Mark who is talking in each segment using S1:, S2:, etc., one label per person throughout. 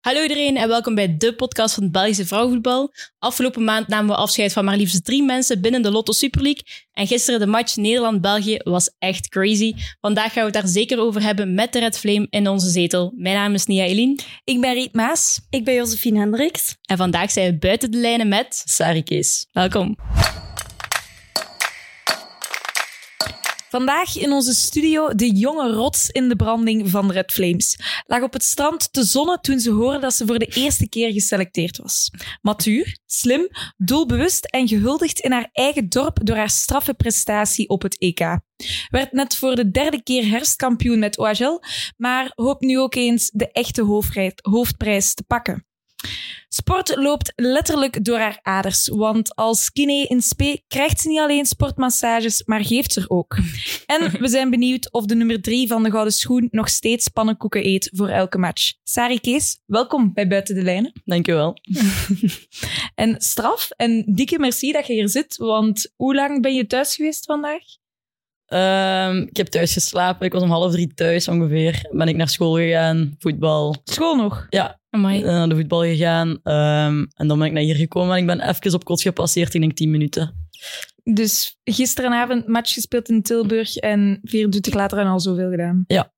S1: Hallo iedereen en welkom bij de podcast van het Belgische Vrouwenvoetbal. Afgelopen maand namen we afscheid van maar liefst drie mensen binnen de Lotto Super League. En gisteren de match Nederland-België was echt crazy. Vandaag gaan we het daar zeker over hebben met de Red Flame in onze zetel. Mijn naam is Nia Eline
S2: Ik ben Riet Maas.
S3: Ik ben Josephine Hendricks.
S1: en vandaag zijn we buiten de lijnen met...
S2: Sari Kees.
S1: Welkom.
S2: Vandaag in onze studio de jonge rots in de branding van Red Flames. Lag op het strand te zonnen toen ze hoorde dat ze voor de eerste keer geselecteerd was. Matuur, slim, doelbewust en gehuldigd in haar eigen dorp door haar straffe prestatie op het EK. Werd net voor de derde keer herfstkampioen met OHL, maar hoopt nu ook eens de echte hoofdrij- hoofdprijs te pakken. Sport loopt letterlijk door haar aders, want als kiné in spe krijgt ze niet alleen sportmassages, maar geeft ze er ook. En we zijn benieuwd of de nummer drie van de Gouden Schoen nog steeds pannenkoeken eet voor elke match. Sari Kees, welkom bij Buiten de Lijnen.
S4: Dankjewel.
S2: En straf, en dikke merci dat je hier zit, want hoe lang ben je thuis geweest vandaag?
S4: Ehm ik heb thuis geslapen. Ik was om half drie thuis ongeveer. Ben ik naar school gegaan, voetbal,
S2: School nog.
S4: eh,
S1: Amai.
S4: naar de voetbal gegaan. Ehm, en dan ben ik naar hier gekomen en ik ben even op kots gepasseerd, ik denk tien minuten.
S2: Dus gisteravond match gespeeld in Tilburg en vier uur later en al zoveel gedaan.
S4: Ja.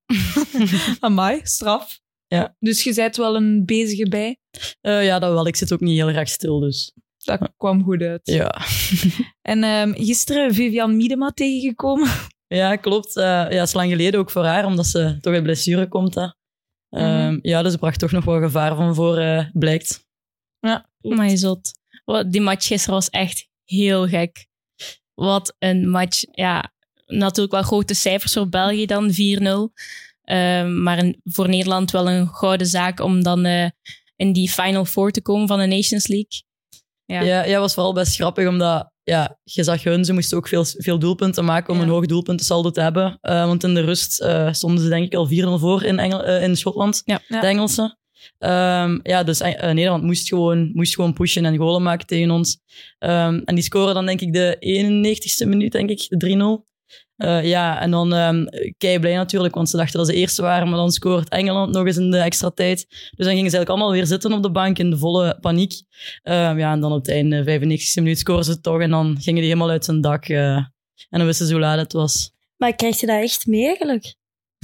S2: Amai, straf.
S4: Ja.
S2: Dus je bent wel een bezige bij.
S4: Eh, ja, dat wel. Ik zit ook niet heel graag stil, dus
S2: Dat kwam goed uit.
S4: ja.
S2: En ehm, gisteren Vivian Miedema tegengekomen.
S4: Ja, klopt. Eh, ja, het is lang geleden ook voor haar, omdat ze toch uit blessure komt. Hè. Ehm, Ja, dus ze bracht toch nog wel gevaar van voor, eh, blijkt.
S1: Amai, zot. Wat- Die match gisteren was echt heel gek. Wat een match. Ja, natuurlijk wel grote cijfers voor België dan, 4-0. Ehm, maar een- voor Nederland wel een gouden zaak om dan eh, in die Final Four te komen van de Nations League. Ja.
S4: Ja, ja, was vooral best grappig, omdat ja, je zag hun, ze moesten ook veel, veel doelpunten maken om
S1: Ja.
S4: een hoog doelpuntensaldo te hebben. Eh, want in de rust eh, stonden ze denk ik al 4-0 voor in, Engel, eh, in Schotland,
S1: Ja.
S2: Ja.
S4: de Engelsen. Ehm, ja, dus eh, Nederland moest gewoon, moest gewoon pushen en goalen maken tegen ons. Ehm, en die scoren dan denk ik de 91ste minuut, denk ik, de 3-0. Eh, ja, en dan kei blij natuurlijk, want ze dachten dat ze eerste waren, maar dan scoort Engeland nog eens in de extra tijd. Dus dan gingen ze eigenlijk allemaal weer zitten op de bank in de volle paniek. Ehm, ja, en dan op het einde, 95e minuut, scoren ze toch en dan gingen die helemaal uit zijn dak. eh, en dan wisten ze hoe laat het was.
S3: Maar krijg je dat echt mee eigenlijk?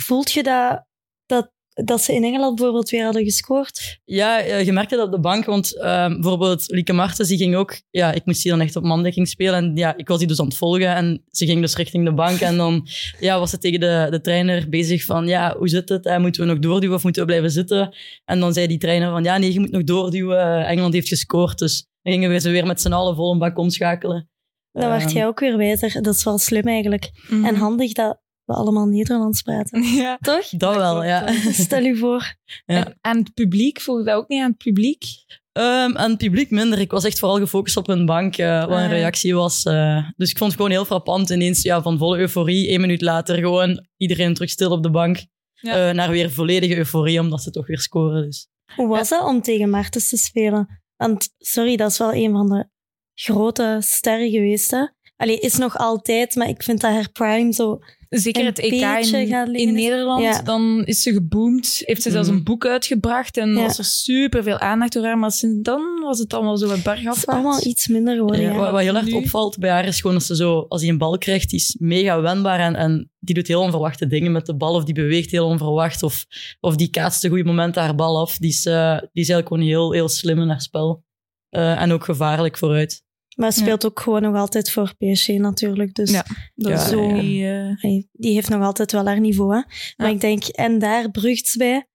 S3: Voelt je dat, dat, dat ze in Engeland bijvoorbeeld weer hadden gescoord?
S4: Ja, eh, je merkte dat op de bank, want ehm, bijvoorbeeld Lieke Martens, die ging ook... Ja, ik moest die dan echt op mandekking spelen. En ja, ik was die dus aan het volgen en ze ging dus richting de bank. En dan ja, was ze tegen de, de trainer bezig van, ja, hoe zit het? Eh, moeten we nog doorduwen of moeten we blijven zitten? En dan zei die trainer van, ja, nee, je moet nog doorduwen. Eh, Engeland heeft gescoord, dus dan gingen we ze weer met z'n allen vol een bak omschakelen.
S3: Dan werd
S4: Ehm,
S3: jij ook weer beter. Dat is wel slim eigenlijk. En
S2: Mhm.
S3: handig dat we allemaal Nederlands praten.
S2: Ja.
S3: Toch?
S4: Dat wel, ja.
S3: Stel je voor.
S4: Ja.
S2: En aan het publiek, voelde dat ook niet aan het publiek?
S4: Ehm, aan het publiek minder. Ik was echt vooral gefocust op hun bank, eh, wat
S2: Ah.
S4: een reactie was. eh. dus ik vond het gewoon heel frappant. Ineens ja, van volle euforie, één minuut later gewoon iedereen terug stil op de bank.
S2: Ja.
S4: Eh, naar weer volledige euforie, omdat ze toch weer scoren. Dus.
S3: Hoe was dat om tegen Martens te spelen? Want, sorry, dat is wel een van de grote sterren geweest, hè? Allee, is nog altijd, maar ik vind dat haar prime zo...
S2: Zeker
S3: Een
S2: het EK
S3: beetje
S2: in,
S3: gaan liggen.
S2: in Nederland,
S3: Ja.
S2: dan is ze geboomd. Heeft ze zelfs
S4: Mhm.
S2: een boek uitgebracht en
S3: Ja.
S2: was er superveel aandacht door haar. Maar sinds dan was het allemaal zo wat
S3: Het is
S2: bergafwaarts.
S3: allemaal iets minder geworden,
S4: Ja,
S3: ja.
S4: wat, wat heel erg
S2: Oh, nu-
S4: opvalt bij haar is gewoon dat ze zo, als hij een bal krijgt, die is mega wendbaar en, en die doet heel onverwachte dingen met de bal. Of die beweegt heel onverwacht. Of, of die kaatst een goede moment haar bal af. Die is, eh, die is eigenlijk gewoon heel, heel slim in haar spel. Eh, en ook gevaarlijk vooruit.
S3: Maar speelt ook gewoon nog altijd voor PSG natuurlijk. Dus
S2: Ja. Dat
S4: Ja,
S2: is zo
S3: ja, ja.
S2: niet, eh,
S3: hey, die heeft nog altijd wel haar niveau. Hè?
S2: Ja.
S3: Maar ik denk, en daar Brugts bij.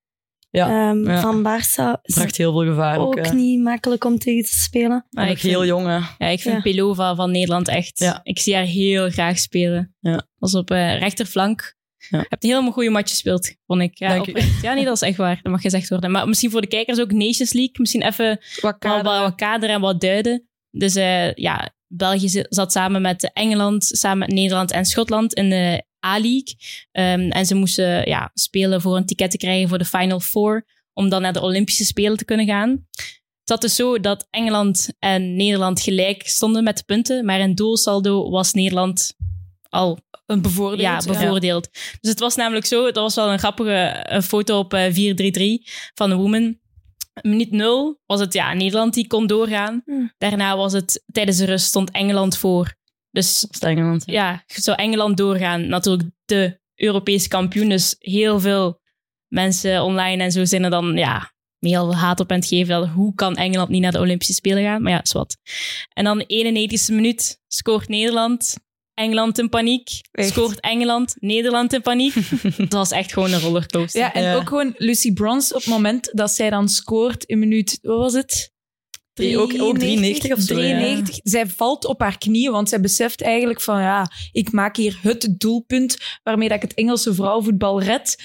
S4: Ja,
S3: Ehm,
S4: ja.
S3: Van Barça is
S4: bracht heel veel gevaar
S2: Oh,
S4: ook.
S3: ook
S4: eh.
S3: niet makkelijk om tegen te spelen.
S1: Maar
S4: En
S1: ik
S4: ook heel
S1: vind,
S4: jong, hè.
S1: ja, ik vind
S3: Ja.
S1: Pelova van Nederland echt...
S4: Ja.
S1: Ik zie haar heel graag spelen.
S4: Ja.
S1: Was op eh, rechterflank.
S4: Ja.
S1: Je hebt een helemaal goede match gespeeld, vond ik. Ja,
S4: Dank je.
S1: oprecht. ja, nee, dat is echt waar. Dat mag gezegd worden. Maar misschien voor de kijkers ook Nations League. Misschien even
S2: wat
S1: wel
S2: kader.
S1: wat, wat kader en wat duiden. Dus eh, ja, België zi- zat samen met Engeland, samen met Nederland en Schotland in de A-League. Ehm, en ze moesten ja, spelen voor een ticket te krijgen voor de Final Four, om dan naar de Olympische Spelen te kunnen gaan. Het zat dus zo dat Engeland en Nederland gelijk stonden met de punten, maar in doelsaldo was Nederland al
S2: Een bevoordeeld.
S1: ja, bevoordeeld. Dus het was namelijk zo, dat was wel een grappige eh, foto op eh, 433 van de Woman. Minuut nul was het ja, Nederland die kon doorgaan.
S3: Hm.
S2: Hmm.
S1: Daarna was het tijdens de rust stond Engeland voor. Dus
S4: Dat is Engeland. Ja.
S1: ja, zou Engeland doorgaan. Natuurlijk de Europese kampioen. Dus heel veel mensen online en zo zijn er dan ja, heel haat op aan het geven. Dat, hoe kan Engeland niet naar de Olympische Spelen gaan? Maar ja, is wat. En dan 91ste minuut scoort Nederland. Engeland in paniek.
S2: Echt?
S1: Scoort Engeland. Nederland in paniek. Dat was echt gewoon een rollercoaster.
S2: Ja, en
S4: Ja.
S2: ook gewoon Lucy Bronze op het moment dat zij dan scoort in minuut, wat was het?
S4: Die ook- ook 93 of zo, ja.
S2: 93. Zij valt op haar knieën, want zij beseft eigenlijk van ja, ik maak hier het doelpunt waarmee dat ik het Engelse vrouwenvoetbal red.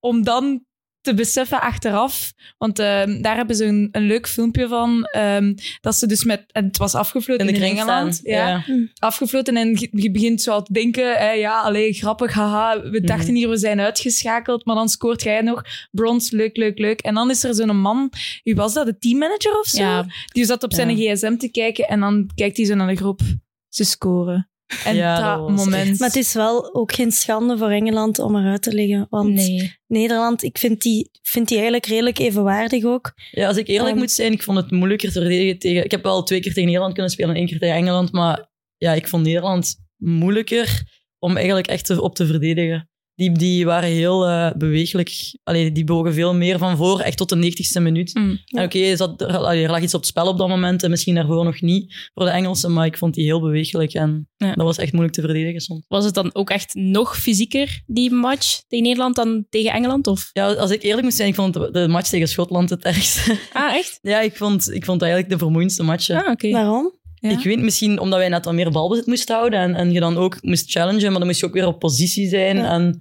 S2: Om dan te beseffen achteraf, want ehm, daar hebben ze een, een leuk filmpje van, ehm, dat ze dus met, en het was afgefloten in,
S4: In de kring
S2: Engeland.
S4: staan. Ja.
S2: afgefloten en je- je begint zo al te denken, hè, ja, alleen grappig, haha, we
S4: Mhm.
S2: dachten hier we zijn uitgeschakeld, maar dan scoort jij nog brons, leuk, leuk, leuk. En dan is er zo'n man, wie was dat, de teammanager of zo?
S1: Ja.
S2: Die zat op zijn gsm te kijken en dan kijkt hij zo naar de groep, ze scoren. En
S4: Ja,
S2: dat,
S4: dat was
S2: moment...
S4: echt-
S3: Maar het is wel ook geen schande voor Engeland om eruit te liggen. Want
S1: Nee.
S3: Nederland, ik vind die, vind die eigenlijk redelijk evenwaardig ook.
S4: Ja, als ik eerlijk
S3: Ehm.
S4: moet zijn, ik vond het moeilijker te verdedigen tegen... Ik heb wel twee keer tegen Nederland kunnen spelen en één keer tegen Engeland, maar ja, ik vond Nederland moeilijker om eigenlijk echt te- op te verdedigen. Die, die waren heel eh, bewegelijk. Allee, die bogen veel meer van voor, echt tot de 90ste minuut.
S2: Mm,
S3: ja.
S4: En oké, er zat- er, allee, er lag iets op het spel op dat moment en misschien daarvoor nog niet voor de Engelsen, maar ik vond die heel bewegelijk en
S1: Ja.
S4: dat was echt moeilijk te verdedigen soms.
S1: Was het dan ook echt nog fysieker, die match tegen Nederland, dan tegen Engeland? Of?
S4: Ja, als ik eerlijk moet zijn, ik vond de de match tegen Schotland het ergste.
S1: Ah, echt?
S4: ja, ik vond, ik vond eigenlijk de vermoeiendste match.
S1: Ah, oké.
S3: Waarom?
S2: Ja.
S4: Ik weet misschien omdat wij net wat meer balbezit moesten houden en, en je dan ook moest challengen, maar dan moest je ook weer op positie zijn.
S3: Ja.
S4: En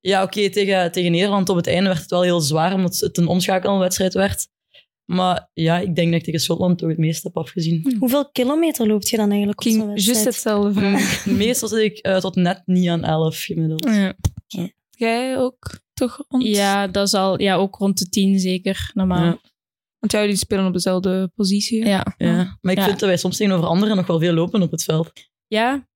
S4: ja, oké, tegen, tegen Nederland op het einde werd het wel heel zwaar, omdat het een omschakelwedstrijd werd. Maar ja, ik denk dat ik tegen Schotland toch het meest heb afgezien.
S3: Hoeveel kilometer loopt je dan eigenlijk op zo'n
S2: Ging juist
S3: wedstrijd?
S2: hetzelfde vraag.
S4: Meestal zit ik eh, tot net niet aan 11 gemiddeld.
S1: Ja.
S2: Jij ook, toch? Ont?
S1: Ja, dat is al ja, ook rond de tien zeker, normaal.
S4: Ja.
S1: Ja.
S2: Want jullie spelen op dezelfde positie.
S1: Ja.
S4: Ja. Maar ik
S1: Ja.
S4: vind dat wij soms tegenover anderen nog wel veel lopen op het veld.
S1: ja.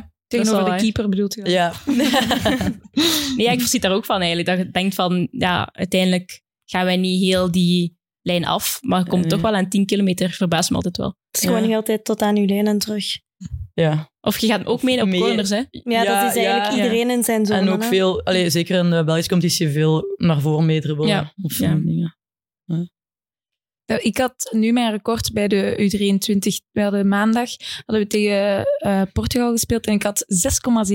S1: Dat
S2: de
S1: is wel waar.
S2: keeper bedoelt je? dan?
S4: Ja.
S1: Nee, ja, ik verschiet daar ook van eigenlijk. Dat je denkt van, ja, uiteindelijk gaan wij niet heel die lijn af. Maar je komt
S4: Nee.
S1: toch wel aan 10 kilometer, verbaast me altijd wel.
S3: Het is gewoon
S4: Ja.
S3: niet altijd tot aan uw lijn en terug.
S4: ja.
S1: Of je gaat ook mee op
S4: Meer.
S1: corners, hè?
S3: Ja, dat is eigenlijk
S1: ja.
S3: iedereen in zijn zone.
S4: En ook
S3: hè?
S4: veel, allee, zeker in de Belgische competitie, veel naar voren meedribbelen.
S1: Ja.
S4: Of
S1: Ja.
S4: ja. dingen.
S2: Nou, Ik had nu mijn record bij de U23. We hadden maandag hadden we tegen eh, Portugal gespeeld en ik had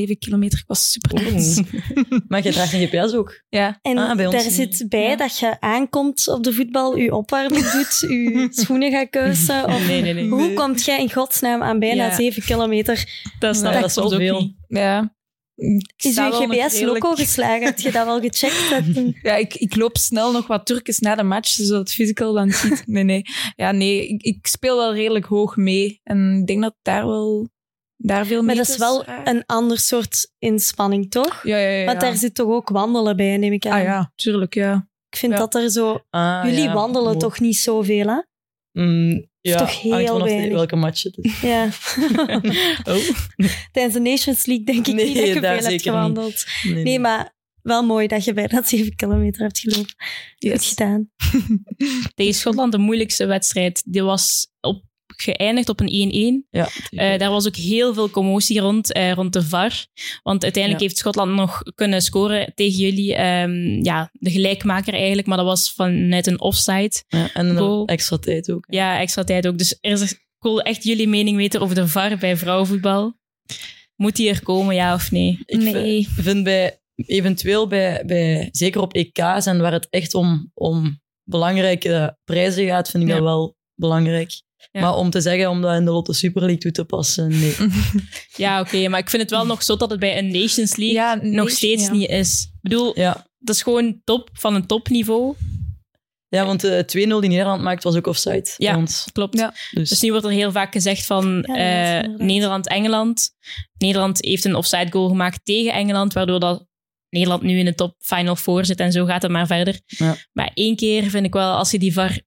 S2: 6,7 kilometer. Ik was super trots.
S4: maar je draagt een GPS ook.
S2: Ja.
S3: En
S4: Ah, bij ons
S3: daar
S4: niet.
S3: zit bij
S2: Ja.
S3: dat je aankomt op de voetbal, je opwarming doet, je schoenen gaat kuisen. Of
S1: Nee, nee, nee.
S3: Hoe komt jij in godsnaam aan bijna
S2: Ja.
S3: 7 kilometer?
S1: Dat
S2: snap
S1: snap
S4: Ja,
S1: ik
S4: dat is wel
S1: soms ook
S4: veel.
S1: niet.
S2: ja. Ik
S3: Is
S2: sta
S3: je
S2: wel nog redelijk-
S3: GPS-loco geslagen? Heb je dat wel gecheckt? Dat-
S2: Ja, ik, ik loop snel nog wat Turkes na de match, zodat physical dan ziet. Nee, nee. Ja, nee, ik, ik speel wel redelijk hoog mee. En ik denk dat daar wel daar veel
S3: Maar dat
S2: meters
S3: is wel
S2: raken.
S3: een ander soort inspanning, toch?
S2: Ja, ja, ja.
S3: Want
S2: ja.
S3: daar zit toch ook wandelen bij, neem ik aan.
S2: Ah ja, tuurlijk, ja.
S3: Ik vind
S2: Ja.
S3: dat er zo...
S4: Ah,
S3: Jullie
S4: ja.
S3: wandelen
S4: Wow.
S3: toch niet zoveel, hè?
S4: Mm, ja,
S3: toch
S4: hangt
S3: heel
S4: vanaf de-
S3: weinig.
S4: welke match het is.
S3: Ja.
S4: Oh,
S3: Tijdens de Nations League denk ik
S4: Nee,
S3: niet dat je
S4: daar
S3: veel hebt
S4: zeker niet.
S3: gewandeld.
S4: nee, nee.
S3: Nee, maar wel mooi dat je bij dat 7 kilometer hebt gelopen. Goed
S2: Yes.
S3: gedaan.
S1: Tegen Schotland de moeilijkste wedstrijd. Die was op, geëindigd op een 1-1.
S4: Ja,
S1: Eh, daar was ook heel veel commotie rond, eh, rond de VAR. Want uiteindelijk
S4: Ja.
S1: heeft Schotland nog kunnen scoren tegen jullie. Ehm, ja, de gelijkmaker eigenlijk, maar dat was vanuit een offside.
S3: Eh,
S4: Ja, en
S1: goal.
S4: een extra tijd ook.
S1: Ja, extra tijd ook. Dus er is, ik wil echt jullie mening weten over de VAR bij vrouwenvoetbal. Moet die er komen, ja of nee?
S4: Ik
S1: nee.
S4: Ik vind bij, eventueel bij, bij, zeker op EK's en waar het echt om, om belangrijke prijzen gaat, vind ik
S1: Ja.
S4: dat wel belangrijk.
S1: Ja.
S4: Maar om te zeggen om dat in de Lotte Super League toe te passen, nee.
S1: Ja, oké, maar ik vind het wel nog zo dat het bij een Nations League
S2: Ja,
S1: nog
S2: nee,
S1: steeds
S2: ja.
S1: niet is. Ik bedoel,
S4: Ja,
S1: dat is gewoon top van een topniveau.
S4: Ja, want de 2-0 die Nederland maakt was ook offside.
S1: Ja.
S4: bij ons.
S1: Klopt.
S2: Ja.
S4: Dus,
S1: Dus nu wordt er heel vaak gezegd van
S3: Ja, ja,
S1: eh,
S3: inderdaad.
S1: Nederland-Engeland. Nederland heeft een offside goal gemaakt tegen Engeland, waardoor dat Nederland nu in de top final four zit en zo gaat het maar verder.
S4: Ja.
S1: Maar één keer vind ik wel, als je die VAR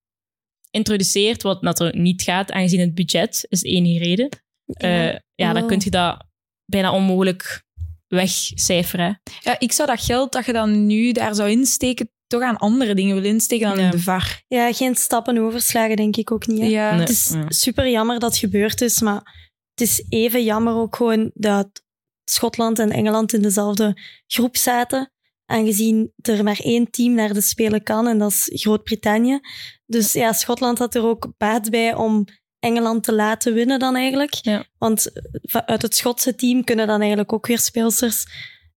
S1: introduceert, wat natuurlijk niet gaat, aangezien het budget is de enige reden. eh,
S3: Ja.
S1: Ja, ja dan
S3: Wow.
S1: kun je dat bijna onmogelijk wegcijferen. hè.
S2: Ja, ik zou dat geld dat je dan nu daar zou insteken toch aan andere dingen wil insteken dan
S1: Ja.
S2: in de VAR.
S3: Ja, geen stappen overslagen denk ik ook niet. hè.
S2: Ja.
S4: Nee.
S3: Het is
S4: ja.
S3: super jammer dat het gebeurd is, maar het is even jammer ook gewoon dat Schotland en Engeland in dezelfde groep zaten, aangezien er maar één team naar de Spelen kan en dat is Groot-Brittannië. Dus ja, Schotland had er ook baat bij om Engeland te laten winnen dan eigenlijk.
S1: Ja.
S3: Want eh, va- uit het Schotse team kunnen dan eigenlijk ook weer speelsters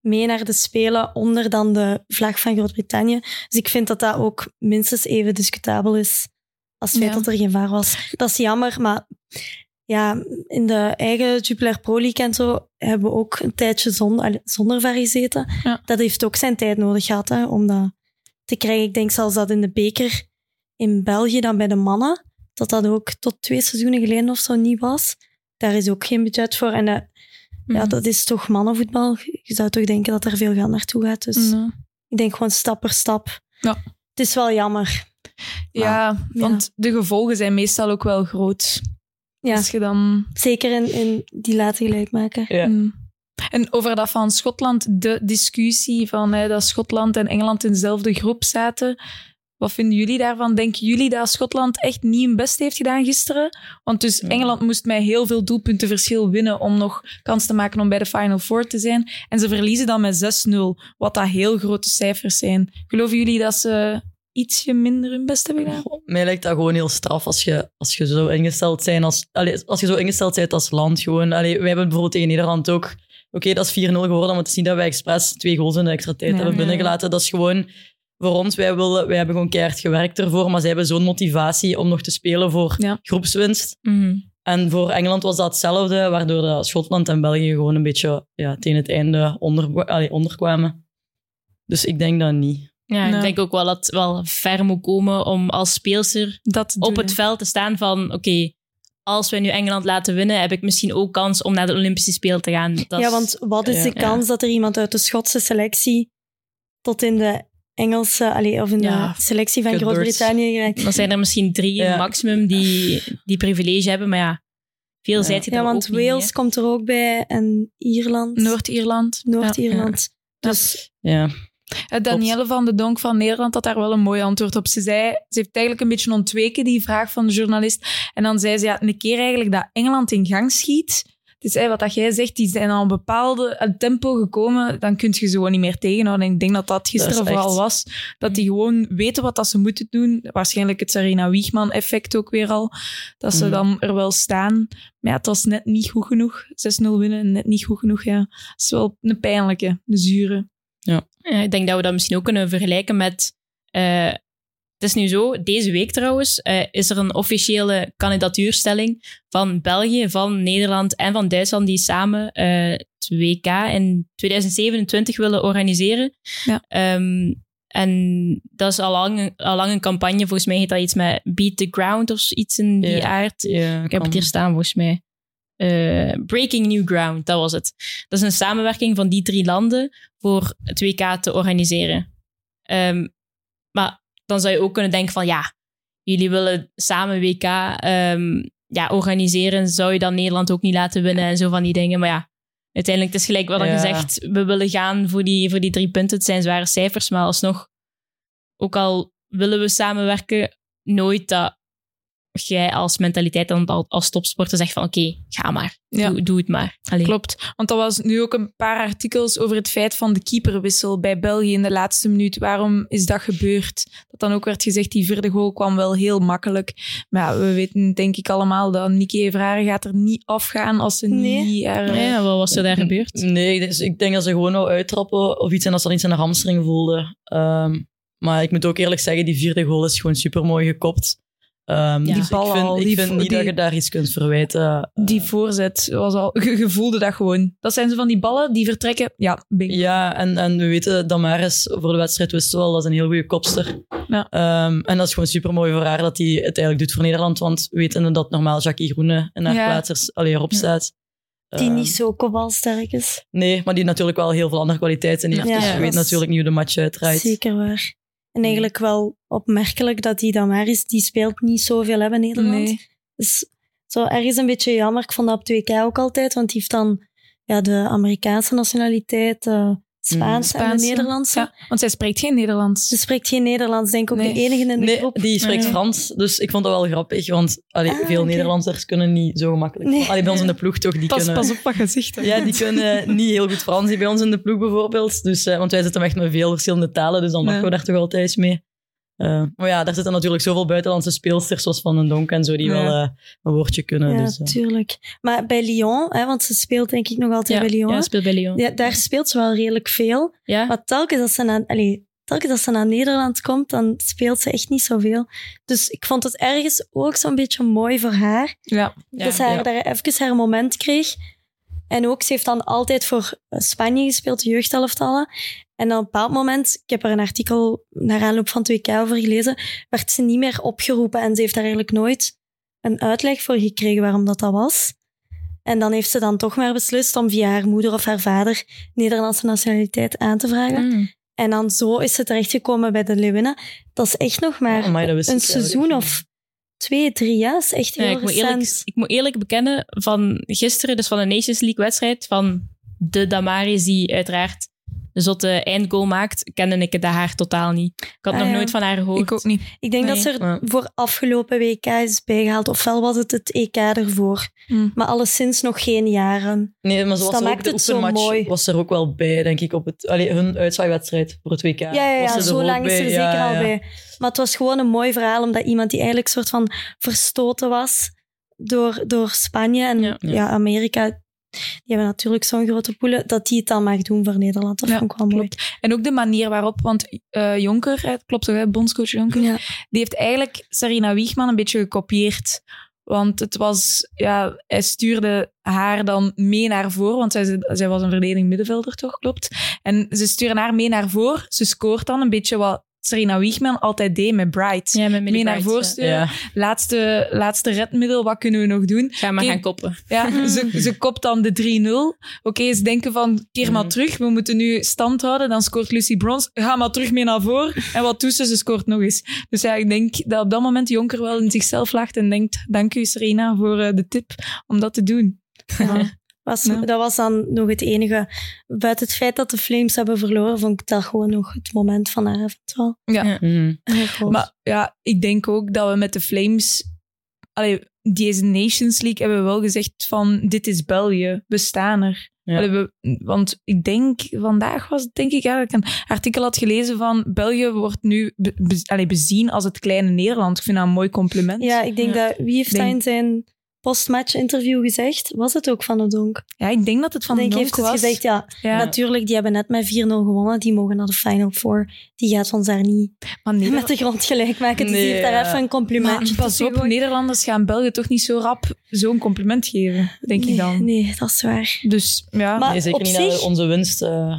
S3: mee naar de Spelen onder dan de vlag van Groot-Brittannië. Dus ik vind dat dat ook minstens even discutabel is als het feit
S2: Ja.
S3: dat er geen VAR was. Dat is jammer, maar ja, in de eigen Jupiler Pro League en zo hebben we ook een tijdje zon, allee, zonder VAR gezeten.
S2: Ja.
S3: Dat heeft ook zijn tijd nodig gehad hè, om dat te krijgen. Ik denk zelfs dat in de beker in België dan bij de mannen, dat dat ook tot twee seizoenen geleden of zo niet was. Daar is ook geen budget voor. En eh, ja,
S1: Mhm.
S3: dat is toch mannenvoetbal. Je zou toch denken dat er veel geld naartoe gaat. Dus
S1: Mhm.
S2: Ja.
S3: ik denk gewoon stap per stap.
S2: Ja.
S3: Het is wel jammer.
S2: Ja, want de gevolgen zijn meestal ook wel groot.
S3: Ja.
S2: Als je dan...
S3: Zeker in, in die late gelijkmaker.
S4: Ja.
S2: Mm. En over dat van Schotland, de discussie van hè, dat Schotland en Engeland in dezelfde groep zaten. Wat vinden jullie daarvan? Denken jullie dat Schotland echt niet hun best heeft gedaan gisteren? Want dus
S4: Ja.
S2: Engeland moest met heel veel doelpunten verschil winnen om nog kans te maken om bij de Final Four te zijn. En ze verliezen dan met 6-0, wat dat heel grote cijfers zijn. Geloven jullie dat ze ietsje minder hun best hebben gedaan?
S4: Goh, Mij lijkt dat gewoon heel straf als je, als je zo ingesteld zijn als, allee, als je zo ingesteld bent als land. Gewoon, allee, wij hebben bijvoorbeeld tegen Nederland ook. Oké, dat is 4-0 geworden, maar het is niet dat wij expres twee goals in de extra tijd
S2: Ja.
S4: hebben
S1: Ja.
S4: binnengelaten. Dat is gewoon voor ons. Wij, willen, wij hebben gewoon keihard gewerkt ervoor, maar zij hebben zo'n motivatie om nog te spelen voor
S2: Ja.
S4: groepswinst.
S3: Mhm.
S4: En voor Engeland was dat hetzelfde, waardoor dat Schotland en België gewoon een beetje ja, tegen het einde onder, allee, onderkwamen. Dus ik denk dat niet.
S1: Ja, ik
S2: Nou.
S1: denk ook wel dat het wel ver moet komen om als speelster
S2: Dat
S1: op
S2: doen,
S1: het
S3: Mhm.
S2: hè?
S1: veld te staan van oké, als wij nu Engeland laten winnen, heb ik misschien ook kans om naar de Olympische Spelen te gaan. Dat
S3: ja,
S1: is-
S3: want wat is de
S1: Ja.
S3: kans dat er iemand uit de Schotse selectie tot in de Engelse, allee, of in
S4: Ja,
S3: de selectie van
S4: kutbirds.
S3: Groot-Brittannië geraakt?
S1: dan zijn er misschien drie
S4: Ja.
S1: maximum die die privilege hebben, maar ja, veel
S4: Ja.
S1: zijt je
S3: Ja,
S1: er
S3: want
S1: ook niet, hè.
S3: Wales komt er ook bij en Ierland,
S2: Noord-Ierland.
S3: Noord-Ierland.
S2: Dus
S4: Ja,
S2: Eh, Danielle van de Donk van Nederland had daar wel een mooi antwoord op. Ze zei, ze heeft eigenlijk een beetje ontweken die vraag van de journalist. En dan zei ze, ja, een keer eigenlijk dat Engeland in gang schiet. Dus eh, wat dat jij zegt, die zijn al een bepaalde een tempo gekomen, dan kun je ze gewoon niet meer tegenhouden. En ik denk dat dat gisteren
S4: Dat is echt-
S2: vooral was. Dat die gewoon weten wat dat ze moeten doen. Waarschijnlijk het Sarina Wiegman-effect ook weer al. Dat ze
S4: Mhm.
S2: dan er wel staan. Maar ja, het was net niet goed genoeg. 6-0 winnen, net niet goed genoeg, ja. Dat is wel een pijnlijke, een zure.
S1: Ja, Eh, ik denk dat we dat misschien ook kunnen vergelijken met. eh, het is nu zo, deze week trouwens, eh, is er een officiële kandidatuurstelling van België, van Nederland en van Duitsland die samen eh, het WK in 2027 willen organiseren.
S2: Ja.
S1: Ehm, en dat is al lang, een campagne. Volgens mij heet dat iets met Beat the Ground of iets in die
S4: Ja.
S1: aard.
S4: ja
S1: Ik heb het hier staan, volgens mij. Eh, Breaking New Ground, dat was het. Dat is een samenwerking van die drie landen voor het WK te organiseren. Ehm, maar dan zou je ook kunnen denken van, ja, jullie willen samen WK ehm, ja, organiseren. Zou je dan Nederland ook niet laten winnen en zo van die dingen. Maar ja, uiteindelijk, het is gelijk wat er
S4: Ja.
S1: gezegd. We willen gaan voor die, voor die drie punten. Het zijn zware cijfers, maar alsnog, ook al willen we samenwerken, nooit dat jij als mentaliteit dan al- als topsporter zegt van oké, ga maar.
S2: Ja.
S1: Doe, doe het maar. Allee.
S2: Klopt, want er was nu ook een paar artikels over het feit van de keeperwissel bij België in de laatste minuut. Waarom is dat gebeurd? Dat dan ook werd gezegd, die vierde goal kwam wel heel makkelijk. Maar ja, we weten denk ik allemaal dat Niki Evraren gaat er niet afgaan als ze
S3: Nee.
S2: niet... eh, haar-
S1: Ja, wat was er daar gebeurd?
S4: Nee, dus ik denk dat ze gewoon wou uittrappen of iets en dat ze dan iets aan de hamstring voelde. Ehm, maar ik moet ook eerlijk zeggen, die vierde goal is gewoon super mooi gekopt. Ehm,
S1: Die
S4: dus
S2: bal
S4: ik vind,
S2: al,
S4: ik
S2: die
S4: vind
S2: vo-
S4: niet
S2: die-
S4: dat je daar iets kunt verwijten.
S2: Die voorzet was al... Je je voelde dat gewoon. Dat zijn zo van die ballen die vertrekken. Ja, bing.
S4: Ja, en, en we weten, Damaris voor de wedstrijd wisten we al, dat is een heel goede kopster.
S2: Ja.
S4: Ehm, en dat is gewoon super mooi voor haar dat hij het eigenlijk doet voor Nederland. Want we weten dat normaal Jackie Groene in haar
S2: Ja.
S4: plaatsers alleen erop
S2: Ja.
S4: staat.
S3: die
S4: Ehm,
S3: niet zo kopbalsterk is.
S4: Nee, maar die natuurlijk wel heel veel andere kwaliteiten heeft.
S3: Ja.
S4: dus
S3: Ja,
S4: je weet
S3: dat is-
S4: natuurlijk niet hoe de match uitdraait.
S3: Zeker waar. En eigenlijk wel opmerkelijk dat die dan maar is. Die speelt niet zoveel hebben in Nederland.
S2: Nee.
S3: Dus zo ergens een beetje jammer. Ik vond dat op 2K ook altijd, want die heeft dan ja, de Amerikaanse nationaliteit, de Spaans en de
S2: Spaans, ja.
S3: Nederlandse.
S2: Ja, want zij spreekt geen Nederlands.
S3: Ze spreekt geen Nederlands, denk ik ook
S2: Nee.
S3: de enige in de
S4: Nee,
S3: groep.
S4: die spreekt
S1: Ja.
S4: Frans, dus ik vond dat wel grappig, want allee,
S3: Ah,
S4: veel
S3: oké.
S4: Nederlanders kunnen niet zo gemakkelijk.
S3: Nee.
S4: Allee, bij ons in de ploeg toch, die kunnen...
S2: op wat gezicht.
S4: Ja, die kunnen niet heel goed Frans die bij ons in de ploeg bijvoorbeeld. Dus, eh, want wij zitten echt met veel verschillende talen, dus dan
S2: Ja.
S4: mag we daar toch wel thuis mee. Eh, maar ja, daar zitten natuurlijk zoveel buitenlandse speelsters, zoals Van den Donk en zo, die
S2: Ja.
S4: wel eh, een woordje kunnen.
S3: Ja,
S4: dus, eh.
S3: tuurlijk. Maar bij Lyon, hè, want ze speelt denk ik nog altijd bij Lyon.
S1: Ja,
S3: hè?
S1: speelt bij Lyon.
S3: Ja, daar speelt ze wel redelijk veel.
S1: Ja?
S3: Maar telkens als ze naar, allee, telkens als ze naar Nederland komt, dan speelt ze echt niet zoveel. Dus ik vond het ergens ook zo'n beetje mooi voor haar.
S2: Ja.
S1: Ja,
S3: dat ze haar
S4: ja.
S3: daar even haar moment kreeg. En ook, ze heeft dan altijd voor eh, Spanje gespeeld, de jeugdelftallen. En dan op een bepaald moment, ik heb er een artikel naar aanloop van 2K over gelezen, werd ze niet meer opgeroepen. En ze heeft daar eigenlijk nooit een uitleg voor gekregen waarom dat dat was. En dan heeft ze dan toch maar beslist om via haar moeder of haar vader Nederlandse nationaliteit aan te vragen.
S1: Mm.
S3: En dan zo is ze terechtgekomen bij de Leeuwinnen. Dat is echt nog maar
S4: Amai, dat wist
S3: een
S4: ik eigenlijk
S3: seizoen
S4: niet.
S3: of twee, drie jaar. Dat is echt heel
S1: Ja, ik, moet eerlijk,
S3: recent.
S1: ik moet eerlijk bekennen, van gisteren, dus van de Nations League-wedstrijd, van de Damaris, die uiteraard de zotte eindgoal maakt, kende ik het haar totaal niet. Ik had
S3: Ah,
S1: nog
S3: ja.
S1: nooit van haar gehoord.
S2: Ik ook niet.
S3: Ik denk dat
S1: Nee.
S3: ze er
S4: Ja.
S3: voor afgelopen WK is bijgehaald. Ofwel was het het EK ervoor.
S2: Hm.
S3: Maar alleszins nog geen jaren.
S4: Nee, maar
S3: Dus
S4: zoals
S3: dat
S4: ook
S3: maakt
S4: de
S3: het zo
S4: oefenmatch
S3: mooi.
S4: was ze er ook wel bij, denk ik, op het, allee, hun uitzwaaiwedstrijd voor het WK.
S3: Ja, ja, ja,
S4: was ze er
S3: zo
S4: ook
S3: lang is
S4: bij.
S3: ze er
S4: Ja,
S3: zeker al
S4: ja.
S3: bij. Maar het was gewoon een mooi verhaal, omdat iemand die eigenlijk soort van verstoten was door, door Spanje en ja.
S1: Ja.
S3: Amerika, die hebben natuurlijk zo'n grote poelen, dat die het dan mag doen voor Nederland. Dat
S2: Ja,
S3: vond ik wel mooi.
S2: En ook de manier waarop, want eh, Jonker, eh, klopt toch, hè, bondscoach Jonker,
S3: Ja.
S2: die heeft eigenlijk Sarina Wiegman een beetje gekopieerd. Want het was, ja, hij stuurde haar dan mee naar voren, want zij, zij was een verdediging middenvelder, toch? Klopt. En ze sturen haar mee naar voren. Ze scoort dan een beetje wat Sarina Wiegman altijd deed met Bright.
S1: Ja, met Millie
S2: mee naar
S1: Bright,
S2: voren
S1: ja.
S2: sturen.
S4: Ja.
S2: Laatste, laatste redmiddel, wat kunnen we nog doen?
S1: Ga maar
S2: Kijk,
S1: gaan koppen.
S2: Ja, ze, ze kopt dan de 3-0. Oké, ze denken van, keer maar
S4: Mhm.
S2: terug. We moeten nu stand houden. Dan scoort Lucy Brons. Ga maar terug mee naar voren. En wat doet ze? Ze scoort nog eens. Dus ja, ik denk dat op dat moment Jonker wel in zichzelf lacht en denkt, dank u Serena voor eh, de tip om dat te doen.
S3: Ja. Was,
S2: Ja.
S3: Dat was dan nog het enige. Buiten het feit dat de Flames hebben verloren, vond ik dat gewoon nog het moment van haar wel.
S4: Mhm.
S3: heel groot.
S2: Maar ja, ik denk ook dat we met de Flames... Allee, deze Nations League hebben we wel gezegd van, dit is België. We staan er.
S4: Ja.
S2: Allee, we- want ik denk, vandaag was het denk ik dat ik een artikel had gelezen van België wordt nu be- be- allee, bezien als het kleine Nederland. Ik vind dat een mooi compliment.
S3: Ja, ik denk dat... Wie heeft
S2: Denk-
S3: dat in zijn postmatch-interview gezegd? Was het ook Van de Donk?
S2: Ja, ik denk dat het van
S3: denk,
S2: Donk
S3: heeft het
S2: was.
S3: gezegd, ja,
S2: Ja,
S3: Natuurlijk, die hebben net met 4-0 gewonnen. Die mogen naar de Final Four. Die gaat ons daar niet
S2: maar Nederland-
S3: met de grond gelijk maken. Dus
S4: Nee,
S3: die heeft daar
S4: ja.
S3: even een
S2: maar
S3: complimentje
S2: pas op,
S3: tussen
S2: Nederlanders gaan België toch niet zo rap zo'n compliment geven, denk
S3: gegooid.
S2: ik dan.
S3: Nee, nee, dat is waar.
S2: Dus ja,
S3: Maar
S4: Nee, zeker
S3: op
S4: niet
S3: zich-
S4: naar onze winst eh
S3: Thuis.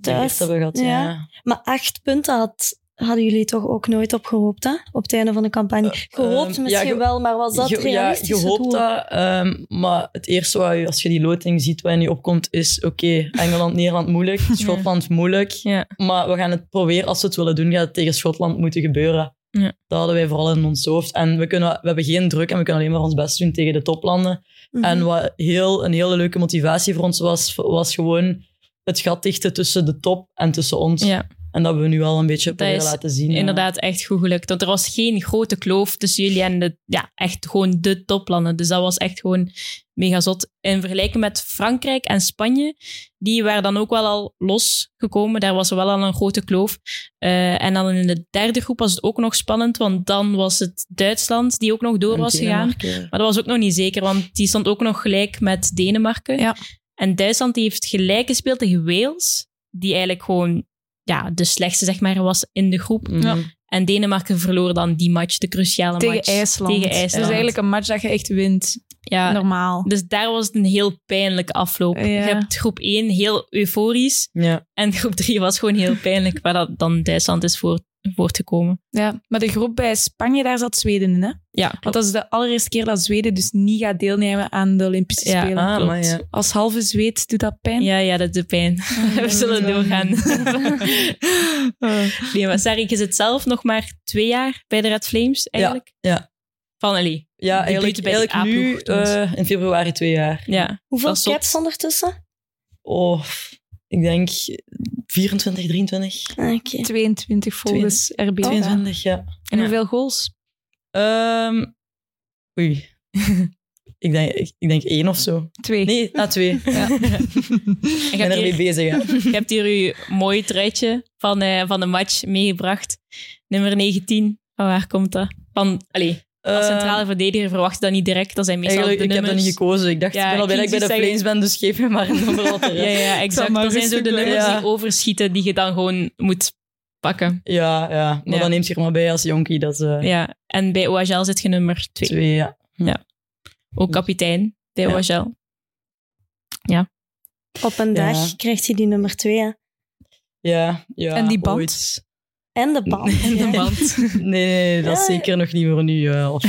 S4: thuis hebben gehad. Ja.
S3: Ja. Maar acht punten had, hadden jullie toch ook nooit opgehoopt, hè? Op het einde van de campagne. Gehoopt
S4: ehm,
S3: misschien
S4: ja, ge-
S3: wel, maar was dat
S4: Je- ja,
S3: realistisch?
S4: je hoopt
S3: doel?
S4: dat, ehm, maar het eerste wat je, als je die loting ziet wat in je opkomt, is oké, Engeland, Nederland moeilijk, Schotland moeilijk,
S1: Ja.
S4: maar we gaan het proberen, als we het willen doen, gaat het tegen Schotland moeten gebeuren.
S1: Ja.
S4: Dat hadden wij vooral in ons hoofd. En we, kunnen, we hebben geen druk en we kunnen alleen maar ons best doen tegen de toplanden.
S3: Mhm.
S4: En wat heel, een hele leuke motivatie voor ons was, was gewoon het gat dichten tussen de top en tussen ons.
S1: Ja.
S4: En dat hebben we nu al een beetje
S1: Dat
S4: proberen
S1: is
S4: laten zien. ja.
S1: Inderdaad, echt goed gelukt. Want er was geen grote kloof tussen jullie en de, ja, echt gewoon de toplanden. Dus dat was echt gewoon mega zot. In vergelijking met Frankrijk en Spanje, die waren dan ook wel al losgekomen. Daar was wel al een grote kloof. Eh, en dan in de derde groep was het ook nog spannend, want dan was het Duitsland die ook nog door
S4: En
S1: was gegaan.
S4: Denemarken.
S1: Maar dat was ook nog niet zeker, want die stond ook nog gelijk met Denemarken.
S2: Ja.
S1: En Duitsland die heeft gelijk gespeeld tegen Wales, die eigenlijk gewoon ja, de slechtste zeg maar, was in de groep.
S4: Mhm.
S2: Ja.
S1: En Denemarken verloor dan die match, de cruciale
S2: tegen,
S1: match.
S2: IJsland.
S1: Tegen
S2: Dat is
S1: IJsland.
S2: eigenlijk een match dat je echt wint.
S1: ja,
S2: Normaal.
S1: dus daar was het een heel pijnlijke afloop.
S2: Ja.
S1: Je hebt groep 1 heel euforisch
S4: Ja.
S1: en groep 3 was gewoon heel pijnlijk, waar dat dan Duitsland is voor, voortgekomen.
S2: Ja. Maar de groep bij Spanje, daar zat Zweden in, hè?
S1: Ja,
S2: Want dat is de allereerste keer dat Zweden dus niet gaat deelnemen aan de Olympische
S1: Ja,
S2: Spelen.
S4: ah,
S2: Klopt.
S4: maar ja.
S2: Als halve Zweed doet dat pijn.
S1: ja, ja, dat doet pijn.
S2: Oh,
S1: We zullen doorgaan.
S2: Oh.
S1: nee, maar Sarik is het zelf nog maar twee jaar bij de Red Flames, eigenlijk.
S4: ja.
S1: Van Ali.
S4: Ja,
S1: Die buiten
S4: eigenlijk,
S1: bij die
S4: eigenlijk nu
S1: A-ploeg toen.
S4: eh, in februari twee jaar.
S1: Ja.
S3: Hoeveel
S1: dat is zot.
S3: caps ondertussen?
S4: Oh, ik denk 24, 23.
S3: Ah, Oké.
S2: 22 volgens RB.
S4: 22, ja.
S2: En
S4: Ja.
S2: hoeveel goals?
S4: Ehm, oei. ik, denk, ik, ik denk één of zo.
S2: Twee.
S4: Nee, na twee. Ja.
S1: En
S4: ik
S1: je
S4: ben
S1: hebt,
S4: ermee
S1: hier,
S4: bezig, ja.
S1: je hebt hier uw mooie truitje van, eh, van de match meegebracht. Nummer 19. Van waar komt dat? Van, allee, als centrale verdediger verwacht je dat niet direct. Dat zijn
S4: Ehm,
S1: meestal
S4: Eh, Eigenlijk,
S1: de
S4: ik heb
S1: nummers.
S4: dat niet gekozen. Ik dacht,
S1: Ja,
S4: ik ben al blij dat ik bij de
S1: kies iets
S4: Flames ben, dus geef me maar een nummer wat er is.
S1: Ja, ja, exact.
S2: maar
S1: Dat zijn zo de
S2: rustig
S1: nummers
S4: blijven.
S1: die overschieten die je dan gewoon moet pakken.
S4: Ja, ja. Maar
S1: Ja.
S4: dan neemt zich maar bij als jonkie. Dat is eh,
S1: Ja. En bij OHL zit je nummer 2.
S4: twee, ja.
S1: Ook kapitein bij
S4: Ja.
S1: OHL.
S3: Op een
S4: Ja.
S3: dag krijgt hij die nummer twee. hè.
S4: Ja, ja.
S2: En die band?
S4: ooit.
S3: En de bal.
S1: En de band
S4: Nee, nee, nee, dat is
S3: Ja.
S4: zeker nog niet voor nu. eh, of-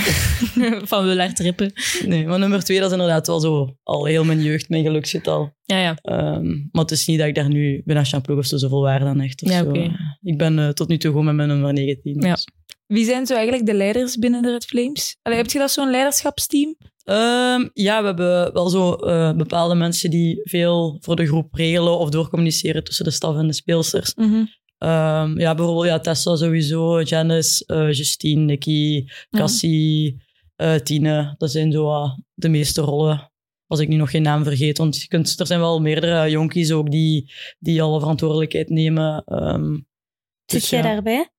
S1: van Willard Rippen.
S4: nee, maar nummer twee, dat is inderdaad wel zo. Al heel mijn jeugd, mijn geluk zit al.
S1: Ja, ja.
S4: Ehm, maar het is niet dat ik daar nu bij Nationale Ploeg of zo zoveel waarde aan hecht. of
S1: Ja,
S4: zo.
S1: oké.
S4: Ik ben eh, tot nu toe gewoon met mijn nummer 19.
S1: Ja.
S4: dus.
S2: Wie zijn zo eigenlijk de leiders binnen de Red Flames? Allee, heb je dat zo'n leiderschapsteam?
S4: Ehm, ja, we hebben wel zo eh, bepaalde mensen die veel voor de groep regelen of doorcommuniceren tussen de staf en de speelsters. Ehm, ja, bijvoorbeeld ja, Tessa sowieso, Janice, eh, Justine, Nicky, Cassie, eh, Tine. Dat zijn zo wat de meeste rollen. Als ik nu nog geen naam vergeet. Want je kunt, er zijn wel meerdere jonkies ook die, die alle verantwoordelijkheid nemen. Ehm,
S3: Zit
S4: dus
S3: jij
S4: ja.
S3: daarbij?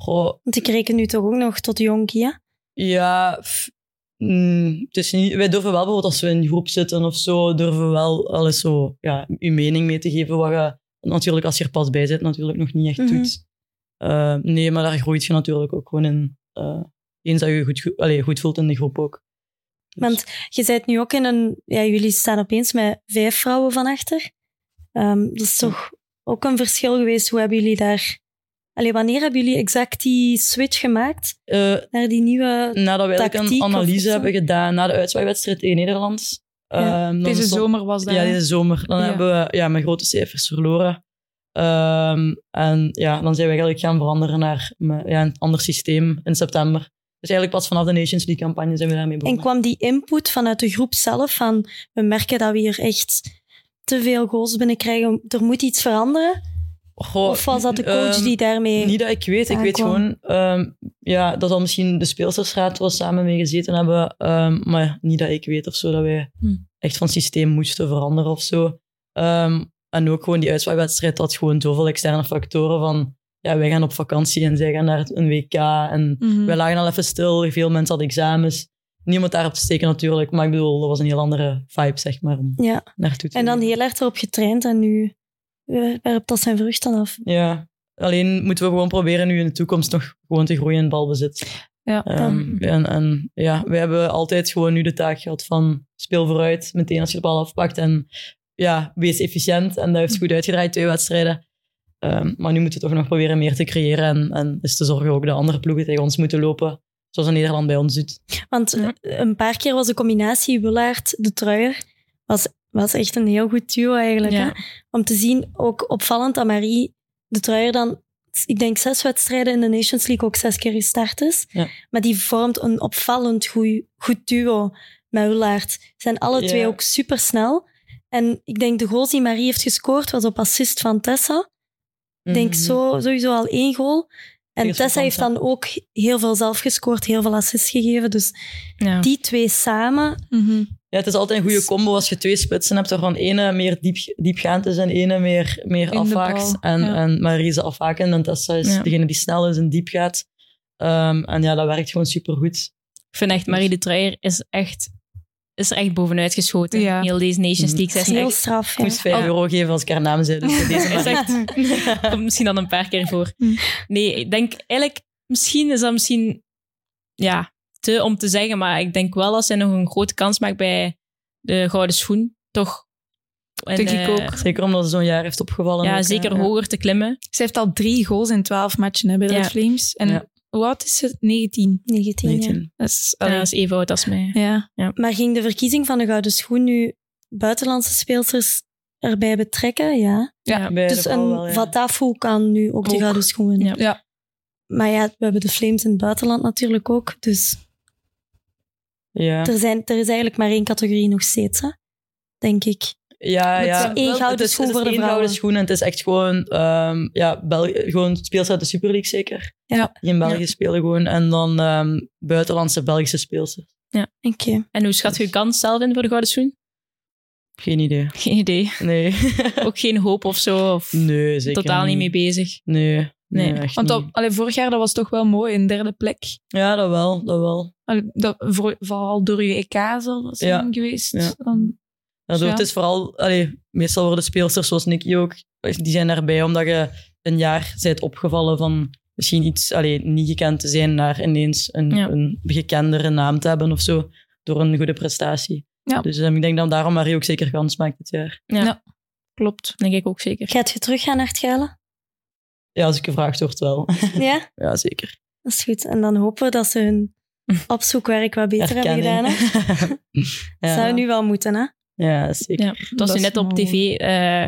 S4: Goh,
S3: Want ik reken nu toch ook nog tot jonkie, hè?
S4: Ja, f- mm, het is niet, wij durven wel bijvoorbeeld als we in een groep zitten of zo, durven we wel wel eens zo ja, uw mening mee te geven. Wat je, natuurlijk, als je er pas bij zit, natuurlijk nog niet echt
S3: Mhm.
S4: doet. Eh, nee, maar daar groeit je natuurlijk ook gewoon in. eh, eens dat je je goed, ge- allee, goed voelt in de groep ook. Dus-
S3: Want je bent nu ook in een... Ja, jullie staan opeens met vijf vrouwen van achter. Ehm, dat is toch ook een verschil geweest. Hoe hebben jullie daar... Allee, wanneer hebben jullie exact die switch gemaakt
S4: Eh,
S3: naar die nieuwe...
S4: nadat we eigenlijk
S3: Tactiek
S4: een
S3: of
S4: analyse
S3: zo?
S4: hebben gedaan na de uitzwaaiwedstrijd tegen Nederland.
S3: Ja,
S4: ehm, dan
S2: Deze
S4: stond-
S2: zomer was dat.
S4: Ja,
S2: hè?
S4: deze zomer. Dan
S2: Ja.
S4: hebben we ja, met grote cijfers verloren. Ehm, en ja, dan zijn we eigenlijk gaan veranderen naar me- ja, een ander systeem in september. Dus eigenlijk pas vanaf de Nations League-campagne zijn we daarmee
S3: En
S4: begonnen.
S3: kwam die input vanuit de groep zelf van... We merken dat we hier echt te veel goals binnenkrijgen. Er moet iets veranderen.
S4: Goh,
S3: of was dat de coach
S4: Oh, ehm,
S3: die daarmee...
S4: Niet dat ik weet. Ik weet
S3: aankwam.
S4: gewoon ehm, ja, dat al misschien de speelstersraad wel samen mee gezeten hebben. ehm, maar niet dat ik weet of zo dat wij
S1: Hm.
S4: echt van systeem moesten veranderen of zo. Ehm, en ook gewoon die uitslagwedstrijd had gewoon zoveel externe factoren van... Ja, wij gaan op vakantie en zij gaan naar een WK. En
S3: Hm.
S2: Mhm.
S4: we lagen al even stil. Veel mensen hadden examens. Niemand daarop te steken natuurlijk. Maar ik bedoel, dat was een heel andere vibe, zeg maar, om
S3: Ja.
S4: naartoe te
S3: En dan
S4: gaan.
S3: heel erg erop getraind en nu... eh, Werpt dat zijn vruchten af.
S4: Ja, alleen moeten we gewoon proberen nu in de toekomst nog gewoon te groeien in balbezit.
S2: Ja.
S4: Ehm, en, en ja, we hebben altijd gewoon nu de taak gehad van speel vooruit, meteen als je de bal afpakt en ja, wees efficiënt. En dat heeft goed uitgedraaid, twee wedstrijden. Ehm, maar nu moeten we toch nog proberen meer te creëren en, en is te zorgen ook dat andere ploegen tegen ons moeten lopen, zoals in Nederland bij ons doet.
S3: Want
S2: Ja.
S3: een paar keer was de combinatie Willaert, de truier, was, was echt een heel goed duo eigenlijk.
S1: Ja.
S3: Hè? Om te zien, ook opvallend dat Marie de truier dan, ik denk zes wedstrijden in de Nations League ook zes keer gestart is.
S4: Ja.
S3: Maar die vormt een opvallend goeie, goed duo met Willaert. Ze Zijn alle
S4: Ja.
S3: twee ook supersnel. En ik denk de goals die Marie heeft gescoord was op assist van Tessa. Ik denk
S4: Mhm.
S3: zo, sowieso al één goal. En
S4: Tegen
S3: Tessa heeft dan
S4: Schotland,
S3: ook heel veel zelf gescoord, heel veel assists gegeven. Dus
S1: Ja.
S3: die twee samen.
S2: Mhm.
S4: Ja, het is altijd een
S3: Dus-
S4: goede combo als je twee spitsen hebt, waarvan ene meer diep, diepgaand is en ene meer, meer
S2: de
S4: afhaakt.
S2: bal,
S4: En,
S2: ja.
S4: en Marie is afhaken en Tessa is
S1: Ja.
S4: degene die snel is en diep gaat. Ehm, en ja, dat werkt gewoon supergoed.
S1: Ik vind echt, Marie de Truijer is echt, is er echt bovenuit geschoten.
S2: Ja.
S1: Heel deze Nations
S4: Mhm.
S1: League. Zij is
S3: heel
S1: echt-
S4: Ik
S3: straf. Ja. Ah.
S4: moest 5
S1: Ja.
S4: euro geven als ik haar naam zei. Dus voor deze
S1: is
S4: maar.
S1: echt, komt misschien dan een paar keer voor.
S2: Hm.
S1: Nee, ik denk eigenlijk, misschien is dat misschien ja, te om te zeggen, maar ik denk wel als zij nog een grote kans maakt bij de Gouden Schoen, toch? En,
S2: Denk ik
S1: eh,
S2: ook.
S4: Zeker omdat ze zo'n jaar heeft opgevallen. ook,
S1: Ja,
S4: hè.
S1: zeker hoger te klimmen.
S2: Ze heeft al drie goals in twaalf matchen hè, bij de
S1: Ja.
S2: Red Flames. En
S4: Ja.
S2: hoe oud is ze? 19.
S3: 19, ja.
S4: 19.
S2: Dat is,
S1: Ja,
S2: allee,
S1: dat is even oud als mij.
S2: ja.
S3: Maar ging de verkiezing van de Gouden Schoen nu buitenlandse speelsters erbij betrekken? Ja.
S2: Ja.
S4: Bij de
S3: dus
S4: vrouwen
S3: een
S4: wel, ja.
S3: Vatafu kan nu ook, de
S1: Ook.
S3: Gouden Schoen winnen.
S1: Ja.
S2: Ja.
S3: Maar ja, we hebben de Flames in het buitenland natuurlijk ook. Dus
S4: Ja.
S3: er, zijn, er is eigenlijk maar één categorie nog steeds, hè? denk ik.
S4: Ja,
S2: Moet
S4: ja.
S2: zijn één
S4: Het
S3: gouden
S4: is-
S3: schoen
S4: het is
S3: voor de
S4: één
S3: vrouwen.
S4: gouden schoen en het is echt gewoon, ehm ja, Bel- gewoon speels uit de Super League zeker.
S3: Ja.
S4: Die in België
S1: Ja.
S4: spelen gewoon. En dan ehm, buitenlandse Belgische speelsters.
S3: Oké.
S1: En hoe schat je je kans zelf in voor de Gouden Schoen?
S4: Geen idee.
S1: Geen idee.
S4: Nee.
S1: Ook geen hoop of zo? Of
S4: nee, zeker
S1: totaal niet mee bezig?
S4: Nee. Nee,
S1: Nee.
S4: echt
S2: Want op,
S4: niet.
S2: allee, vorig jaar dat was toch wel mooi, in derde plek.
S4: Ja, dat wel, dat wel.
S2: Allee, dat, voor, vooral door je E EK zal dat zijn geweest.
S4: Ja.
S2: Dan,
S4: Daardoor,
S2: Ja.
S4: Het is vooral, allee, meestal worden speelsters zoals Nicky ook, die zijn daarbij omdat je een jaar bent opgevallen van misschien iets allee, niet gekend te zijn naar ineens een,
S1: Ja.
S4: een gekendere naam te hebben of zo, door een goede prestatie.
S2: Ja.
S4: Dus ehm, ik denk dat daarom Marie ook zeker kans maakt dit jaar.
S1: Klopt, denk ik ook zeker.
S3: Gaat je terug gaan naar het Geilen?
S4: Ja, als ik gevraagd word wel.
S3: Ja?
S4: Ja, zeker.
S3: Dat is goed. En dan hopen we dat ze hun opzoekwerk wat beter hebben gedaan. Hè?
S4: gedaan. ja.
S3: Dat zou nu wel moeten, hè?
S4: ja, zeker.
S1: Ja, het was
S2: Dat
S1: nu
S2: is
S1: net op
S2: nou-
S1: tv. eh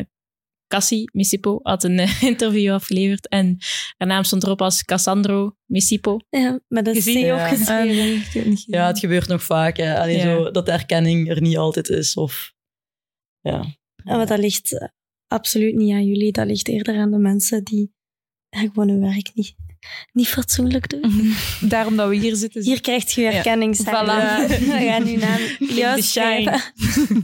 S1: Cassie Missipo had een eh, interview afgeleverd en haar naam stond erop als Cassandro Missipo.
S3: Ja, met een
S2: Gezien,
S3: C
S4: ja.
S2: Ah,
S3: opgeschreven.
S4: Ja, het gebeurt nog vaak. Hè. Allee,
S1: Ja.
S4: zo, dat de erkenning er niet altijd is. Of,
S3: Ja, Maar dat ligt eh, absoluut niet aan jullie. Dat ligt eerder aan de mensen die ja, gewoon hun werk niet, niet fatsoenlijk doen.
S2: Daarom dat we hier zitten.
S3: Hier krijgt je
S2: Ja.
S3: erkenning. Sarah.
S2: Voilà.
S3: We gaan nu naam juist
S2: shine.
S3: schrijven.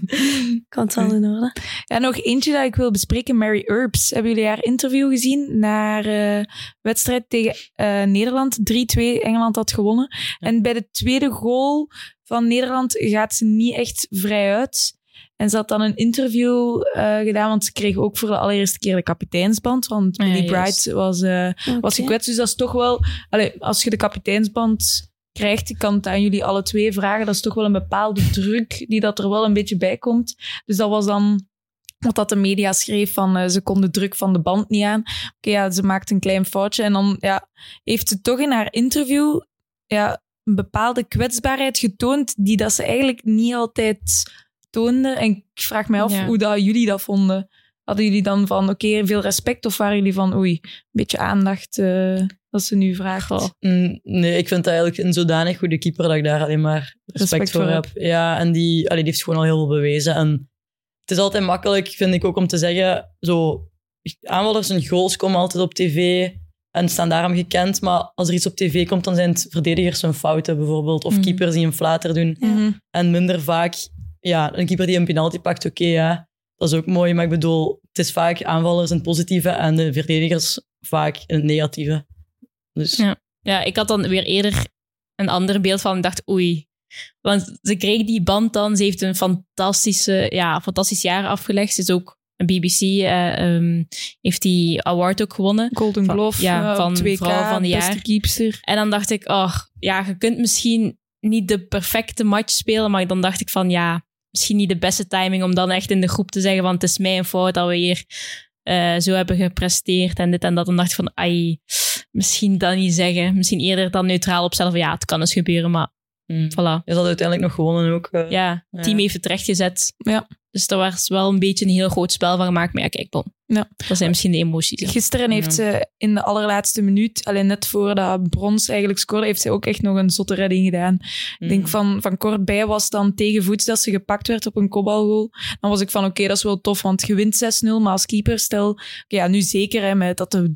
S3: Komt wel in orde.
S2: Ja, nog eentje dat ik wil bespreken. Mary Earps. Hebben jullie haar interview gezien naar eh, wedstrijd tegen eh, Nederland? 3-2, Engeland had gewonnen. En bij de tweede goal van Nederland gaat ze niet echt vrij uit. En ze had dan een interview eh, gedaan, want ze kreeg ook voor de allereerste keer de kapiteinsband. Want
S1: Ah, ja,
S2: Billy Bright
S1: juist.
S2: was, eh, was
S3: Oké.
S2: gekwetst. Dus dat is toch wel... Allee, als je de kapiteinsband krijgt, ik kan het aan jullie alle twee vragen, dat is toch wel een bepaalde druk die dat er wel een beetje bij komt. Dus dat was dan wat dat de media schreef van eh, ze kon de druk van de band niet aan. Oké, ja, ze maakt een klein foutje. En dan ja, heeft ze toch in haar interview ja, een bepaalde kwetsbaarheid getoond die dat ze eigenlijk niet altijd toonde. En ik vraag mij af
S1: Ja.
S2: hoe dat jullie dat vonden. Hadden jullie dan van, oké, veel respect? Of waren jullie van, oei, een beetje aandacht eh, dat ze nu vraagt?
S1: Goh.
S4: Mm, Nee, ik vind dat eigenlijk een zodanig goede keeper dat ik daar alleen maar respect,
S2: Respect
S4: voor
S2: voor
S4: heb. Ja, en die, allee, die heeft gewoon al heel veel bewezen. En het is altijd makkelijk, vind ik ook, om te zeggen, zo, aanvallers en goals komen altijd op tv en staan daarom gekend. Maar als er iets op tv komt, dan zijn het verdedigers hun fouten bijvoorbeeld. Of
S1: Mhm.
S4: keepers die een flater doen.
S3: Ja.
S2: Mhm.
S4: En minder vaak, ja, een keeper die een penalty pakt, oké, ja, dat is ook mooi. Maar ik bedoel, het is vaak aanvallers in het positieve en de verdedigers vaak in het negatieve. Dus
S1: Ja. Ja, ik had dan weer eerder een ander beeld van en dacht, oei. Want ze kreeg die band dan. Ze heeft een fantastische, ja, fantastisch jaar afgelegd. Ze is ook een BBC, eh, ehm, heeft die award ook gewonnen.
S2: Golden
S1: Van-
S2: Glove,
S1: ja,
S2: eh,
S1: van
S2: 2K,
S1: vrouw van het
S2: beste
S1: jaar.
S2: keepster.
S1: En dan dacht ik, oh, ja, je kunt misschien niet de perfecte match spelen. Maar dan dacht ik van, ja, misschien niet de beste timing om dan echt in de groep te zeggen van, het is mijn fout dat we hier eh, zo hebben gepresteerd en dit en dat. Dan dacht ik van, ai, misschien dat niet zeggen. Misschien eerder dan neutraal opstellen van, ja, het kan eens gebeuren, maar
S4: mm.
S1: voilà.
S4: Is dat uiteindelijk nog gewonnen ook? eh.
S1: Ja, het team
S4: Ja.
S1: heeft het rechtgezet.
S2: Ja.
S1: Dus daar was wel een beetje een heel groot spel van gemaakt. Maar ja, kijk, bon.
S2: Ja.
S1: Dat zijn misschien de emoties. hè.
S2: Gisteren heeft ze in de allerlaatste minuut, alleen net voordat Brons eigenlijk scoorde, heeft ze ook echt nog een zotte redding gedaan.
S4: mm.
S2: Ik denk
S3: Mhm.
S2: van, van kort bij was dan tegenvoets dat ze gepakt werd op een kopbalgoal. Dan was ik van, oké, dat is wel tof, want je wint 6-0, maar als keeper stel... oké, ja, nu zeker, hè, met dat de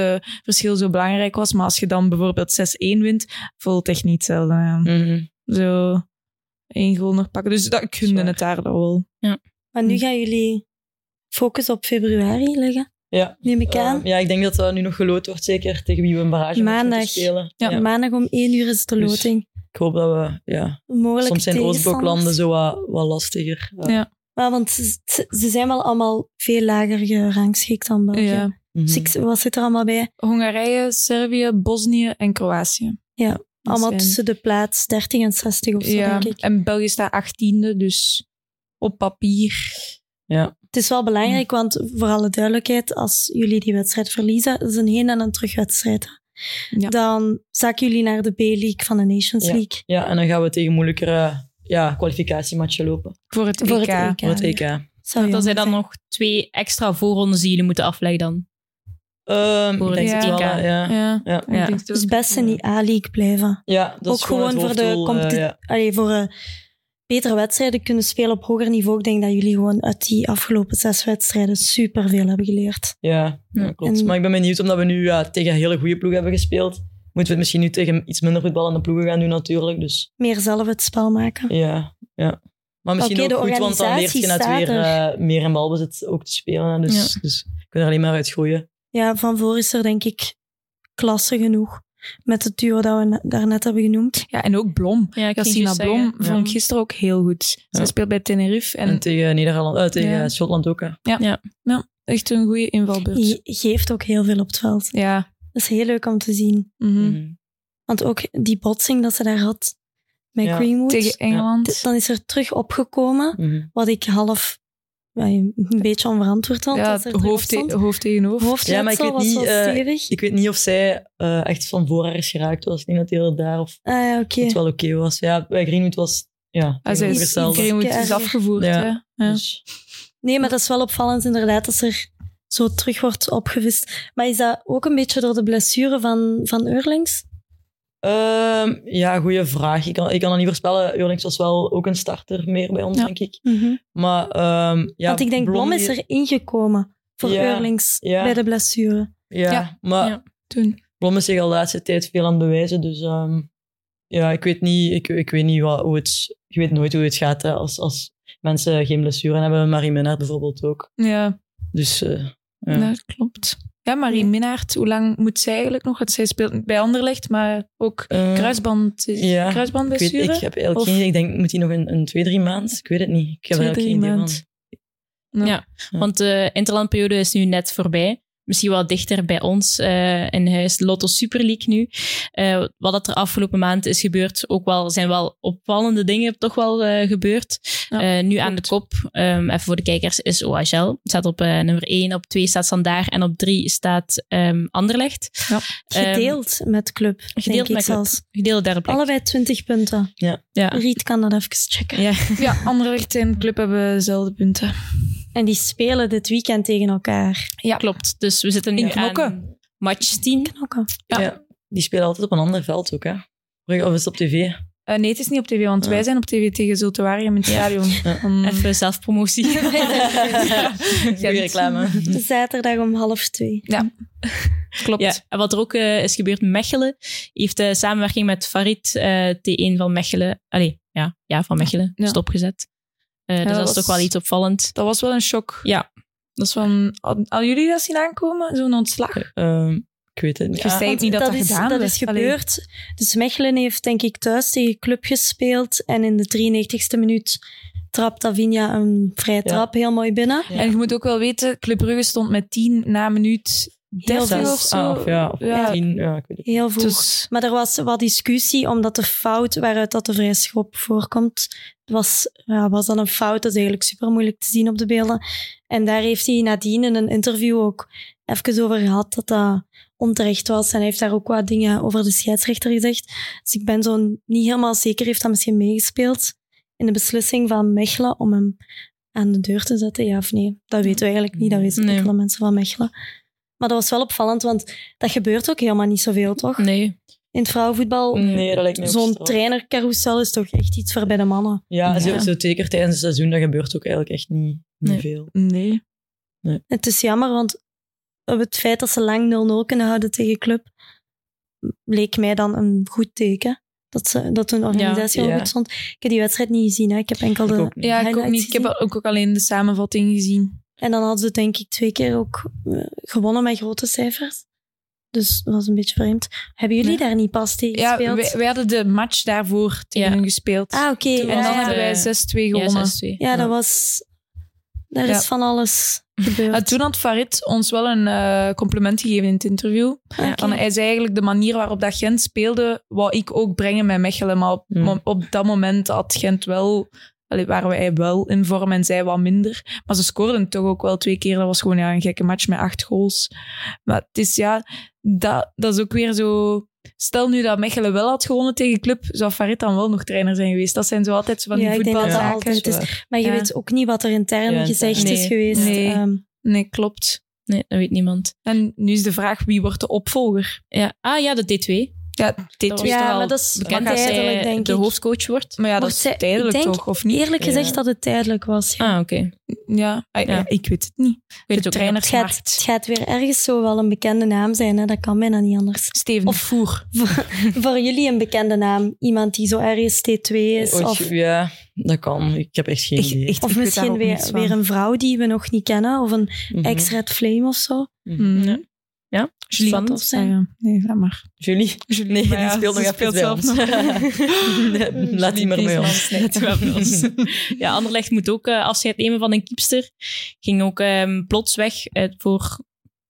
S2: doelpuntenverschil zo belangrijk was, maar als je dan bijvoorbeeld 6-1 wint, voelt het echt niet hetzelfde aan.
S4: Mhm.
S2: Zo één goal nog pakken. Dus dat, ik gunde
S4: Zwaar.
S2: het daar dan wel.
S3: Maar nu gaan jullie focus op februari leggen,
S4: Ja.
S3: neem ik aan.
S4: Eh, ja, ik denk dat dat nu nog geloot wordt, zeker tegen wie we een barrage moeten
S3: Maandag.
S4: spelen.
S2: Ja.
S3: Maandag om 1 uur is de
S4: Dus-
S3: loting.
S4: Ik hoop dat we, ja,
S3: Mogelijk
S4: soms zijn Oostbloklanden zo wat, wat lastiger. Eh,
S2: Ja.
S3: Ja, want ze, ze- ze zijn wel allemaal veel lager gerangschikt dan België.
S2: Ja.
S4: mhm.
S3: Dus ik- wat zit er allemaal bij?
S2: Hongarije, Servië, Bosnië en Kroatië.
S3: Ja,
S2: Dat
S3: Allemaal
S2: zijn-
S3: tussen de plaats 30 en 60 of zo,
S2: Dus Ja,
S3: denk ik.
S2: en België staat achttiende, dus op papier.
S3: Het is wel belangrijk, want voor alle duidelijkheid, als jullie die wedstrijd verliezen, dat is een heen- en een terugwedstrijd.
S2: Ja.
S3: Dan zakken jullie naar de B-league van de Nations League.
S4: ja, en dan gaan we tegen moeilijkere ja, kwalificatiematchen lopen
S2: Voor het
S3: Voor
S2: EK.
S3: het E EK.
S4: voor het EK.
S3: Zou
S1: Dan
S3: jammer
S1: zijn dan
S3: zijn.
S1: nog twee extra voorrondes die jullie moeten afleggen dan.
S4: Ehm,
S1: Voor
S4: ik denk
S2: het
S4: het wel,
S1: EK.
S4: eh, ja.
S2: Ja.
S4: Ja.
S2: ik denk
S1: Ja.
S2: het ook.
S3: Dus best in die A-league blijven.
S4: Ja, dat is
S3: Ook gewoon
S4: het
S3: voor de
S4: hoofddoel, eh,
S3: competi-
S4: ja.
S3: Allee, voor eh, betere wedstrijden kunnen spelen op hoger niveau. Ik denk dat jullie gewoon uit die afgelopen zes wedstrijden superveel hebben geleerd.
S4: Ja,
S1: Ja.
S4: klopt.
S3: En-
S4: Maar ik ben benieuwd, omdat we nu ja, tegen hele goede ploegen hebben gespeeld, moeten we het misschien nu tegen iets minder voetballende ploegen gaan doen natuurlijk. Dus
S3: Meer zelf het spel maken.
S4: ja, ja. Maar misschien
S3: Oké, de
S4: ook goed, want dan leert je
S3: organisatie
S4: net weer
S3: staat
S4: eh, meer in balbezit ook te spelen. hè. Dus, dus je kunt er alleen maar uit groeien.
S3: Ja, van voor is er denk ik klasse genoeg. Met het duo dat we na- daarnet hebben genoemd.
S2: Ja, en ook Blom.
S1: Ja, ik
S2: Cassina Blom
S4: Ja.
S2: vond ik gisteren ook heel goed. Zij
S4: Ja.
S2: speelt bij Tenerife
S4: En,
S2: en
S4: tegen Nederland, eh, tegen
S2: Ja.
S4: Schotland ook. Hè.
S2: echt een goede invalbeurt.
S3: Je geeft ook heel veel op het veld.
S2: Ja.
S3: Dat is heel leuk om te zien.
S2: mhm.
S4: Mhm.
S3: Mm. Want ook die botsing dat ze daar had met
S4: Ja.
S3: Greenwood.
S2: Tegen Engeland.
S3: d- Dan is er terug opgekomen.
S4: Mhm.
S3: Wat ik half ja, een beetje onverantwoord had.
S2: Ja,
S3: dat er terug
S2: hoofd,
S3: op stond.
S2: te- hoofd tegen hoofd.
S3: Hoofdletsel
S4: Ja, maar ik weet
S3: was
S4: niet,
S3: wel
S4: eh,
S3: stevig.
S4: Ik weet niet of zij eh, echt van voor haar is geraakt. was. Ik denk dat hij daar of
S3: ah ja, oké.
S4: het wel oké was. Ja, bij Greenwood was ja,
S2: Ah, zij is,
S4: tegenovergestelde.
S3: Green-
S2: iedereen wordt
S3: Ietsje
S2: dus afgevoerd.
S4: erger.
S2: hè. Ja.
S4: Dus-
S3: Nee, maar dat is wel opvallend inderdaad dat er zo terug wordt opgevist. Maar is dat ook een beetje door de blessure van, van Eurlings?
S4: Ehm, ja, goede vraag. Ik kan, ik kan dat niet voorspellen. Eurlings was wel ook een starter meer bij ons,
S2: Ja.
S4: denk ik. Maar, ehm, ja,
S3: Want ik denk, Blom
S4: Blondie-
S3: is er ingekomen voor
S4: Ja,
S3: Eurlings
S4: ja.
S3: bij de blessure.
S4: Ja,
S2: Ja.
S4: maar
S1: Ja.
S2: Toen.
S4: Blom is zich al de laatste tijd veel aan het bewijzen. Dus ehm, ja, ik weet niet, ik, ik weet niet wat, hoe het... Je weet nooit hoe het gaat hè, als, als mensen geen blessuren hebben. Marie Minnaert bijvoorbeeld ook.
S2: Ja,
S4: Dus eh, ja.
S2: dat klopt. Ja, Marie Minnaert, hoe lang moet zij eigenlijk nog? Want zij speelt bij Anderlecht, maar ook
S4: Ehm,
S2: kruisband,
S4: ja, ik, weet,
S2: kruisbandblessure.
S4: ik heb eigenlijk
S2: Of-
S4: geen idee. Ik denk, moet hij nog een, een twee, drie maand? Ik weet het niet. Ik heb er
S2: Twee, drie
S4: eigenlijk geen idee
S2: maand.
S4: van.
S2: Mm.
S1: Want de interlandperiode is nu net voorbij. Misschien wel dichter bij ons eh, in huis. Lotto Super League nu. Eh, wat dat er afgelopen maand is gebeurd, ook wel, zijn wel opvallende dingen toch wel eh, gebeurd.
S2: Ja,
S1: Eh, nu aan de
S2: klopt.
S1: kop, ehm, even voor de kijkers, is OHL. Het staat op eh, nummer 1, op 2 staat Sandaar en op 3 staat ehm, Anderlecht.
S2: Ja.
S1: Ehm,
S3: Gedeeld met club,
S1: gedeeld
S3: denk ik
S1: met club.
S3: zelfs.
S1: gedeelde derde plek.
S3: Allebei 20 punten.
S1: Ja.
S3: Riet kan dat even checken.
S1: Ja.
S2: Ja, Anderlecht en Club hebben dezelfde punten.
S3: En die spelen dit weekend tegen elkaar.
S2: Ja.
S1: Klopt, dus we zitten nu
S2: In knokken.
S1: aan match 10.
S3: Knokken.
S2: Ja.
S4: Ja. die spelen altijd op een ander veld ook, hè? Of is het op tv?
S2: Eh, nee, het is niet op tv, want
S4: Ja.
S2: wij zijn op tv tegen Zultuarium in het stadion. Ehm,
S4: Ja.
S2: Dan-
S1: Even zelfpromotie.
S4: Goeie reclame.
S3: Zaterdag om half twee.
S2: klopt.
S1: Ja, en wat er ook eh, is gebeurd, Mechelen heeft eh samenwerking met Farid eh, T1 van Mechelen. Allee, ja, ja van Mechelen,
S2: Ja.
S1: stopgezet. Eh, dus
S2: dat
S1: dat is
S2: was-
S1: toch wel iets opvallend.
S2: Dat was wel een shock.
S1: Ja.
S2: Dat is van, hadden hadden jullie dat zien aankomen? Zo'n ontslag?
S4: Ehm, ik weet het niet.
S2: Ik wist
S4: Ah,
S2: eigenlijk niet dat dat,
S3: is,
S2: gedaan
S3: dat
S2: werd.
S3: is
S2: Allee.
S3: gebeurd. Dus Mechelen heeft denk ik thuis tegen Club gespeeld. En in de 93ste minuut trapt Davinia een vrije
S4: Ja.
S3: trap heel mooi binnen.
S4: Ja.
S2: En je moet ook wel weten, Club Brugge stond met 10 na minuut 13
S3: veel.
S2: of zo.
S4: Ah, of ja, of
S2: Ja.
S4: tien, ja, ik weet het.
S3: Heel vroeg.
S2: Dus
S3: Maar er was wat discussie, omdat de fout waaruit dat de vrije schop voorkomt, was, ja, was dan een fout. Dat is eigenlijk super moeilijk te zien op de beelden. En daar heeft hij nadien in een interview ook even over gehad dat dat onterecht was. En hij heeft daar ook wat dingen over de scheidsrechter gezegd. Dus ik ben zo niet helemaal zeker, heeft dat misschien meegespeeld in de beslissing van Mechelen om hem aan de deur te zetten, ja of nee? Dat weten we eigenlijk niet, dat weten
S1: Nee.
S3: enkele mensen van Mechelen. Maar dat was wel opvallend, want dat gebeurt ook helemaal niet zoveel, toch?
S1: Nee.
S3: In het vrouwenvoetbal,
S4: Nee, dat lijkt me ook
S3: zo'n
S4: straf.
S3: trainercarousel is toch echt iets voor bij de mannen.
S4: Ja,
S1: Ja.
S4: Zo, zo zeker tijdens het seizoen, dat gebeurt ook eigenlijk echt niet, niet
S1: Nee.
S4: veel.
S2: nee.
S3: Het is jammer, want op het feit dat ze lang 0-0 kunnen houden tegen club, leek mij dan een goed teken. Dat, ze, dat hun organisatie
S4: Ja.
S3: al
S4: Ja.
S3: goed stond. Ik heb die wedstrijd niet gezien, hè. ik heb enkel
S4: Ik
S3: de...
S4: ook niet.
S2: Ja, ik ook
S3: Highlights
S2: niet. Ik heb
S3: gezien?
S2: ook, ook alleen de samenvatting gezien.
S3: En dan hadden ze denk ik twee keer ook eh, gewonnen met grote cijfers. Dus dat was een beetje vreemd. Hebben jullie
S2: Ja.
S3: daar niet pas tegen
S2: Ja,
S3: gespeeld?
S2: wij, wij hadden de match daarvoor tegen
S1: Ja.
S2: hun gespeeld.
S3: Ah, oké.
S2: en
S3: Ja,
S2: dan
S3: ja.
S1: was het,
S2: hebben wij 6-2
S1: eh, Ja,
S2: gewonnen.
S1: 6-2.
S3: Ja, dat was... Daar
S2: Ja.
S3: is van alles gebeurd.
S2: Maar toen had Farid ons wel een eh, compliment gegeven in het interview.
S3: Ah, Oké.
S2: Van, hij zei eigenlijk de manier waarop dat Gent speelde, wou ik ook brengen met Mechelen. Maar op,
S4: Hmm.
S2: op dat moment had Gent wel, allee, waren wij wel in vorm en zij wat minder. Maar ze scoorden toch ook wel twee keer. Dat was gewoon ja, een gekke match met acht goals. Maar het is ja, dat, dat is ook weer zo... Stel nu dat Mechelen wel had gewonnen tegen Club, zou Farid dan wel nog trainer zijn geweest. Dat zijn zo altijd zo van die
S3: Ja, ik denk dat dat
S2: voetbalzaken.
S3: altijd
S4: dat is
S3: is.
S4: waar.
S3: Maar je
S2: Ja.
S3: weet ook niet wat er intern
S4: Ja,
S3: gezegd
S1: intern.
S3: is
S1: Nee.
S3: geweest.
S2: Nee.
S3: Ehm,
S2: Nee, klopt.
S1: Nee, dat weet niemand.
S2: En nu is de vraag, wie wordt de opvolger?
S1: Ja. Ah ja, de D2.
S2: Ja, dit
S1: Dat
S2: is
S1: was-
S2: wel
S3: Ja, maar dat is
S2: bekend
S1: Want
S3: bekend
S1: als
S3: tijdelijk,
S1: zij
S3: denk
S1: de
S3: ik.
S1: hoofdcoach wordt.
S2: Maar ja, dat
S3: Wordt
S2: is
S3: zij- ik
S2: tijdelijk
S3: denk
S2: toch, of niet?
S3: Eerlijk gezegd
S4: Ja.
S3: dat het tijdelijk was.
S1: Ah, oké.
S2: Ja, ah, ja,
S1: Ja.
S2: ik weet het niet.
S1: Ik weet het ook niet.
S3: het, gaat, het gaat weer ergens zo wel een bekende naam zijn. Hè? Dat kan bijna niet anders.
S2: Steven
S3: Of-
S2: de Voer.
S3: Voor jullie een bekende naam. Iemand die zo ergens T2 is.
S4: Ooit-
S3: Of,
S4: Ja, dat kan. Ik heb echt geen
S2: Echt-
S4: idee.
S2: echt, ik weet
S3: of
S2: daar
S3: misschien
S2: ook
S3: weer,
S2: niets van.
S3: weer een vrouw die we nog niet kennen. Of een
S4: Mhm.
S3: ex-Red Flame of zo.
S4: Mhm.
S2: Hmm.
S1: Ja. Ja,
S2: Julie.
S1: spannend.
S2: of zeggen. Nee, laat maar.
S4: Julie?
S2: Julie,
S4: Nee,
S2: maar ja,
S4: die speelt
S2: ze
S4: nog even bij
S2: zelf
S4: ons.
S2: nog.
S4: Nee, Laat die maar bij ons.
S2: Laat die maar bij ons.
S1: Ja, Anderlecht moet ook eh, afscheid nemen van een kiepster. Ging ook eh, plots weg eh, voor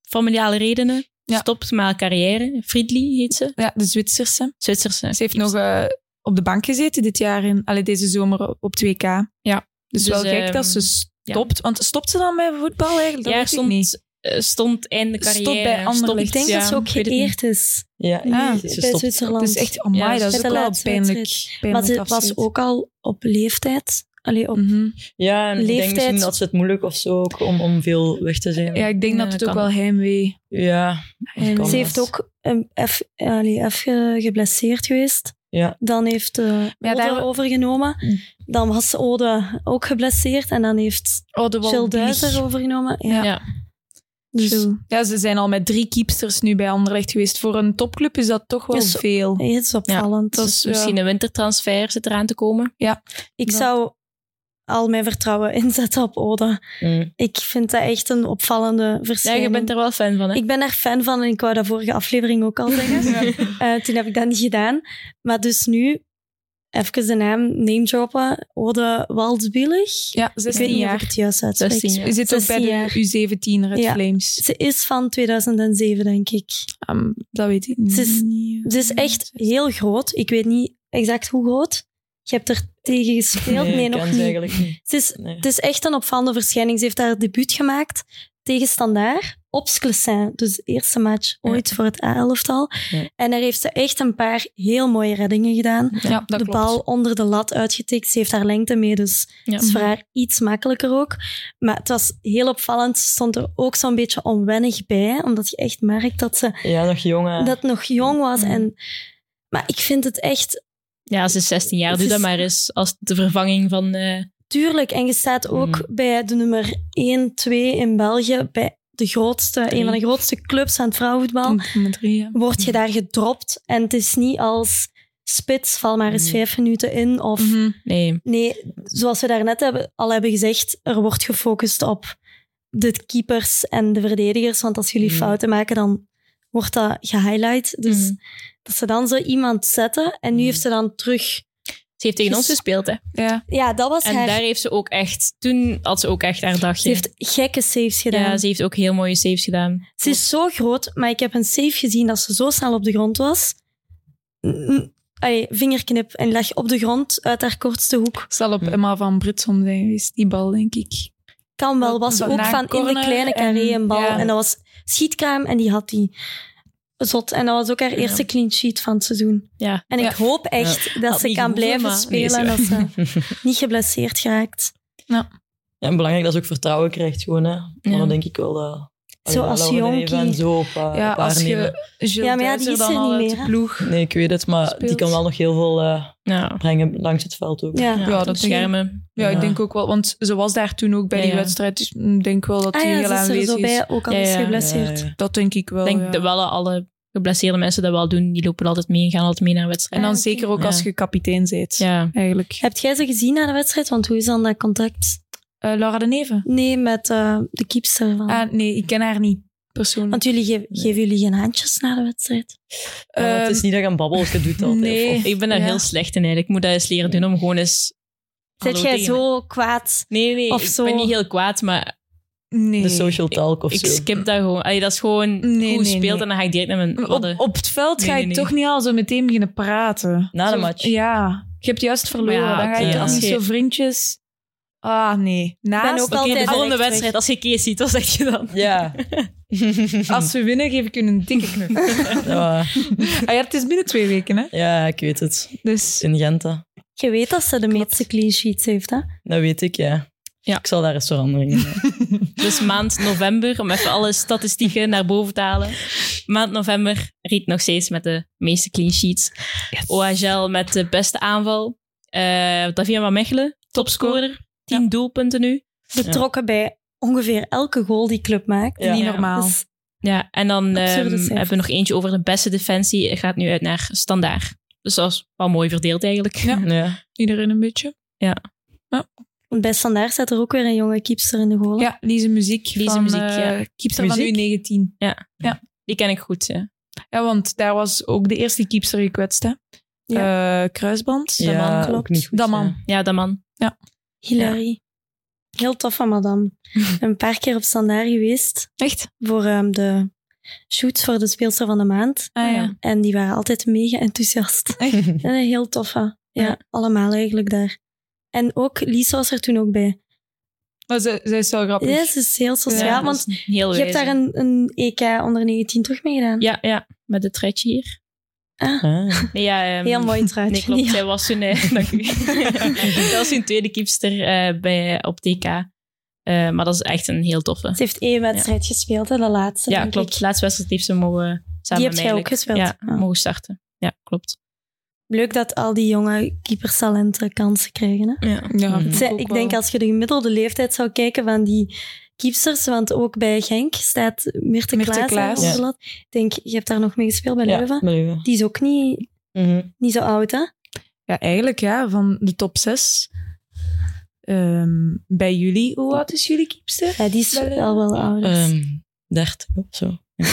S1: familiale redenen.
S2: Ja.
S1: Stopt met haar carrière. Friedli heet ze.
S2: Ja, de Zwitserse.
S1: Zwitserse.
S2: Ze heeft nog eh, op de bank gezeten dit jaar, in, allee, deze zomer op het WK.
S1: Ja.
S2: Dus,
S1: Dus,
S2: wel gek
S1: ehm,
S2: dat ze stopt. Want stopt ze dan bij voetbal eigenlijk? Dat
S1: ja,
S2: weet ik niet.
S1: stond, eh, stond einde
S2: Stond
S1: carrière.
S2: bij Anderlecht.
S1: Stond-
S3: Ik denk
S1: ja,
S3: dat ze ook
S1: ik weet het niet.
S3: geëerd is.
S4: Ja,
S2: Ah.
S4: ze
S3: bij
S4: stopt.
S3: Zwitserland.
S2: Dus echt, amai,
S1: Ja,
S2: dat
S1: dus
S2: is
S3: bij
S2: ook
S3: de
S2: wel
S3: laatste
S2: pijnlijk.
S3: wedstrijd. Maar ze was ook al op leeftijd. Allee, op,
S2: Mhm.
S4: Ja, en ik denk
S3: Leeftijd.
S4: misschien dat ze het moeilijk of zo ook om, om veel weg te zijn.
S2: Ja,
S4: Ja,
S2: ik denk
S1: Ja,
S2: dat het
S1: dat
S2: ook
S1: kan.
S2: wel heimwee...
S4: dat kan
S2: Ze
S3: ze
S4: wel.
S3: heeft ook een F, allee, F ge- geblesseerd geweest.
S4: Ja.
S3: Dan heeft eh
S2: Ja,
S3: Ode
S2: daar-
S3: overgenomen. Dan was Ode ook geblesseerd. En dan heeft
S2: Oh, de
S3: Jill
S2: Walblich.
S3: Duizer overgenomen. Ja.
S1: Ja.
S3: Dus
S2: Chill. Ja, ze zijn al met drie keepsters nu bij Anderlecht geweest. Voor een topclub is dat toch wel
S3: Is-
S2: veel.
S3: het is opvallend.
S2: dat
S1: Dus
S2: Ja.
S1: misschien een wintertransfer zit eraan te komen.
S3: ik
S2: dat-
S3: zou al mijn vertrouwen inzetten op Ode.
S4: Mm.
S3: Ik vind dat echt een opvallende
S1: Ja,
S3: verschijning.
S1: je bent er wel fan van, hè?
S3: Ik ben er fan van en ik wou dat vorige aflevering ook al zeggen. Eh, toen heb ik dat niet gedaan. Maar dus nu, even de naam name droppen. Ode Waldwillig.
S2: Ja,
S3: Ik weet
S2: 16
S3: niet of ik
S2: jaar.
S3: het juist uitspreek.
S1: 16 jaar.
S2: Je zit ook bij
S3: 16
S2: de U17
S3: jaar.
S2: Red
S3: Ja.
S2: Flames.
S3: Ze is van 2007, denk ik.
S2: Ehm, dat weet ik niet.
S3: Ze is- Ze is echt heel groot. Ik weet niet exact hoe groot. Je hebt er tegen gespeeld? Nee,
S4: ik
S3: nog
S4: ken
S3: niet.
S4: ze eigenlijk niet.
S3: Het is,
S4: Nee.
S3: het is echt een opvallende verschijning. Ze heeft haar debuut gemaakt tegen Standaard op Sclessin. Dus de eerste match ooit voor het A-elftal.
S4: Ja.
S3: En daar heeft ze echt een paar heel mooie reddingen gedaan.
S2: Ja, dat
S3: de
S2: klopt.
S3: bal onder de lat uitgetikt. Ze heeft haar lengte mee, dus
S1: Ja.
S3: het is voor haar iets makkelijker ook. Maar het was heel opvallend. Ze stond er ook zo'n beetje onwennig bij, omdat je echt merkt dat ze
S4: Ja, nog jongen.
S3: dat nog jong was.
S1: Mhm.
S3: En, maar ik vind het echt
S1: Ja, ze is 16 jaar.
S3: Het
S1: Doe dat
S3: is-
S1: maar eens als de vervanging van... eh,
S3: Tuurlijk, en je staat ook
S4: Mhm.
S3: bij de nummer 1, 2 in België, bij de grootste,
S1: Drie.
S3: een van de grootste clubs aan het vrouwenvoetbal,
S2: Mhm. Met drie, ja.
S3: word je daar gedropt. En het is niet als spits, val maar eens
S4: Mhm.
S3: vijf minuten in. Of
S2: Mhm.
S1: nee,
S3: nee, zoals we daarnet hebben, al hebben gezegd, er wordt gefocust op de keepers en de verdedigers. Want als jullie
S4: Mhm.
S3: fouten maken, dan wordt dat gehighlight. Dus
S1: Mhm.
S3: dat ze dan zo iemand zetten en nu
S4: Mhm.
S3: heeft ze dan terug.
S1: ze heeft tegen
S3: Dus-
S1: ons gespeeld, hè?
S2: Ja.
S3: Ja, dat was
S1: En
S3: haar.
S1: daar heeft ze ook echt... Toen had ze ook echt haar dagje.
S3: Ze heeft gekke saves gedaan.
S1: Ja, ze heeft ook heel mooie saves gedaan.
S3: Ze is zo groot, maar ik heb een safe gezien dat ze zo snel op de grond was. Mm, Allee, vingerknip en lag op de grond uit haar kortste hoek.
S2: Zal op
S4: Hm.
S2: Emma van Britsom zijn geweest, die bal, denk ik.
S3: Kan wel, was
S2: Van
S3: ook
S2: na
S3: van in de
S2: corner
S3: kleine
S2: en-
S3: carré een bal.
S2: ja.
S3: En dat was schietkraam en die had die. Zot. En dat was ook haar eerste clean sheet van het seizoen.
S1: Ja.
S3: En ik
S2: Ja.
S3: hoop echt dat
S1: Had
S3: ze
S1: niet
S3: kan
S1: gehoeven,
S3: blijven
S1: maar-
S3: spelen
S1: Nee,
S3: en dat ze niet geblesseerd geraakt.
S4: Ja, en belangrijk dat ze ook vertrouwen krijgt gewoon, hè. Maar
S1: Ja.
S4: dan denk ik wel dat...
S3: Zo
S4: Allee,
S3: als
S4: Laura
S3: jonkie.
S4: Dijven En zo op, eh,
S2: ja,
S4: op haar
S2: als
S4: nemen.
S2: je Gilles
S3: Ja, maar ja, die
S2: Duizer
S3: is
S2: dan
S3: er
S2: al uit
S3: niet meer,
S2: de
S3: hè?
S2: ploeg.
S4: Nee, ik weet het, maar die
S2: Speelt.
S4: kan wel nog heel veel eh,
S1: Ja,
S4: brengen langs het veld ook.
S3: Ja.
S1: ja,
S2: Ja,
S1: dat
S2: dat denk ik.
S1: schermen.
S2: Ja,
S4: Ja.
S2: ik denk ook wel, want ze was daar toen ook bij
S1: Ja,
S2: die
S1: ja.
S2: wedstrijd. Dus ik denk wel dat
S3: Ah
S2: die
S3: ja,
S2: heel
S3: ze is er
S2: aanwezig
S3: zo
S2: is.
S3: bij, ook al
S1: Ja,
S3: is
S1: ja.
S3: ze
S4: Ja,
S3: geblesseerd.
S4: ja.
S2: Dat denk ik wel.
S1: Ik denk
S2: ja.
S1: dat wel alle geblesseerde mensen dat wel doen. Die lopen altijd mee en gaan altijd mee naar
S2: En
S1: wedstrijden.
S2: dan
S3: Ah, oké.
S2: zeker ook
S1: Ja.
S2: als je kapitein bent,
S1: Ja.
S2: eigenlijk.
S3: Hebt jij ze gezien na de wedstrijd? Want hoe is dan dat contact?
S2: Eh, Laura de Neven?
S3: Nee, met eh, de keepster van...
S2: Ah, nee, ik ken haar niet, persoonlijk.
S1: Mm.
S3: Want jullie ge- geven jullie geen handjes na de wedstrijd.
S4: Ja, maar eh, het
S2: Ehm,
S4: is niet dat je een babbelske doet altijd.
S2: nee.
S4: Of-
S1: Ik ben daar
S2: Ja.
S1: heel slecht in eigenlijk. Ik moet dat eens leren doen om gewoon eens...
S3: Zit
S1: hallo
S3: jij
S1: tegen-
S3: zo kwaad?
S1: Nee, nee,
S3: Of
S1: ik
S3: zo?
S1: ben niet heel kwaad, maar
S2: nee.
S4: de social talk of
S1: ik
S4: zo.
S1: skip dat gewoon. Allee, dat is gewoon
S2: Nee,
S1: hoe
S2: nee,
S1: speelt
S2: nee.
S1: en dan ga ik direct naar mijn
S2: Op,
S1: ladder.
S2: op het veld
S1: Nee,
S2: ga
S1: nee,
S2: je
S1: nee.
S2: toch niet al zo meteen beginnen praten.
S4: Na de
S2: Zo-
S4: match.
S2: Ja. Je hebt juist verloren.
S1: Maar ja,
S2: dan ga je
S4: oké,
S2: toch
S4: ja.
S2: niet zo vriendjes... Ah, nee. Naast,
S3: ook wel
S1: Oké, de
S3: altijd
S1: volgende
S3: direct weg.
S1: wedstrijd, als je Kees ziet, wat zeg je dan?
S4: Ja.
S2: als we winnen, geef ik hun een dikke knuffel.
S4: ja.
S2: ah ja, het is binnen twee weken, hè.
S4: Ja, ik weet het.
S2: Dus...
S4: In Gent, hè.
S3: Je weet dat ze de meeste clean sheets heeft, hè?
S4: dat weet ik, ja.
S1: Ja.
S4: Ik zal daar eens veranderingen in.
S1: Dus maand november, om even alle statistieken naar boven te halen. Maand november Riet nog steeds met de meeste clean sheets. OHL met de beste aanval. Eh Davina van Mechelen, topscorer. 10 doelpunten nu.
S3: Betrokken bij ongeveer elke goal die club maakt.
S4: Ja.
S2: Niet
S1: Ja.
S2: normaal.
S3: Dus
S1: Ja, en dan ehm,
S3: Absurde cijfers.
S1: hebben we nog eentje over de beste defensie. Het Gaat nu uit naar standaard. Dus dat is wel mooi verdeeld eigenlijk.
S2: Ja.
S4: Ja.
S2: Iedereen een beetje.
S3: bij Standaard staat er ook weer een jonge keepster in de goal.
S2: Ja, Lise Muziek.
S1: Lise
S2: van,
S1: Muziek,
S2: eh,
S1: ja.
S2: Kiepster
S4: Muziek?
S2: van U19.
S1: Die ken ik goed. ja.
S2: Ja, want daar was ook de eerste keepster gekwetst, hè? Eh, kruisband.
S4: Ja,
S3: man klopt.
S4: ook niet goed,
S2: Dat man.
S4: ja.
S1: Ja, dat man.
S3: Hilary. Heel tof van madame. Ik ben een paar keer op Standaard geweest
S2: Echt?
S3: voor ehm, de shoots voor de speelster van de maand.
S2: Ah, ja.
S1: Ja.
S3: En die waren altijd mega enthousiast. En een heel toffe. Ja,
S2: Ja.
S3: allemaal eigenlijk daar. En ook Lies was er toen ook bij.
S2: Maar ze, zij is wel grappig.
S3: Ja, ze is heel sociaal,
S1: Ja, dat
S3: want
S1: is heel
S3: je hebt
S1: wijze.
S3: daar een, een EK onder 19 toch mee gedaan.
S1: Ja, ja, met het truitje hier.
S4: Ah.
S1: Nee, ja, ehm,
S3: Heel mooi truitje.
S1: Nee, klopt.
S3: Ja.
S1: Zij was toen... eh, dank u. dat was hun tweede keepster eh, bij, op TK. Eh, maar dat is echt een heel toffe.
S3: Ze heeft één wedstrijd gespeeld, hè, de laatste.
S1: Ja,
S3: denk
S1: klopt.
S3: ik.
S1: Laatste wedstrijd heeft ze mogen eh, samen
S3: Die hebt jij ook
S1: eigenlijk-
S3: gespeeld. Ah.
S1: Ja,
S3: Ja.
S1: mogen starten. Ja, klopt.
S3: Leuk dat al die jonge keeperstalenten kansen krijgen. Hè?
S1: Ja.
S2: Ja,
S4: Mhm.
S3: Het
S2: vind
S3: zijn-
S2: ook
S3: ik
S2: wel.
S3: denk als je de gemiddelde leeftijd zou kijken van die keepsters, want ook bij Genk staat Mirte,
S2: Mirte
S3: Klaas. hè,
S2: Klaas.
S3: onze
S4: Ja.
S3: lat. Ik denk, je hebt daar nog mee gespeeld bij
S4: Ja,
S3: Leuven.
S4: met Leuven.
S3: Die is ook niet,
S4: Mhm.
S3: niet zo oud, hè?
S2: Ja, eigenlijk ja, van de top 6. bij jullie, hoe oud is jullie kiepster?
S3: Ja, die is
S2: Wel, eh,
S3: al wel oud.
S4: Ehm, 30 of zo.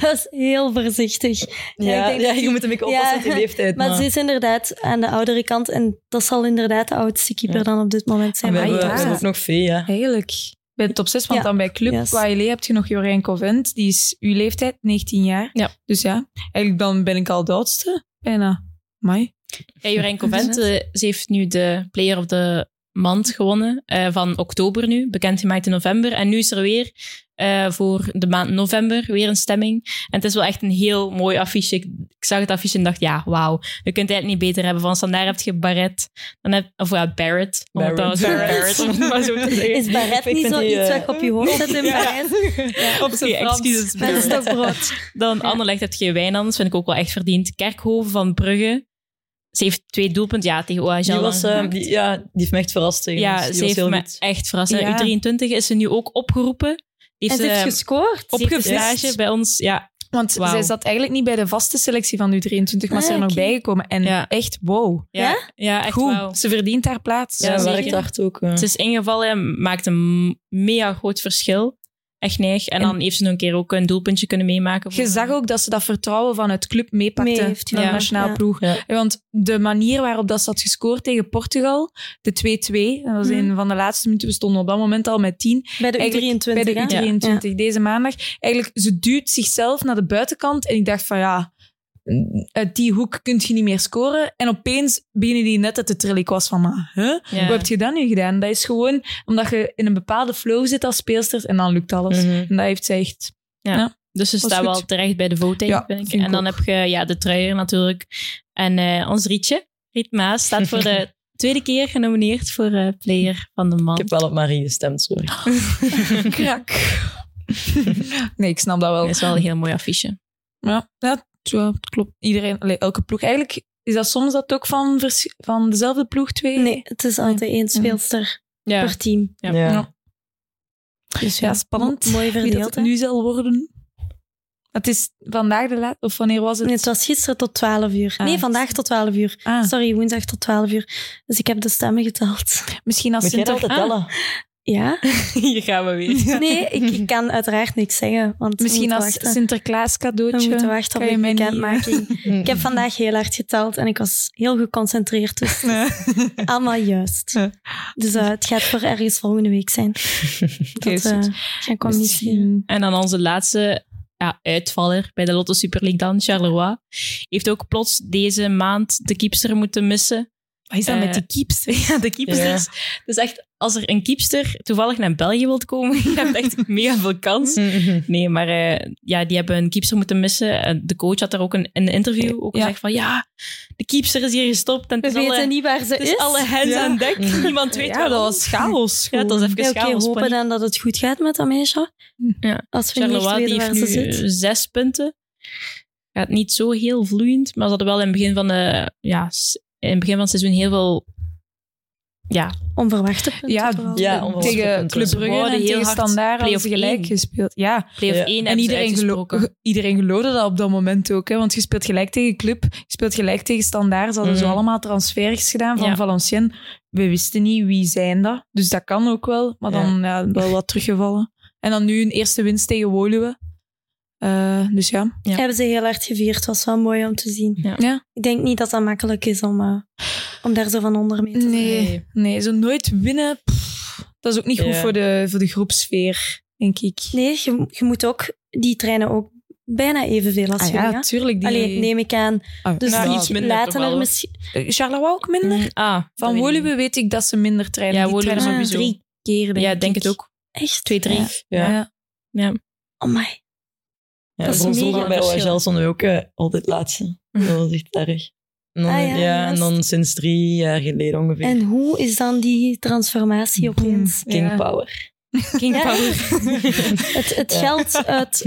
S3: dat is heel voorzichtig. Ja, ik denk dat die-
S4: moet hem ook
S3: Ja.
S4: leeftijd.
S3: Maar ze is inderdaad aan de oudere kant en dat zal inderdaad de oudste keeper
S4: Ja.
S3: dan op dit moment
S4: En
S3: zijn.
S4: we
S2: Ah,
S4: hebben,
S2: ja.
S4: we hebben ook nog Vee, ja.
S2: Eigenlijk. Bij de top 6, want
S3: Ja.
S2: dan bij Club
S3: Yes.
S2: Wailé heb je nog Jorijn Covent. Die is uw leeftijd, 19 jaar.
S1: Ja.
S2: Dus ja, eigenlijk dan ben ik al de oudste. Bijna. Mai.
S1: Ja, Jorijn Covent, eh, ze heeft nu de Player of the Month gewonnen. eh, van oktober nu, bekendgemaakt in november. En nu is er weer eh, voor de maand november weer een stemming. En het is wel echt een heel mooi affiche. Ik, ik zag het affiche en dacht, ja, wauw. Je kunt het niet beter hebben. Van standaard heb je Barrett. Dan heb, of ja, Barrett. Om het
S4: Barrett.
S1: dan zo- Barrett, om het maar zo te zeggen.
S3: Is Barret
S4: Ik
S3: niet
S4: vind
S3: zoiets
S4: die,
S3: iets
S4: eh,
S3: wat je op je hoofd zet in Parijs?
S4: Op zijn
S1: Oké,
S4: Frans.
S1: excuses,
S3: Maar dat is toch brood.
S1: Dan Anderlecht heb je Wijnands, vind ik ook wel echt verdiend. Kerkhoven van Brugge. Ze heeft twee doelpunten, ja, tegen OHL.
S4: Die, was,
S1: dan
S4: ehm,
S1: gemaakt.
S4: die, ja, die heeft me echt verrast tegen ons.
S1: Ja,
S4: Die
S1: ze
S4: was
S1: heeft
S4: heel
S1: me
S4: goed.
S1: echt verrast.
S2: Ja.
S1: U23 is ze nu ook opgeroepen. Die
S3: En
S1: heeft
S3: ze heeft
S1: ehm,
S3: gescoord.
S1: ze heeft een
S2: opgevist.
S1: stage bij ons. Ja,
S2: Want
S1: Wauw.
S2: zij zat eigenlijk niet bij de vaste selectie van U23, maar
S3: Ah,
S2: ze is er nog
S3: oké.
S2: bijgekomen. En
S1: Ja.
S2: echt wow.
S1: ja,
S3: Ja?
S1: ja? echt
S2: Goed.
S1: wauw.
S2: Ze verdient haar plaats.
S1: Ja,
S4: Ja,
S1: zeker.
S4: werkt hard ook. eh.
S1: Ze is ingevallen en maakt een mega groot verschil. Echt neig. En dan heeft ze nog een keer ook een doelpuntje kunnen meemaken. voor-
S2: Je zag ook dat ze dat vertrouwen van het club meepakte
S3: Mee heeft
S2: van de
S1: genomen,
S2: nationale
S3: ja.
S2: ploeg.
S4: Ja.
S2: Want de manier waarop dat ze had gescoord tegen Portugal, de 2-2, dat was
S3: Mhm.
S2: een van de laatste minuten, we stonden op dat moment al met 10,
S3: Bij de
S2: Eigenlijk
S3: U23.
S2: bij de
S3: hè?
S2: U23 deze maandag. Eigenlijk, ze duwt zichzelf naar de buitenkant en ik dacht van ja, uit die hoek kun je niet meer scoren. En opeens beginnen die net uit de trillen. Ik was van, maar, huh?
S1: Ja.
S2: Hoe heb je dat nu gedaan? Dat is gewoon omdat je in een bepaalde flow zit als speelster en dan lukt alles.
S4: Mhm.
S2: En dat heeft zij echt
S1: Dus ze
S2: was
S1: staat
S2: goed.
S1: wel terecht bij de voting,
S2: Ja,
S1: vind ik.
S2: vind ik
S1: en dan
S2: ook.
S1: heb je ja, de truier natuurlijk. En eh, ons Rietje, Riet Maas, staat voor de tweede keer genomineerd voor eh, Player van de
S4: Ik
S1: Man.
S4: heb wel op Marie gestemd, sorry.
S2: krak. nee, ik snap dat wel.
S1: Dat is wel een heel mooi affiche.
S2: Ja, ja, ja, het klopt. Iedereen, allee, elke ploeg. Eigenlijk is dat soms dat ook van, vers- van dezelfde ploeg twee.
S3: Nee, het is altijd één speelster
S1: Ja.
S3: per team.
S1: Ja.
S2: Ja.
S1: Dus
S2: Ja,
S1: ja.
S2: spannend.
S3: Mooi
S2: Wie dat
S3: verdeeld.
S2: het
S3: hè?
S2: nu zal worden. Het is vandaag de laatste, of wanneer was het?
S3: Nee, het was gisteren tot 12 uur.
S2: Ah.
S3: Nee, vandaag tot 12 uur.
S2: Ah,
S3: Sorry, woensdag tot 12 uur. Dus ik heb de stemmen geteld.
S2: misschien als
S4: Moet jij dat
S2: Sinter... ah,
S4: altijd tellen?
S3: Ja?
S1: Hier gaan we weer.
S3: Nee, ik, ik kan uiteraard niks zeggen. Want we
S2: Misschien
S3: moeten
S2: als
S3: wachten.
S2: Sinterklaas
S3: We moeten
S2: cadeautje.
S3: wachten
S2: kan
S3: op
S2: je
S3: de
S2: mij niet-
S3: bekendmaking. Ah. Ik heb vandaag heel hard geteld en ik was heel geconcentreerd. Dus allemaal juist.
S2: Ja.
S3: Dus eh, het gaat voor ergens volgende week zijn.
S2: Oké,
S3: Dat eh,
S2: goed.
S3: gaan communiceren.
S2: Misschien.
S1: En dan onze laatste ja, uitvaller bij de Lotto Super League dan, Charleroi. Heeft ook plots deze maand de keepster moeten missen.
S2: Wat is dat
S1: Eh,
S2: met die keeps?
S1: Ja, de keepsters. Dus echt, als er een keepster toevallig naar België wilt komen, je hebt echt mega veel kans.
S4: Mhm.
S1: Nee, maar eh, ja, die hebben een keepster moeten missen. En De coach had daar ook een, in een interview ook
S2: Ja.
S1: gezegd van ja, de keepster is hier gestopt en het
S3: We
S1: is alle,
S3: weten niet waar ze
S1: het is
S3: is.
S1: alle hands
S2: Ja.
S1: aan dek.
S4: Mm.
S1: Niemand weet
S2: Ja,
S1: waarom.
S2: dat was chaos.
S1: Ja,
S2: gewoon.
S1: het was even
S3: Ja, Oké,
S1: chaos.
S3: hopen
S1: paniek.
S3: dan dat het goed gaat met dat meisje.
S1: Ja.
S3: Als we niet echt
S1: Charleroi Hm. die
S3: weten waar
S1: heeft
S3: ze
S1: nu
S3: zit.
S1: eh, zes punten. Gaat niet zo heel vloeiend, maar ze hadden wel in het begin van, de, ja, s- in het begin van het seizoen heel veel... Ja,
S3: Onverwachte punten
S2: Ja,
S3: vooral.
S4: ja, onverwacht.
S2: tegen
S4: Ze
S2: Club Brugge
S1: worden
S2: en
S1: heel
S2: tegen
S1: hard
S2: Standaard hadden ze
S1: play-off
S2: gelijk
S1: één.
S2: gespeeld. Ja,
S1: play-off
S4: Ja.
S1: 1
S2: en iedereen, gelo
S1: gesproken.
S2: ge- iedereen geloofde dat op dat moment ook. Hè? Want je speelt gelijk tegen Club, je speelt gelijk tegen Standaard. Ze hadden
S4: Mhm.
S2: zo allemaal transfers gedaan van
S1: Ja.
S2: Valenciennes. We wisten niet wie zijn dat. Dus dat kan ook wel. Maar dan ja, wel wat teruggevallen. En dan nu een eerste winst tegen Woluwe. Eh, dus ja.
S1: Ja.
S3: Hebben ze heel hard gevierd. Het was wel mooi om te zien.
S1: Ja.
S2: Ja.
S3: Ik denk niet dat dat makkelijk is om, eh, om daar zo van onder mee te zijn.
S2: Nee, nee zo nooit winnen. pff, dat is ook niet goed
S4: Ja.
S2: voor, de, voor de groepsfeer, denk ik.
S3: Nee, je, je moet ook... Die trainen ook bijna evenveel als
S2: Ah
S3: jullie.
S2: ja,
S3: hè?
S2: tuurlijk. Die...
S3: Allee, neem ik aan.
S2: Ah,
S3: Dus
S4: Nou,
S3: die
S4: iets minder toch
S3: laten
S4: wel,
S3: er
S4: hoor.
S3: misschien...
S2: eh, Charleroi ook minder?
S1: Mm, ah,
S2: Van Woluwe weet ik dat ze minder trainen.
S1: Ja,
S2: Die
S1: Woluwe
S2: trainen
S3: sowieso.
S2: drie keer, denk
S1: Ja, ik denk
S2: ik.
S1: het ook.
S3: Echt?
S1: 2-3.
S3: Ja.
S4: Ja.
S2: Ja.
S3: Oh my.
S4: Ja,
S3: Dat is
S4: voor ons
S3: mega
S4: vroeger bij
S3: verschil.
S4: OHL stonden we ook eh, altijd laatste. Dat was echt erg. En dan,
S3: Ah, ja,
S4: ja, en
S3: juist.
S4: dan sinds drie jaar geleden ongeveer.
S3: En hoe is dan die transformatie
S2: Boom.
S3: opeens?
S4: King
S2: Ja.
S4: Power.
S1: King
S3: Ja.
S1: Power.
S3: Het, het
S4: Ja.
S3: geld uit,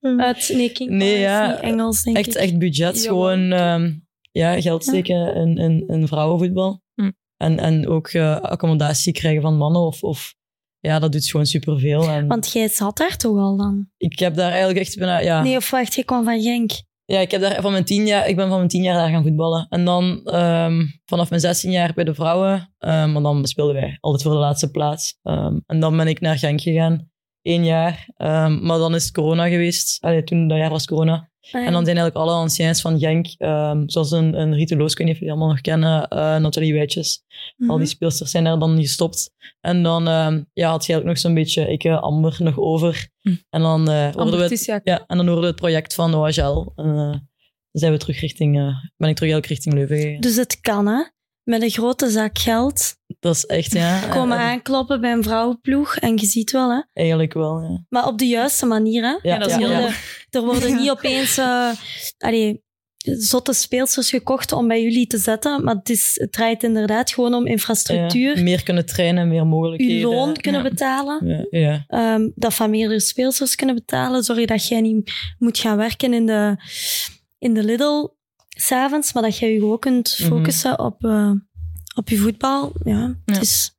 S3: uit... Nee, King
S4: Nee,
S3: Power is
S4: ja.
S3: niet Engels, denk
S4: Echt,
S3: ik.
S4: echt budget.
S2: Ja,
S4: gewoon ehm, ja, geld steken in, in, in vrouwenvoetbal.
S1: Hm.
S4: En, en ook eh, accommodatie krijgen van mannen. Of, of, ja, dat doet gewoon superveel. En
S3: Want jij zat daar toch al dan?
S4: ik heb daar eigenlijk echt bijna... Ja,
S3: Nee, of wacht, je kwam van Genk.
S4: ja ik, heb daar van mijn tien jaar, ik ben van mijn tien jaar daar gaan voetballen. En dan ehm, vanaf mijn 16 jaar bij de vrouwen. ehm maar dan speelden wij altijd voor de laatste plaats. Ehm, en dan ben ik naar Genk gegaan. Eén jaar. Ehm, maar dan is het corona geweest. Allee, toen dat jaar was corona.
S3: Ah,
S4: En dan zijn eigenlijk alle anciens van Genk, ehm, zoals een, een Rita Loos, ik weet niet of jullie die allemaal nog kennen, eh Nathalie Wijtjes.
S3: Mhm.
S4: Al die speelsters zijn daar dan gestopt. En dan ehm, ja, had je eigenlijk nog zo'n beetje ik eh, Amber nog over.
S1: Hm.
S4: En, dan, eh hoorden we
S2: Amber
S4: het,
S2: Tissiak.
S4: ja, en dan hoorden we het project van OHL. En eh, dan zijn we terug richting, eh, ben ik terug eigenlijk richting Leuven gegaan.
S3: Dus het kan, hè? Met een grote zak geld
S4: Dat is echt, ja.
S3: komen
S4: eh,
S3: aankloppen bij een vrouwenploeg. En je ziet wel, hè?
S4: Eigenlijk wel, ja.
S3: Maar op de juiste manier, hè?
S1: Ja, dat is
S3: Er
S1: heel
S3: worden,
S1: jammer.
S3: er worden niet opeens eh, allee, zotte speelsters gekocht om bij jullie te zetten. Maar het, is, het draait inderdaad gewoon om infrastructuur.
S4: Ja, meer kunnen trainen, meer mogelijkheden.
S3: uw loon kunnen
S1: ja.
S3: betalen.
S4: Ja, ja.
S3: ehm, dat van meerdere speelsters kunnen betalen. Zorg dat jij niet moet gaan werken in de, in de Lidl s'avonds. Maar dat jij je ook kunt
S4: Mhm.
S3: focussen op, eh, op je voetbal. Ja,
S1: Ja.
S3: Het, is,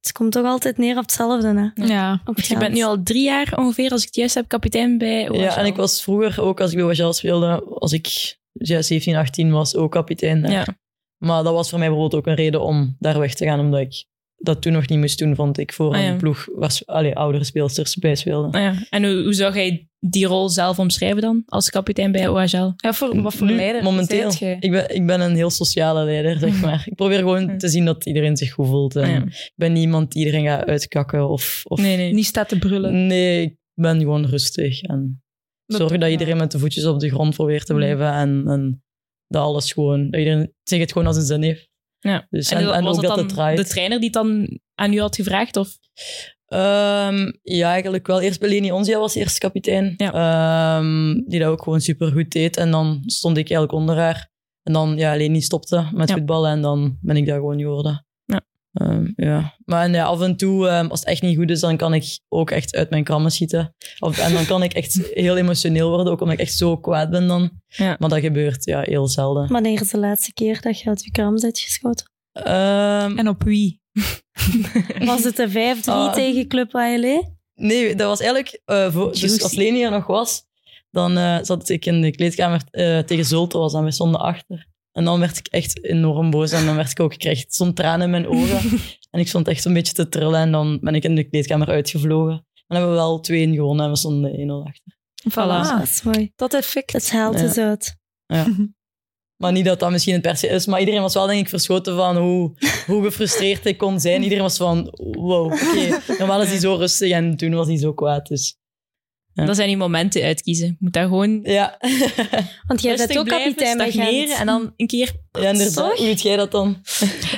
S3: het komt toch altijd neer op hetzelfde, hè?
S2: Ja.
S3: Op
S1: Je
S3: geld.
S1: bent nu al drie jaar ongeveer, als ik het juist heb, kapitein bij OHL.
S4: Ja, en ik was vroeger ook, als ik bij OHL speelde, als ik ja, 17, 18 was, ook kapitein. daar.
S1: Ja.
S4: Maar dat was voor mij bijvoorbeeld ook een reden om daar weg te gaan, omdat ik dat toen nog niet moest doen, vond ik, voor
S1: Ah, ja.
S4: een ploeg waar s- allee, oudere speelsters bij speelden.
S1: Nou ja. En hoe, hoe zou jij die rol zelf omschrijven dan, als kapitein bij OHL?
S2: ja, voor wat voor
S4: Nu,
S2: leider
S4: momenteel,
S2: zijt
S1: Ah,
S2: jij?
S4: ik ben, ik ben een heel sociale leider, zeg maar. Ik probeer gewoon
S1: Ja.
S4: te zien dat iedereen zich goed voelt. En
S1: Ah, ja.
S4: Ik ben niemand die iedereen gaat uitkakken of... of
S1: Nee, nee.
S2: Niet staat te
S1: Mm.
S2: brullen.
S4: Nee, ik ben gewoon rustig en
S2: Dat-
S4: zorg dat iedereen met de voetjes op de grond probeert te
S1: Mm.
S4: blijven en, en dat alles gewoon, dat iedereen zich het gewoon als een zin heeft.
S1: Ja.
S4: Dus, en, en
S1: was
S4: ook dat het
S1: dan
S4: draait.
S1: de trainer die het dan aan u had gevraagd? Of?
S4: Ehm, ja, eigenlijk wel. Eerst Bellini Onzia was eerst kapitein. Ehm, die dat ook gewoon super goed deed. En dan stond ik eigenlijk onder haar. En dan, ja, Leni stopte met
S1: Ja.
S4: voetballen en dan ben ik daar gewoon geworden.
S1: Ja.
S4: Ehm, ja. Maar en ja, af en toe, ehm, als het echt niet goed is, dan kan ik ook echt uit mijn krammen schieten. Of, en dan kan ik echt heel emotioneel worden, ook omdat ik echt zo kwaad ben dan.
S1: Ja.
S4: Maar dat gebeurt ja, heel zelden.
S3: Wanneer is de laatste keer dat je uit je kram bent geschoten?
S4: Ehm,
S2: En op wie?
S3: Was het de 5-3
S4: Ah.
S3: tegen Club E? ALE?
S4: Nee, dat was eigenlijk... eh, voor, dus
S1: Juicy.
S4: als Leni er nog was, dan eh, zat ik in de kleedkamer eh, tegen Zulte, was dan we stonden achter. En dan werd ik echt enorm boos en dan werd ik ook... Ik kreeg zo'n tranen in mijn ogen. en ik stond echt een beetje te trillen en dan ben ik in de kleedkamer uitgevlogen. En dan hebben we wel 2-1 gewonnen en we stonden 1-0 achter.
S3: Ah,
S2: Voilà.
S3: dat is mooi.
S2: Dat effect.
S3: Het haalt
S4: Ja.
S3: eens uit.
S4: Maar niet dat dat misschien het per se is, maar iedereen was wel denk ik verschoten van hoe, hoe gefrustreerd ik kon zijn. Iedereen was van, wow, oké. Normaal is hij zo rustig en toen was hij zo kwaad, dus... Ja.
S1: Daar zijn die momenten uitkiezen. Je Moet daar gewoon
S4: Ja,
S3: Want jij bent
S1: rustig
S3: ook
S1: blijven,
S3: kapitein bij Gent.
S1: stagneren en dan een keer...
S4: ja inderdaad.
S3: Zorg.
S4: Hoe doet jij dat dan?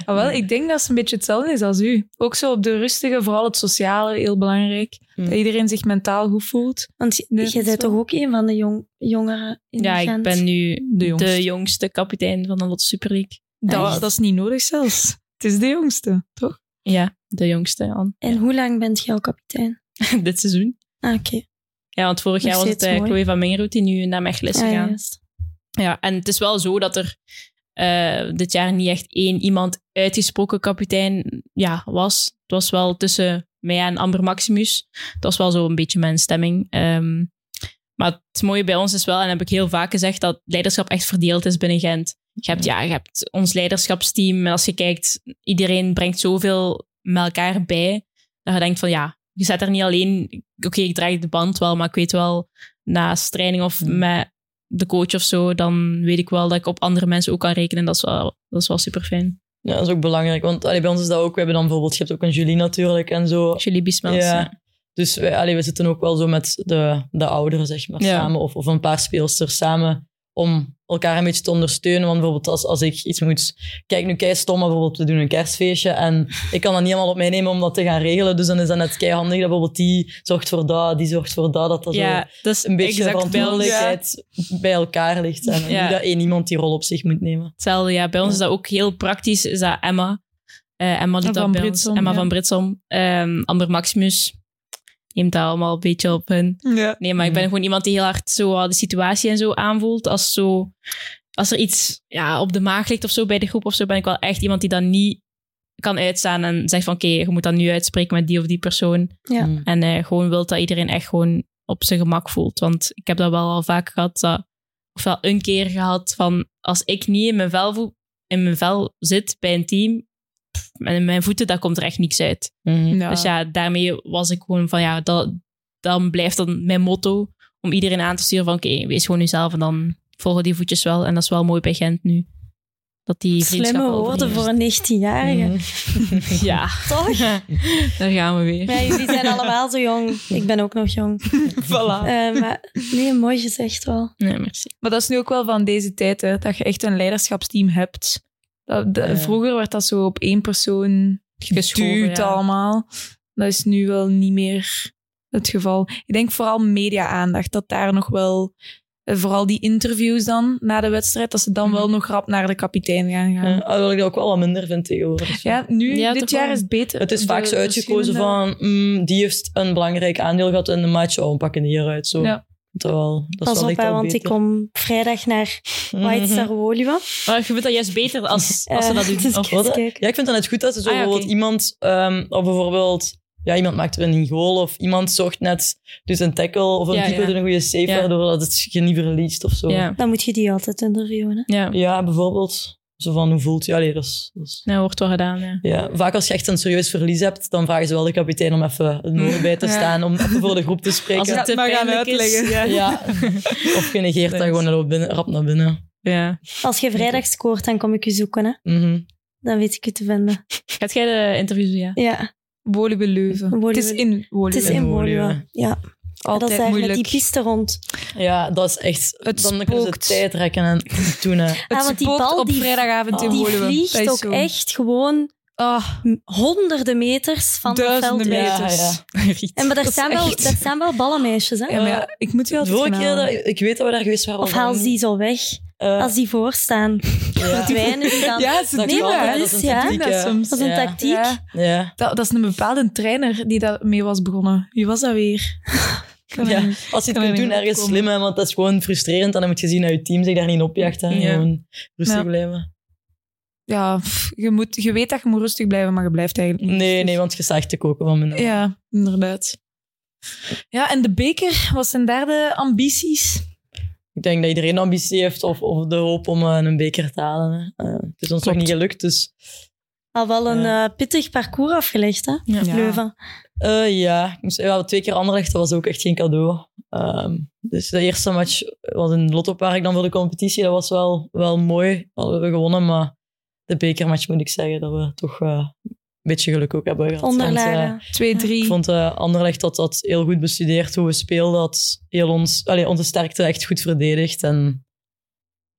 S2: Ah, wel, ik denk dat het een beetje hetzelfde is als u. Ook zo op de rustige, vooral het sociale, heel belangrijk.
S1: Mm.
S4: Hmm.
S2: Dat iedereen zich mentaal goed voelt.
S3: Want je-
S2: Nee,
S3: jij
S2: dat is
S3: bent toch ook een van de jong, jongeren in
S1: Ja,
S3: Gent?
S1: ik ben nu
S2: De jongste.
S1: de jongste kapitein van de Lotte Super League.
S2: Dat,
S3: Echt?
S2: dat is niet nodig zelfs. Het is de jongste, toch?
S1: Ja, de jongste aan
S3: En hoe lang bent jij al kapitein?
S1: dit seizoen.
S3: Ah, oké.
S1: Ja, want vorig
S3: Nog
S1: jaar was het
S3: steeds
S1: eh,
S3: mooi.
S1: Chloe van Mingerhoed die nu naar Mechelen is
S3: Ah,
S1: gegaan.
S3: juist.
S1: Ja, en het is wel zo dat er eh, dit jaar niet echt één iemand uitgesproken kapitein ja, was. Het was wel tussen mij en Amber Maximus. Dat was wel zo een beetje mijn stemming. Ehm, maar het mooie bij ons is wel, en heb ik heel vaak gezegd, dat leiderschap echt verdeeld is binnen Gent. Je hebt, ja, je hebt ons leiderschapsteam. En als je kijkt, iedereen brengt zoveel met elkaar bij. Dat je denkt van ja, je zet er niet alleen. Oké, ik draag de band wel, maar ik weet wel, naast training of
S4: Mm.
S1: met de coach of zo, dan weet ik wel dat ik op andere mensen ook kan rekenen. Dat is wel, dat is wel super fijn.
S4: Ja, dat is ook belangrijk. Want allee, bij ons is dat ook. We hebben dan bijvoorbeeld, je hebt ook een Julie natuurlijk en zo.
S1: Jullie Biesmans.
S4: Ja.
S1: Ja.
S4: Dus wij, allee, we zitten ook wel zo met de, de ouderen, zeg maar,
S1: Ja.
S4: samen. Of, of een paar speelsters samen om elkaar een beetje te ondersteunen. Want bijvoorbeeld als, als ik iets moet... Kijk, nu kei stom, maar bijvoorbeeld we doen een kerstfeestje en ik kan dat niet allemaal op mij nemen om dat te gaan regelen. Dus dan is dat net keihandig dat bijvoorbeeld die zorgt voor dat, die zorgt voor dat. Dat dat zo
S1: Ja, dat is
S4: een beetje
S1: exact bij ons.
S4: verantwoordelijkheid bij elkaar ligt. En
S1: Ja.
S4: niet dat één iemand die rol op zich moet nemen.
S1: Hetzelfde, ja. Bij ons is dat ook heel praktisch, is dat Emma. Eh, Emma doet
S2: Van
S1: dat bij
S2: Britsom,
S1: ons. Emma
S2: ja.
S1: van Britsom. Ehm, Amber Maximus neemt dat allemaal een beetje op hun.
S2: Ja.
S1: Nee, maar ik ben
S4: Mhm.
S1: gewoon iemand die heel hard zo wel de situatie en zo aanvoelt. Als, zo, als er iets ja, op de maag ligt of zo bij de groep of zo, ben ik wel echt iemand die dat niet kan uitstaan en zegt van oké, je moet dat nu uitspreken met die of die persoon.
S3: Ja.
S4: Mm.
S1: En eh, gewoon wilt dat iedereen echt gewoon op zijn gemak voelt. Want ik heb dat wel al vaak gehad, dat, of wel een keer gehad van als ik niet in mijn vel, voel, in mijn vel zit bij een team, pff, met mijn voeten, daar komt er echt niks uit.
S4: Mhm.
S1: Dus ja, daarmee was ik gewoon van ja, dat, dan blijft dan mijn motto om iedereen aan te sturen van oké, wees gewoon jezelf en dan volgen die voetjes wel. En dat is wel mooi bij Gent nu. Dat die vriendschap
S3: Slimme
S1: wel
S3: woorden voor
S1: overheerst.
S3: een 19-jarige.
S4: Mhm.
S1: Ja,
S3: Toch?
S1: daar gaan we weer.
S3: Ja, jullie zijn allemaal zo jong. Ik ben ook nog jong.
S2: Voilà.
S1: Ah.
S3: Eh, maar nee, mooi gezegd wel.
S1: Nee, merci.
S2: Maar dat is nu ook wel van deze tijd, hè, dat je echt een leiderschapsteam hebt. Dat, dat-
S4: Ja.
S2: Vroeger werd dat zo op één persoon
S1: Geschoven,
S2: geduwd
S1: ja.
S2: allemaal. Dat is nu wel niet meer het geval. Ik denk vooral media-aandacht, dat daar nog wel... eh, Vooral die interviews dan, na de wedstrijd, dat ze dan wel
S1: Mhm.
S2: nog rap naar de kapitein gaan. gaan.
S4: Ja, alhoewel Ah, ik dat ook wel wat minder vind tegenwoordig.
S2: Ja, nu,
S1: Ja,
S2: dit
S1: toch
S2: jaar
S1: wel.
S2: is het beter.
S4: Het is vaak
S2: De
S4: zo uitgekozen
S2: verschillende-
S4: van mm, die heeft een belangrijk aandeel gehad in de match, oh, we pakken die eruit. Zo.
S2: Ja.
S4: Terwijl, dat is
S3: Pas
S4: wel
S3: op,
S4: echt
S3: hè,
S4: al
S3: want
S4: beter. Mhm.
S3: ik kom vrijdag naar White Star Woluwe.
S1: Maar je vindt dat juist beter als, als Mhm. ze
S3: Eh,
S1: dat doen.
S3: dus
S1: Of-
S3: ik ga eens
S4: wat?
S3: kijken.
S4: Ja, ik vind dan het goed dat ze zo
S1: Ah, ja,
S4: bijvoorbeeld
S1: oké.
S4: iemand, ehm, of bijvoorbeeld, ja, iemand maakt er een goal of iemand zorgt net, dus een tackle of een
S1: Ja,
S4: keeper
S1: ja.
S4: doet een goede save,
S1: Ja.
S4: waardoor dat het je niet verliest of zo.
S1: ja,
S3: Dan moet je die altijd interviewen. hè.
S1: ja.
S4: Ja, bijvoorbeeld. Zo van, hoe voelt je? Allee, dat is- dat is-
S1: Nou, wordt wel gedaan, ja.
S4: Ja, vaak als je echt een serieus verlies hebt, dan vragen ze wel de kapitein om even een oor bij te
S2: Ja.
S4: staan, om even voor de groep te spreken.
S1: Als het te
S2: maar gaan
S1: pijnlijk is.
S2: uitleggen.
S1: Ja.
S4: Ja. Of je negeert dan gewoon rap, binnen- rap naar binnen.
S1: ja.
S3: Als je vrijdag scoort, dan kom ik je zoeken. Hè.
S4: Mhm.
S3: Dan weet ik je te vinden.
S1: Gaat jij de interviews doen, ja?
S3: Ja,
S2: Woluwe Leuven.
S3: Woluwe-
S2: Het is in
S3: het
S2: Woluwe.
S3: is in
S4: En Woluwe.
S3: Woluwe. Ja, dat
S2: Altijd
S3: is daar
S2: moeilijk.
S3: met die piste rond.
S4: Ja, dat is echt...
S2: Het
S4: dan kunnen ze
S2: spookt.
S4: tijd rekken en doen. Hè.
S2: Het
S3: Ah, want die
S2: spookt
S3: bal
S2: op
S3: die-
S2: vrijdagavond in
S3: Die
S2: Woluwe. Dat
S3: vliegt
S2: is
S3: ook
S2: zo.
S3: echt gewoon
S2: Ah,
S3: honderden meters van het veld.
S2: duizenden
S3: weg.
S4: Ja,
S2: meters.
S4: ja.
S3: En maar daar,
S2: Dat is
S3: staan wel,
S2: echt-
S3: daar staan wel ballenmeisjes, hè?
S2: Ja, maar ja, ik moet wel
S4: De
S2: altijd
S4: vorige
S2: gaan
S4: keer, dat,
S2: halen.
S4: ik weet dat we daar geweest waren.
S3: Of
S4: was dat
S3: haal
S4: niet-
S3: ze die zo weg.
S4: eh,
S3: Als die voorstaan,
S4: ja.
S3: verdwijnen die dan.
S2: Ja, ze doen
S4: Dat
S3: Nee,
S4: klopt,
S3: maar
S4: hè,
S2: dat.
S3: dat
S4: dat
S3: is,
S4: een
S3: ja.
S4: tactiek,
S2: Dat
S4: hè.
S2: soms.
S3: Dat is een
S4: Ja.
S3: tactiek.
S2: Ja,
S4: Ja.
S2: dat, dat is een bepaalde trainer die daarmee was begonnen. Wie was dat weer? Ik kan
S4: Ja.
S2: het niet.
S4: Als je het
S2: Kan er
S4: kunt
S2: niet
S4: doen, ergens
S2: opkomen.
S4: slim, hè, want dat is gewoon frustrerend. En dan moet je zien dat je team zich daar niet opjacht. Hè.
S1: Ja.
S4: Gewoon rustig
S2: Ja.
S4: blijven.
S2: ja pff, je, moet, je weet dat je moet rustig blijven, maar je blijft eigenlijk niet.
S4: Nee,
S2: rustig.
S4: nee, want je zag te koken van mijn
S2: Ja, inderdaad. Ja, en de beker, wat zijn daar de ambities?
S4: Ik denk dat iedereen ambitie heeft of, of de hoop om eh, een beker te halen. Hè. Eh, het is ons nog
S2: Klopt.
S4: niet gelukt, dus...
S3: Al wel een
S4: Ja.
S3: eh, pittig parcours afgelegd, hè?
S1: Ja.
S3: Leuven.
S4: Eh, ja, ik moest, ja, twee keer Anderlecht, dat was ook echt geen cadeau. Ehm, dus de eerste match was in Lotto Park dan voor de competitie. Dat was wel, wel mooi, hadden we gewonnen. Maar de bekermatch moet ik zeggen dat we toch eh, beetje geluk ook hebben gehad. Want, eh,
S3: Onderlagen.
S2: 2-3.
S4: ik vond eh Anderlecht dat, dat heel goed bestudeerd, hoe we speelden. Dat heel ons, allee, onze sterkte echt goed verdedigd. En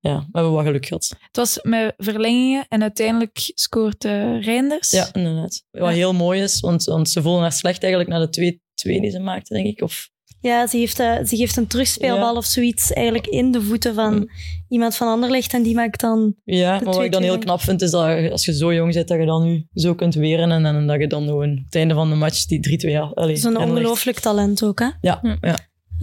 S4: ja, we hebben wat geluk gehad.
S2: Het was met verlengingen en uiteindelijk scoort eh Reinders.
S4: Ja, inderdaad. Wat
S2: Ja.
S4: heel mooi is, want, want ze voelden haar slecht eigenlijk na de 2-2 die ze maakte, denk ik. Of
S3: Ja, ze heeft, eh, ze geeft een terugspeelbal
S4: Ja.
S3: of zoiets eigenlijk in de voeten van iemand van Anderlecht. En die maakt dan...
S4: Ja,
S3: De
S4: maar wat ik dan heel
S3: 2-2 denk ik.
S4: knap vind, is dat je- als je zo jong bent, dat je dan nu zo kunt weren. En, en dat je dan gewoon op het einde van de match die 3-2 al. allee,
S3: Zo'n
S4: en dan echt-
S3: ongelooflijk talent ook, hè?
S4: Ja,
S1: Hm.
S4: ja.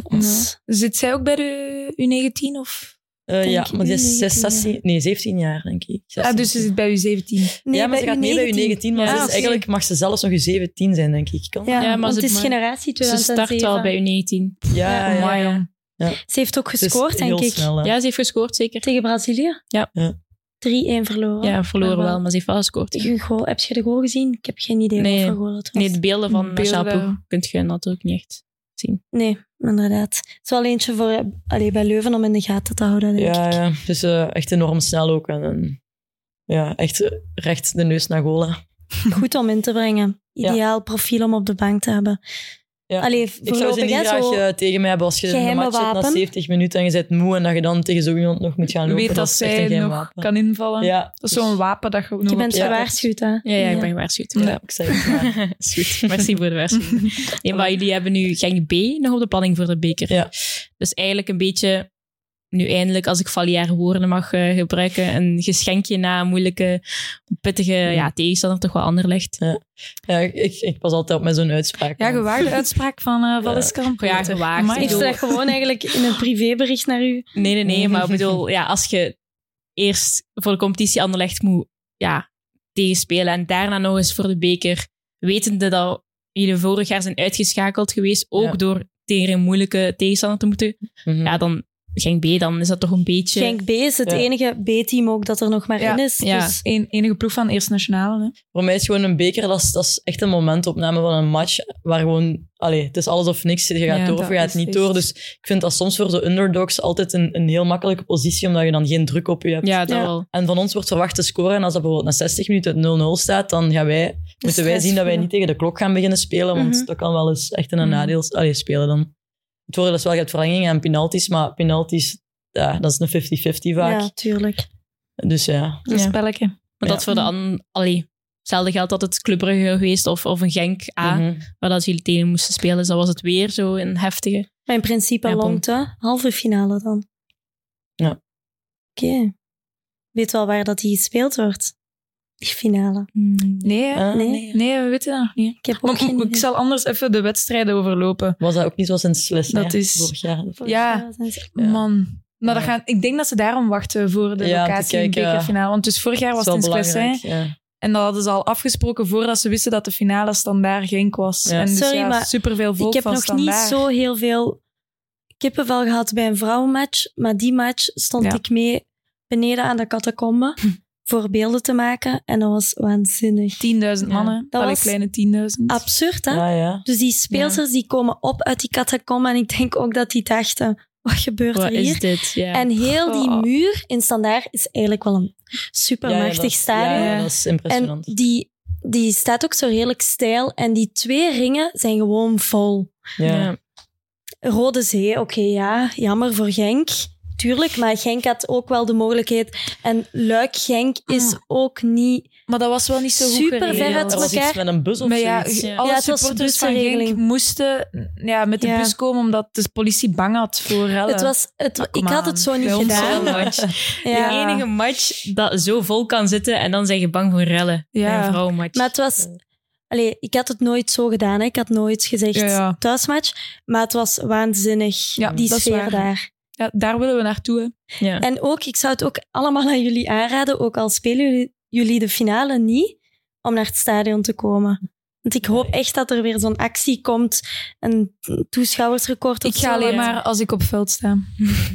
S3: Dus-
S2: Zit zij ook bij de U19? Of?
S4: Eh,
S3: Denk
S4: ja
S3: ik
S4: maar die is
S3: 19 jaar.
S4: 6, 16, nee, 17 jaar, denk ik.
S2: Ah,
S4: 16.
S2: dus ze zit bij U17.
S3: Nee,
S4: ja, maar ze
S3: bij
S4: gaat mee bij
S3: U19.
S4: U19, maar
S1: Ja,
S4: ze is
S2: oké.
S4: eigenlijk mag ze zelfs nog U17 zijn, denk ik. Kan dat?
S3: Ja,
S1: Ja, maar
S3: want
S1: ze-
S3: het is
S1: maar-
S3: generatie
S1: Ze
S3: 2007.
S1: start al bij U19.
S4: ja, ja.
S2: Amai,
S1: ja.
S2: jong.
S3: Ze heeft ook
S4: Het is
S3: gescoord,
S4: heel
S3: denk ik.
S4: Snel, hè.
S1: Ja, ze heeft gescoord, zeker.
S3: Tegen Brazilië?
S1: Ja.
S4: Ja.
S3: 3-1 verloren.
S1: Ja, verloren wel, maar ze heeft wel gescoord.
S3: Een goal. Heb je de goal gezien? Ik heb geen idee
S1: Nee.
S3: wat voor goal het was.
S1: Nee, de beelden van
S2: Beelden.
S1: Marcel Ploeg kunt je natuurlijk niet echt.
S3: Nee, inderdaad. Het is wel eentje voor eh, allee, bij Leuven om in de gaten te houden, denk
S4: Ja,
S3: ik.
S4: ja. Dus eh, echt enorm snel ook. En, en, ja, echt eh, recht de neus naar goal. hè.
S3: Goed om in te brengen.
S4: Ja.
S3: Ideaal profiel om op de bank te hebben.
S4: Ja.
S3: Allee,
S4: Ik zou ze
S3: voorlopig
S4: niet
S3: hè,
S4: graag
S3: zo...
S4: eh, tegen mij hebben als je een
S3: geheime
S4: match hebt na
S3: wapen.
S4: 70 minuten en je bent moe en dat je dan tegen zo iemand nog moet gaan lopen.
S2: Weet dat
S4: is echt een
S2: zij
S4: geheim
S2: nog
S4: wapen.
S2: kan invallen.
S4: Ja, dus-
S2: Dat is zo'n wapen dat je ook nog
S3: Je
S2: op-
S3: bent
S4: Ja.
S3: gewaarschuwd, hè?
S1: Ja, ja, ik ben gewaarschuwd.
S2: Ja.
S4: Ik zei het maar.
S1: is goed. Merci voor de waarschuwing. Nee, maar jullie hebben nu Genk B nog op de planning voor de beker.
S4: Ja.
S1: Dus eigenlijk een beetje, nu eindelijk, als ik valiaire woorden mag eh, gebruiken, een geschenkje na een moeilijke, pittige ja, tegenstander, toch wel ander ligt.
S4: Ja, ik, ik pas altijd op met zo'n uitspraak.
S2: Ja,
S4: want-
S2: gewaarde uitspraak van eh Wallis
S1: Ja,
S2: Karampeter.
S1: gewaagd.
S2: Amai,
S1: Ik
S3: Ik
S1: bedoel-
S3: zeg gewoon eigenlijk in een privébericht naar u.
S1: Nee, nee, nee, maar ik bedoel, ja, als je eerst voor de competitie Anderlecht moet ja, tegenspelen en daarna nog eens voor de beker, wetende dat jullie vorig jaar zijn uitgeschakeld geweest, ook
S4: Ja.
S1: door tegen een moeilijke tegenstander te moeten,
S4: Mhm.
S1: ja, dan Genk B, dan is dat toch een beetje...
S3: Genk B is het
S4: Ja.
S3: enige B-team ook dat er nog maar
S2: Ja.
S3: in is.
S1: Ja.
S3: Dus
S2: Eén- enige ploeg van Eerste Nationale. Hè?
S4: Voor mij is gewoon een beker, dat is, dat is echt een momentopname van een match waar gewoon, allee, het is alles of niks. Je gaat
S2: Ja,
S4: door of
S2: dat
S4: je gaat
S2: is
S4: niet
S2: echt-
S4: door. Dus ik vind dat soms voor de underdogs altijd een, een heel makkelijke positie, omdat je dan geen druk op je hebt.
S1: Ja, dat
S3: Ja.
S1: wel.
S4: En van ons wordt verwacht te scoren. En als dat bijvoorbeeld na 60 minuten 0-0 staat, dan gaan wij, moeten wij
S3: stress
S4: zien dat wij
S3: voelen.
S4: niet tegen de klok gaan beginnen spelen. Want
S3: Mhm.
S4: dat kan wel eens echt een
S2: Mhm.
S4: nadeel allee, spelen dan. Het voordeel is wel, je hebt verlengingen en penalties. Maar penalties, ja, dat is een 50-50 vaak.
S3: ja, tuurlijk.
S4: Dus ja.
S2: Dat is
S1: Ja.
S2: een spelletje.
S1: Maar
S4: Ja.
S1: dat voor de an- allee, hetzelfde geldt dat het Club Brugge geweest of, of een Genk A,
S4: Mhm.
S1: waar dat jullie tegen moesten spelen. Dus dat was het weer zo een heftige.
S3: Maar in principe
S1: Ja, bon.
S3: longt, hè? Halve finale dan.
S4: Ja.
S3: Oké. Weet wel waar dat die gespeeld wordt? Die finale.
S2: Nee, hè?
S4: Ah,
S3: nee.
S2: nee, we weten dat nog niet.
S3: Ik heb ook
S2: Maar,
S3: geen
S2: ik zal anders even de wedstrijden overlopen.
S4: Was dat ook niet zoals in Slis?
S2: Dat is-
S4: Vorig jaar.
S3: idee.
S2: ja.
S4: Ja.
S2: Man. Maar dat
S4: Ja.
S2: gaan, ik denk dat ze daarom wachten voor de
S4: Ja, om te
S2: locatie in de
S4: kijken, ja.
S2: bekerfinale. Want dus vorig jaar was het in Sclessin.
S4: Ja.
S2: En dat hadden ze al afgesproken voordat ze wisten dat de finale standaard Genk was.
S4: Ja.
S2: En dus
S3: Sorry,
S2: ja,
S3: maar
S2: superveel volk
S3: Ik heb
S2: van
S3: nog niet
S2: Standaard.
S3: zo heel veel kippenvel gehad bij een vrouwenmatch. Maar die match stond
S2: Ja.
S3: ik mee beneden aan de catacombe
S4: Hm.
S3: voor beelden te maken. En dat was waanzinnig.
S2: 10.000
S1: Ja.
S2: mannen.
S3: Dat
S2: Alle
S3: was
S2: kleine 10.000.
S3: Absurd, hè?
S4: Ja, ja.
S3: Dus die speelsters die komen op uit die catacomben. En ik denk ook dat die dachten, wat gebeurt
S1: Wat
S3: er hier?
S1: is dit? Ja.
S3: En heel die
S2: Oh.
S3: muur in Standaard is eigenlijk wel een
S4: Ja, ja,
S3: supermachtig
S4: dat-
S3: stadion.
S4: Ja, ja, dat is
S3: En
S4: impressionant.
S3: die, die staat ook zo redelijk steil. En die twee ringen zijn gewoon vol.
S4: ja.
S1: Ja.
S3: Rode Zee, oké, ja, jammer voor Genk. Tuurlijk, maar Genk had ook wel de mogelijkheid. En Luik Genk
S4: Ah.
S3: is ook niet...
S2: Maar dat was wel niet zo goed
S3: Super
S2: geregeld.
S3: ver uit
S4: Er was iets
S3: elkaar.
S4: met een bus of
S2: Maar ja,
S4: zoiets.
S1: Ja.
S2: alle
S3: Ja, het was de
S2: supporters van
S3: bussenregeling.
S2: Genk moesten ja, met de
S3: Ja.
S2: bus komen omdat de politie bang had voor rellen.
S3: Het was, het,
S2: Ah, kom
S3: ik had
S2: aan.
S3: het zo niet
S2: Bij ons
S3: gedaan.
S1: Zo'n match.
S3: Ja.
S1: De enige match dat zo vol kan zitten en dan zijn je bang voor rellen.
S2: Ja.
S1: Bij Een vrouwenmatch.
S3: Maar het was... Allee, ik had het nooit zo gedaan. Hè. Ik had nooit gezegd
S2: Ja, ja.
S3: thuismatch. Maar het was waanzinnig,
S2: Ja,
S3: die
S2: dat is
S3: sfeer
S2: waar.
S3: daar.
S2: ja, daar willen we naartoe. hè.
S1: ja.
S3: En ook, ik zou het ook allemaal aan jullie aanraden, ook al spelen jullie, jullie de finale niet, om naar het stadion te komen. Want ik hoop echt dat er weer zo'n actie komt, een toeschouwersrecord of
S2: Ik ga
S3: zo.
S2: alleen
S1: ja.
S2: maar als ik op veld sta.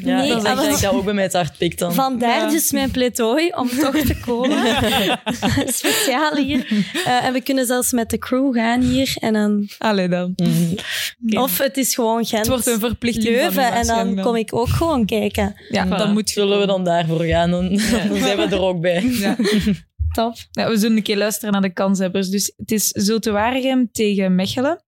S4: Ja, dat
S3: Nee,
S4: is echt
S3: maar-
S4: dat ik dat ook bij mij het hart pikt dan.
S3: Vandaar
S2: Ja.
S3: dus mijn pleidooi om toch te komen. Speciaal hier. Eh, en we kunnen zelfs met de crew gaan hier. En dan,
S2: Allee dan.
S4: Mhm.
S1: Ja.
S3: Of het is gewoon Gent.
S2: Het wordt een verplichting van u
S3: Leuven en dan
S2: waarschijnlijk
S3: kom ik ook gewoon kijken.
S2: Ja,
S1: Voilà.
S2: dan moet je
S4: Zullen we dan daarvoor gaan? Dan, dan zijn we er ook bij.
S2: Ja.
S3: Top.
S2: Nou, we zullen een keer luisteren naar de kanshebbers. Dus het is Zulte Waregem tegen Mechelen.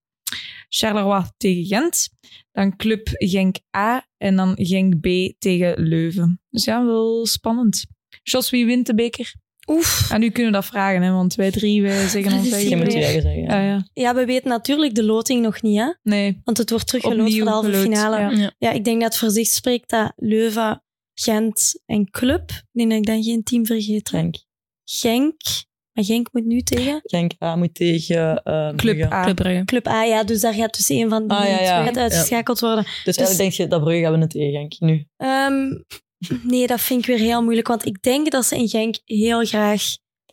S2: Charleroi tegen Gent. Dan Club Genk A. En dan Genk B tegen Leuven. Dus ja, wel spannend. Jos, wie wint de beker?
S3: Oef.
S2: Aan u kunnen we dat vragen, hè, want wij drie wij zeggen
S3: Dat
S2: ons
S3: is
S4: Je
S2: eigen.
S3: hier
S4: moet
S2: mening.
S4: je eigen zeggen. ja.
S2: Ah, ja.
S3: Ja, we weten natuurlijk de loting nog niet, hè?
S2: Nee,
S3: Want het wordt teruggeloot voor
S2: opnieuw
S3: de halve
S2: geloot.
S3: finale.
S2: Ja.
S3: Ja, ik denk dat het voor zich spreekt dat Leuven, Gent en Club. Ik denk dat ik dan geen team vergeet. hè.
S4: Genk.
S3: Genk. Maar Genk moet nu tegen.
S4: Genk A ah, moet tegen eh
S2: Club
S4: Brugge.
S2: A.
S1: Club Brugge.
S3: Club A, ja, dus daar gaat dus een van die
S4: Ah, ja, ja.
S3: twee gaat uitgeschakeld worden.
S4: Dus eigenlijk denk je dat Brugge gaan winnen tegen Genk nu.
S3: Ehm, nee, dat vind ik weer heel moeilijk. Want ik denk dat ze in Genk heel graag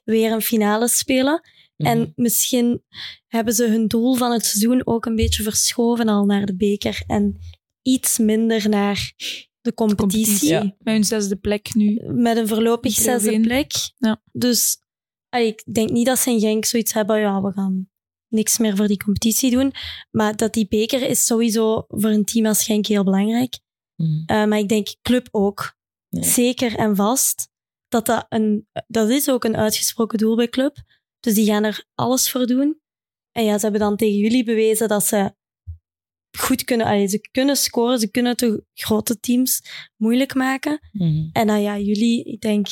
S3: weer een finale spelen.
S4: Mhm.
S3: En misschien hebben ze hun doel van het seizoen ook een beetje verschoven al naar de beker. En iets minder naar de competitie.
S2: competitie.
S4: Ja.
S2: Met hun zesde plek nu.
S3: Met een voorlopig
S2: Play-in.
S3: zesde plek.
S2: Ja.
S3: Dus ah, ik denk niet dat ze in Genk zoiets hebben. Ja, we gaan niks meer voor die competitie doen. Maar dat die beker is sowieso voor een team als Genk heel belangrijk.
S4: Mhm.
S3: Eh, maar ik denk club ook.
S4: Ja.
S3: Zeker en vast. Dat, dat, een, dat is ook een uitgesproken doel bij club. Dus die gaan er alles voor doen. En ja, ze hebben dan tegen jullie bewezen dat ze goed kunnen. allee, ze kunnen scoren, ze kunnen de grote teams moeilijk maken.
S4: Mhm.
S3: En nou ja, jullie, ik denk,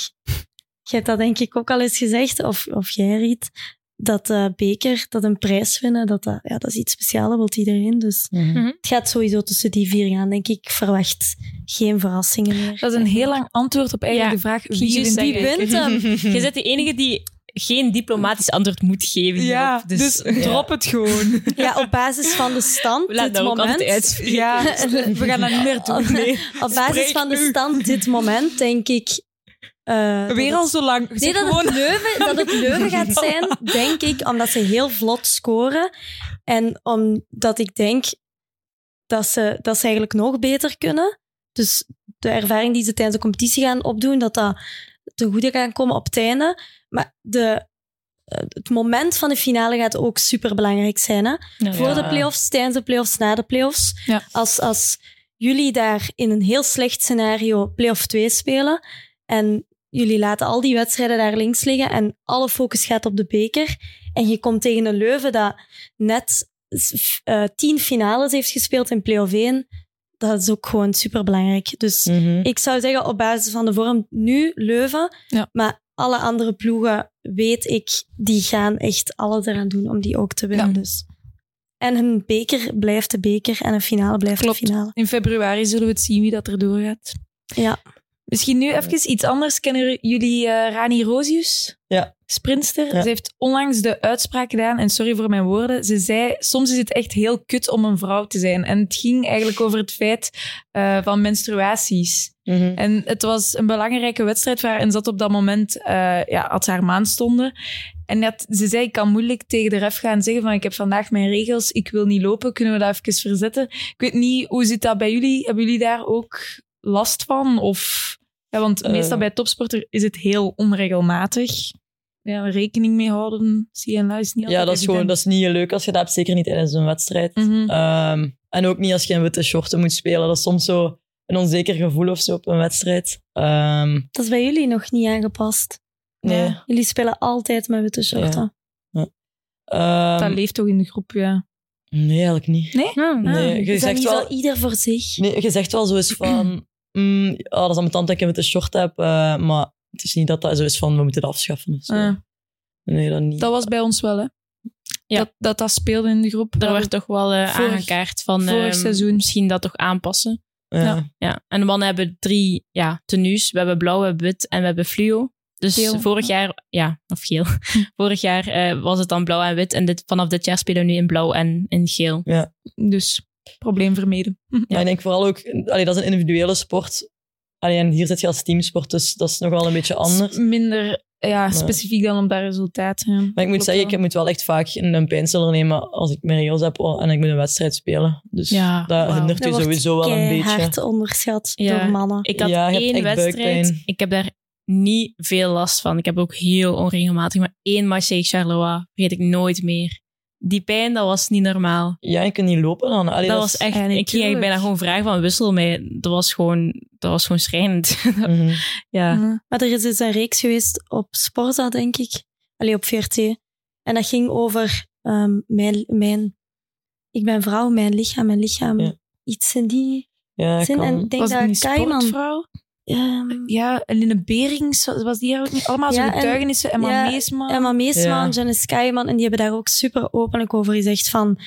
S3: je hebt dat denk ik ook al eens gezegd, of, of jij Riet, dat eh, beker, dat een prijs winnen, dat, dat, ja, dat is iets speciaals, dat wil iedereen. Dus
S4: Mhm.
S3: het gaat sowieso tussen die vier gaan, denk ik. Ik verwacht geen verrassingen meer.
S2: Dat is een heel lang antwoord op eigenlijk de vraag
S1: ging
S2: wie
S1: juist
S2: wint
S1: zeggen.
S2: die ehm,
S1: Wie wint hem? Je bent de enige die geen diplomatisch antwoord moet geven.
S2: Ja,
S1: hierop.
S2: dus, drop het gewoon.
S3: Ja, op basis van de stand
S1: we laten
S3: dit
S1: dat ook
S3: moment.
S1: altijd uitspreken.
S2: Ja, we gaan dat niet meer doen. Nee.
S3: Op basis
S2: Spreek
S3: van de
S2: nu.
S3: stand dit moment, denk ik... eh, dat
S2: Weer
S3: het-
S2: al zo lang.
S3: Nee,
S2: Zeg
S3: dat
S2: gewoon
S3: het, Leuven, dat het Leuven gaat zijn, denk ik, omdat ze heel vlot scoren. En omdat ik denk dat ze, dat ze eigenlijk nog beter kunnen. Dus de ervaring die ze tijdens de competitie gaan opdoen, dat dat ten goede kan komen op het einde. Maar de, eh, het moment van de finale gaat ook superbelangrijk zijn. Hè?
S1: Ja.
S3: Voor de
S4: Ja.
S3: playoffs, tijdens de playoffs, na de playoffs.
S2: Ja.
S3: Als, als jullie daar in een heel slecht scenario playoff 2 spelen en jullie laten al die wedstrijden daar links liggen en alle focus gaat op de beker en je komt tegen een Leuven dat net s- eh, tien finales heeft gespeeld in playoff 1, dat is ook gewoon superbelangrijk. Dus
S4: Mhm.
S3: ik zou zeggen op basis van de vorm nu Leuven,
S2: Ja.
S3: maar alle andere ploegen weet ik, die gaan echt alles eraan doen om die ook te winnen.
S2: Ja.
S3: Dus. En een beker blijft de beker en een finale blijft
S2: Klopt.
S3: de finale.
S2: In februari zullen we het zien wie dat er doorgaat.
S3: Ja.
S2: Misschien nu even iets anders. Kennen jullie eh, Rani Rosius?
S4: Ja.
S2: Sprinster.
S4: Ja.
S2: Ze heeft onlangs de uitspraak gedaan, en sorry voor mijn woorden. Ze zei, soms is het echt heel kut om een vrouw te zijn. En het ging eigenlijk over het feit eh, van menstruaties.
S4: Mhm.
S2: En het was een belangrijke wedstrijd voor haar. En zat op dat moment, eh, ja, had ze haar maandstonden. En dat, ze zei, ik kan moeilijk tegen de ref gaan zeggen van, ik heb vandaag mijn regels, ik wil niet lopen. Kunnen we dat even verzetten? Ik weet niet, hoe zit dat bij jullie? Hebben jullie daar ook last van? Of, ja, want
S4: Eh.
S2: meestal bij topsporter is het heel onregelmatig. Ja, rekening mee houden, zie en luister niet
S4: Ja,
S2: altijd
S4: dat is gewoon
S2: evident.
S4: dat is niet leuk als je dat hebt, zeker niet tijdens een wedstrijd.
S2: Mhm.
S4: Ehm, en ook niet als je in witte shorten moet spelen. Dat is soms zo een onzeker gevoel of zo op een wedstrijd. Ehm,
S3: Dat is bij jullie nog niet aangepast.
S4: nee.
S2: Ja.
S3: Jullie spelen altijd met witte shorten.
S4: Ehm,
S2: dat leeft toch in de groep, ja.
S4: nee, eigenlijk niet.
S2: Ah.
S4: Nee, je
S3: Dus Is dat
S4: zegt
S3: niet
S4: wel,
S3: wel ieder voor zich?
S4: nee, je zegt wel zo eens van... mm, ah, dat is aan mijn tand dat ik een witte short heb. eh, maar het is niet dat dat zo is van, we moeten het afschaffen of zo.
S2: Eh,
S4: Nee, dat niet.
S2: dat was bij ons wel, hè.
S1: Ja.
S2: Dat, dat dat speelde in de groep.
S1: Er werd toch wel eh
S2: Vorig-
S1: aangekaart van
S2: vorig
S1: ehm,
S2: seizoen.
S1: misschien dat toch aanpassen.
S4: ja.
S2: ja.
S1: Ja. En de mannen hebben drie ja, tenues. We hebben blauw, we hebben wit en we hebben fluo. Dus
S2: Geel.
S1: vorig jaar, ja, of geel. vorig jaar eh, was het dan blauw en wit. En dit, vanaf dit jaar spelen we nu in blauw en in geel.
S2: Dus probleem vermeden.
S4: Maar ik denk vooral ook... Allee, dat is een individuele sport. Allee, en hier zit je als teamsport, dus dat is nog wel een beetje anders.
S2: S-
S3: mm,
S2: Minder ja, specifiek dan op dat resultaat. ja.
S4: Maar ik moet
S2: Klopt
S4: zeggen,
S2: wel.
S4: ik moet wel echt vaak een een pijnstiller nemen als ik mijn regels heb oh, en ik moet een wedstrijd spelen. Dus
S1: Ja,
S4: dat
S1: wauw.
S4: hindert
S3: Dat
S4: je
S3: wordt
S4: sowieso wel een beetje.
S3: Keihard onderschat
S1: Ja.
S3: door mannen.
S1: Ik had
S4: Ja, je hebt
S1: één
S4: echt
S1: wedstrijd.
S4: buikpijn.
S1: Ik heb daar niet veel last van. Ik heb ook heel onregelmatig. Maar één match tegen Charleroi vergeet ik nooit meer. Die pijn, dat was niet normaal.
S4: Ja, je kunt niet lopen dan. Allee,
S1: dat
S4: dat
S1: was
S4: is-
S1: echt... ik
S2: Ja,
S1: ging eigenlijk
S2: natuurlijk.
S1: bijna gewoon vragen van wissel mee. Dat was gewoon, dat was gewoon schrijnend.
S4: Mhm.
S1: ja.
S3: Maar er is dus een reeks geweest op Sporza, denk ik. Allee, op VRT. En dat ging over ehm, mijn, mijn... Ik ben vrouw, mijn lichaam, mijn lichaam.
S4: Ja.
S3: Iets in die
S4: Ja,
S3: zin.
S4: kan.
S3: En ik denk
S2: was het
S3: dat
S2: niet
S3: Kaiman...
S2: sportvrouw?
S3: ehm,
S2: Ja, en Linne Berings was- was die er ook niet. Allemaal
S3: Ja,
S2: zo'n
S3: en-
S2: getuigenissen. Emma
S3: ja,
S2: Meesman.
S3: Emma Meesman,
S4: Ja.
S3: Janice Kaiman, en die hebben daar ook super openlijk over gezegd van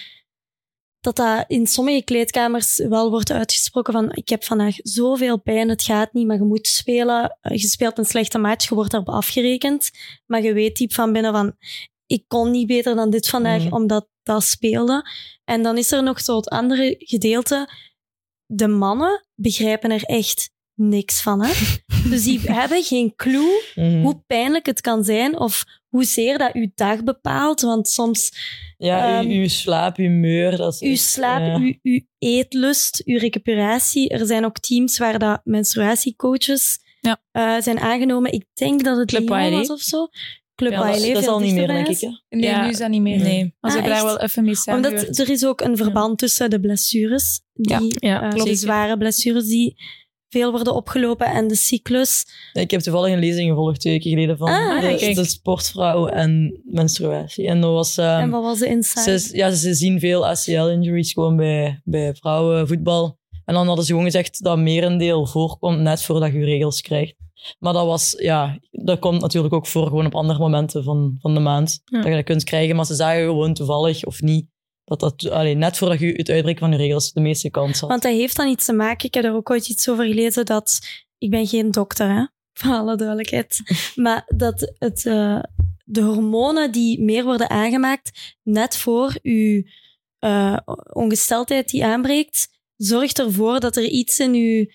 S3: dat dat in sommige kleedkamers wel wordt uitgesproken van ik heb vandaag zoveel pijn, het gaat niet, maar je moet spelen. Eh, Je speelt een slechte match, je wordt daarop afgerekend, maar je weet diep van binnen van ik kon niet beter dan dit vandaag,
S4: Mhm.
S3: omdat dat speelde. En dan is er nog zo het andere gedeelte. De mannen begrijpen er echt niks van. Hè? dus die hebben geen clue
S4: Mhm.
S3: hoe pijnlijk het kan zijn of hoezeer dat uw dag bepaalt. Want soms
S4: Ja,
S3: Ehm,
S4: uw, uw slaap, uw meur. Dat is
S3: uw
S4: echt-
S3: slaap,
S4: ja.
S3: uw, uw eetlust, uw recuperatie. Er zijn ook teams waar dat menstruatiecoaches
S2: Ja.
S3: eh, zijn aangenomen. Ik denk dat het
S1: Club
S3: Lyon
S1: YLE.
S3: was of zo. Club
S1: Ja, dat
S4: dat, is-
S3: YLE,
S4: dat is
S3: veel
S4: al niet meer,
S3: dichterbij
S4: denk ik.
S3: is.
S4: Hè?
S2: Nee,
S1: Ja.
S2: nu is dat niet meer.
S1: Nee.
S2: Als ik
S3: Ah,
S2: daar
S3: echt?
S2: wel even mee samen
S3: Omdat er is ook een verband tussen de blessures, die,
S1: Ja,
S3: eh,
S1: klopt.
S3: de
S4: dus
S3: zware blessures die veel worden opgelopen en de cyclus.
S4: Ik heb toevallig een lezing gevolgd twee weken geleden van
S3: Ah,
S4: de,
S1: kijk.
S4: de sportvrouw en menstruatie. En dat was... ehm,
S3: en wat was de insight?
S4: ze, ja, ze zien veel ACL-injuries gewoon bij, bij vrouwenvoetbal. En dan hadden ze gewoon gezegd dat merendeel voorkomt net voordat je regels krijgt. Maar dat was, ja, dat komt natuurlijk ook voor gewoon op andere momenten van, van de maand.
S1: Ja.
S4: Dat je dat kunt krijgen, maar ze zagen gewoon toevallig of niet. Dat dat, allee, net voordat je het uitbreken van je regels de meeste kans had.
S3: Want dat heeft dan iets te maken. Ik heb er ook ooit iets over gelezen dat. Ik ben geen dokter, hè? Voor alle duidelijkheid. Maar dat het, eh, de hormonen die meer worden aangemaakt net voor uw eh, ongesteldheid die aanbreekt, zorgt ervoor dat er iets in uw,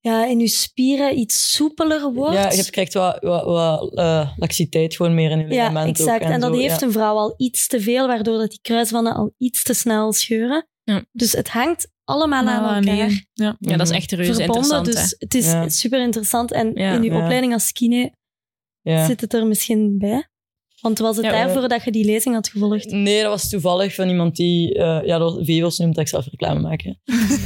S3: ja, in uw spieren iets soepeler wordt.
S4: Ja, je krijgt wat, wat, wat eh, laxiteit gewoon meer in je
S3: Ja,
S4: ligament
S3: exact.
S4: ook
S3: en dat
S4: zo,
S3: heeft
S4: ja.
S3: een vrouw al iets te veel, waardoor dat die kruisbanden al iets te snel scheuren.
S1: Ja.
S3: Dus het hangt allemaal
S4: Nou,
S3: aan elkaar.
S2: Ja.
S1: ja,
S4: Mhm.
S1: dat is echt reuze
S3: verbonden.
S1: interessant. hè.
S3: Dus het is
S4: Ja.
S3: super interessant. En
S1: Ja.
S3: in uw
S4: Ja.
S3: opleiding als kine
S4: Ja.
S3: zit het er misschien bij. Want was het
S1: Ja,
S3: daarvoor dat je die lezing had gevolgd?
S4: Nee, dat was toevallig van iemand die... eh ja, door Vevels noemt dat ik zelf reclame maken.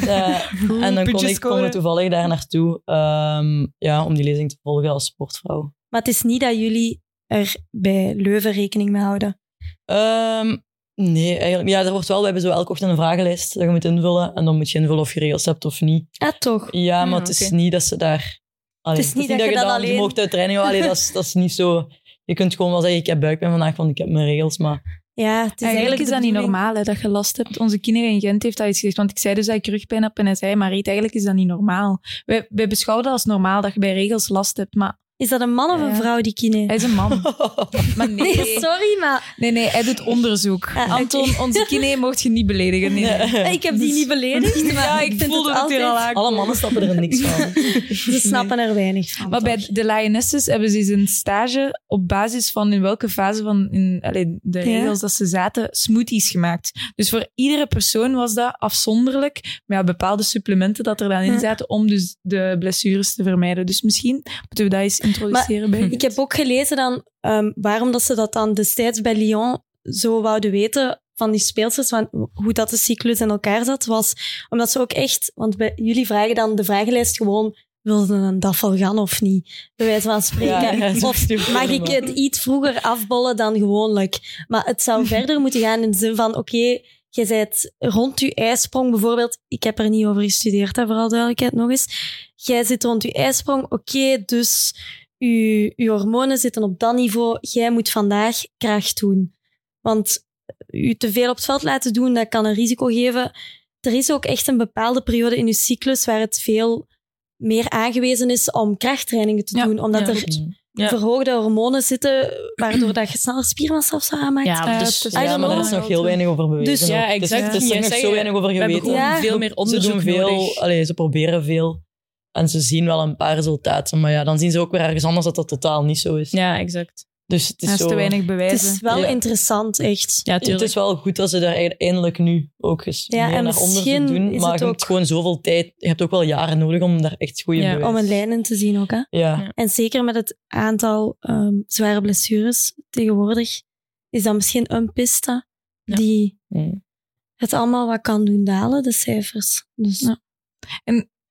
S4: en dan kon
S2: puntjes
S4: ik
S2: scoren.
S4: komen toevallig daar naartoe ehm, ja, om die lezing te volgen als sportvrouw.
S3: Maar het is niet dat jullie er bij Leuven rekening mee houden.
S4: Ehm, nee, eigenlijk... Ja, er wordt wel... We hebben zo elke ochtend een vragenlijst dat je moet invullen. En dan moet je invullen of je regels hebt of niet.
S3: Ah, toch?
S4: Ja, maar
S1: Ja,
S4: het is
S1: oké.
S4: niet dat ze daar... Allee,
S3: Het is niet dat je dat
S4: dan
S3: alleen-
S4: Je mocht uit training halen. Allee, dat, is, dat is niet zo... Je kunt gewoon wel zeggen, ik heb buikpijn vandaag, want ik heb mijn regels. Maar
S3: Ja, het is eigenlijk,
S2: eigenlijk is
S3: de
S2: dat niet
S3: bedoeling-
S2: normaal hè, dat je last hebt. Onze kinderen in Gent heeft dat iets gezegd. Want ik zei dus dat ik rugpijn heb en hij zei, maar Riet, eigenlijk is dat niet normaal. Wij, wij beschouwen dat als normaal dat je bij regels last hebt. Maar
S3: Is dat een man of een
S2: Ja.
S3: vrouw die kine?
S2: hij is een man. Maar nee,
S3: Nee, sorry, maar
S2: nee, nee, hij doet onderzoek.
S3: Ah, oké.
S2: Anton, onze kine mocht je niet beledigen. Nee, nee.
S3: ik heb die
S2: Dus-
S3: niet beledigd. Maar
S2: Ja,
S3: ik,
S2: ik
S3: vind
S2: voelde
S3: het
S2: het
S3: altijd...
S2: hier al aan.
S4: alle mannen snappen er niks van.
S3: Ze snappen er weinig van.
S2: Maar bij de Lionesses hebben ze eens een stage op basis van in welke fase van in, allee, de regels dat ze zaten, smoothies gemaakt. Dus voor iedere persoon was dat afzonderlijk, maar ja, bepaalde supplementen dat er dan in
S3: Ja.
S2: zaten om dus de blessures te vermijden. Dus misschien moeten we dat eens introduceren bij
S3: hm, Ik heb ook gelezen dan ehm, waarom dat ze dat dan destijds bij Lyon zo wouden weten van die speelsters, van hoe dat de cyclus in elkaar zat, was omdat ze ook echt, want bij, jullie vragen dan de vragenlijst gewoon, wilden een dafel gaan of niet? Bij wijze van
S4: Ja,
S3: spreken.
S4: ja, zo
S3: of
S4: stupid
S3: mag ik
S4: allemaal.
S3: het iets vroeger afbollen dan gewoonlijk? Maar het zou verder moeten gaan in de zin van, oké, je bent rond je ijsprong bijvoorbeeld. Ik heb er niet over gestudeerd, hè, voor alle duidelijkheid nog eens. Jij zit rond je ijsprong. Oké, dus je, je hormonen zitten op dat niveau. Jij moet vandaag kracht doen. Want je te veel op het veld laten doen, dat kan een risico geven. Er is ook echt een bepaalde periode in je cyclus waar het veel meer aangewezen is om krachttrainingen te
S2: Ja,
S3: doen. Omdat
S1: ja,
S3: er
S1: Ja.
S3: verhoogde hormonen zitten, waardoor dat je sneller spiermassa of zo aanmaakt.
S1: Ja,
S2: Eh,
S1: dus
S2: tussen-
S1: ja,
S4: Ja,
S3: don't
S4: maar daar
S3: know.
S4: is nog heel weinig over bewezen.
S3: Dus-
S4: ook.
S1: Ja,
S4: Het is-
S1: exact.
S4: Het is,
S1: Ja,
S4: nog
S1: zeggen-
S4: zo weinig over
S1: we hebben
S4: geweten.
S1: gewoon
S3: Ja.
S1: veel meer
S4: Ze
S1: onderzoek
S4: doen veel,
S1: nodig.
S4: allee, ze proberen veel. En ze zien wel een paar resultaten. Maar ja, dan zien ze ook weer ergens anders dat dat totaal niet zo is.
S1: Ja, exact.
S4: Dus het is,
S2: dat is
S4: zo,
S2: te weinig
S3: Het
S2: bewijzen.
S3: is wel
S4: Ja.
S3: interessant, echt.
S1: Ja,
S4: Het
S1: tuurlijk.
S4: is wel goed dat ze daar eind- eindelijk nu ook eens
S3: Ja,
S4: meer
S3: en
S4: naar onderzoek
S3: misschien
S4: doen.
S3: is
S4: Maar
S3: het
S4: je
S3: ook-
S4: hebt gewoon zoveel tijd. Je hebt ook wel jaren nodig om daar echt goede
S1: Ja.
S4: bewijs-
S3: Om een lijn in te zien ook, hè.
S4: Ja.
S3: En zeker met het aantal ehm, zware blessures tegenwoordig, is dat misschien een piste
S1: Ja.
S3: die
S4: Mm.
S3: het allemaal wat kan doen dalen, de cijfers. Dus
S2: Ja.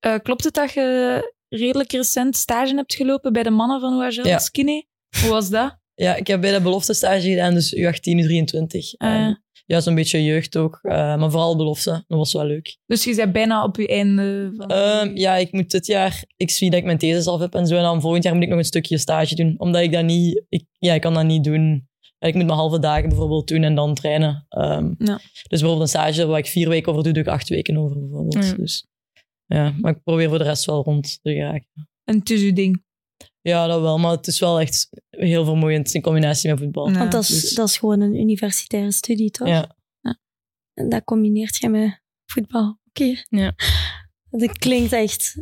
S2: Eh, klopt het dat je redelijk recent stage hebt gelopen bij de mannen van Oagel
S4: Ja.
S2: Skinny? Hoe was dat?
S4: Ja, ik heb bij de belofte stage gedaan, dus U18, U23.
S2: Ah, ja.
S4: Eh, ja, zo'n beetje jeugd ook, eh, maar vooral belofte. Dat was wel leuk.
S2: Dus je bent bijna op je einde van...
S4: Ehm, ja, ik moet dit jaar, ik zie dat ik mijn thesis af heb en zo. En dan volgend jaar moet ik nog een stukje stage doen. Omdat ik dat niet, ik, ja, ik kan dat niet doen. Ja, Ik moet mijn halve dagen bijvoorbeeld doen en dan trainen. Ehm,
S2: Ja.
S4: Dus bijvoorbeeld een stage waar ik vier weken over doe, doe ik acht weken over bijvoorbeeld.
S1: Ja.
S4: Dus ja, maar ik probeer voor de rest wel rond te geraken.
S2: En het is uw ding.
S4: Ja, dat wel, maar het is wel echt heel vermoeiend in combinatie met voetbal.
S2: Ja.
S3: Want dat is,
S4: dus-
S3: dat is gewoon een universitaire studie, toch?
S4: Ja.
S3: En dat combineert je met voetbal. Oké.
S1: Ja.
S3: Dat klinkt echt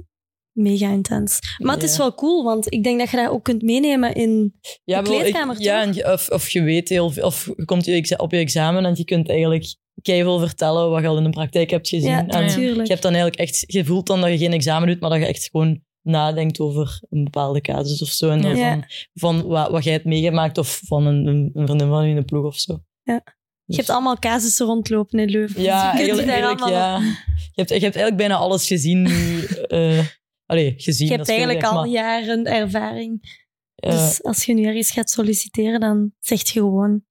S3: mega intens. Maar het is
S4: Ja.
S3: wel cool, want ik denk dat je dat ook kunt meenemen in...
S4: Ja,
S3: De
S4: wel, ik-
S3: kleedkamer,
S4: Ja,
S3: toch?
S4: en je- of, of je weet heel veel, of je komt je exa- op je examen en je kunt eigenlijk keihard vertellen wat je al in de praktijk hebt gezien.
S3: Ja,
S4: en
S3: natuurlijk.
S4: je hebt dan eigenlijk echt, je voelt dan dat je geen examen doet, maar dat je echt gewoon nadenkt over een bepaalde casus of zo. En dan
S3: Ja.
S4: van, van wat, wat jij hebt meegemaakt of van een, een, een vriendin van je in de ploeg of zo.
S3: Ja. Je
S4: Dus-
S3: hebt allemaal casussen rondlopen in Leuven.
S4: ja,
S3: dus je kunt je
S4: eigenlijk,
S3: daar
S4: eigenlijk,
S3: allemaal op-
S4: ja. Je, hebt, je hebt eigenlijk bijna alles gezien. nu, eh allee, gezien.
S3: Je
S4: dat
S3: hebt
S4: is veel
S3: eigenlijk
S4: gezegd,
S3: al
S4: maar,
S3: jaren ervaring.
S4: eh,
S3: Dus als je nu ergens gaat solliciteren, dan zeg je gewoon...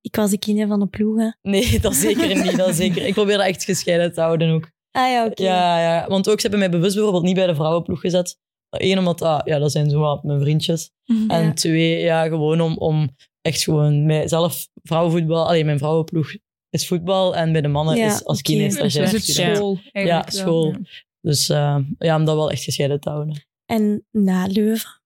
S3: Ik was de kine van de ploegen.
S4: nee, dat zeker niet. Dat zeker. Ik probeer dat echt gescheiden te houden ook.
S3: Ah ja, oké.
S4: Ja, ja, want ook ze hebben mij bewust bijvoorbeeld niet bij de vrouwenploeg gezet. Eén, omdat dat, ja, dat zijn zo wat mijn vriendjes. En
S3: Ja.
S4: twee, ja, gewoon om, om echt gewoon mijzelf, vrouwenvoetbal, alleen mijn vrouwenploeg is voetbal en bij de mannen
S3: Ja,
S4: is als
S3: oké.
S4: kine is
S2: Dus dat
S4: stagiair.
S2: is het
S1: student.
S2: school.
S4: Ja,
S2: eigenlijk wel.
S4: school. Dus eh, ja, om dat wel echt gescheiden te houden.
S3: En na Leuven,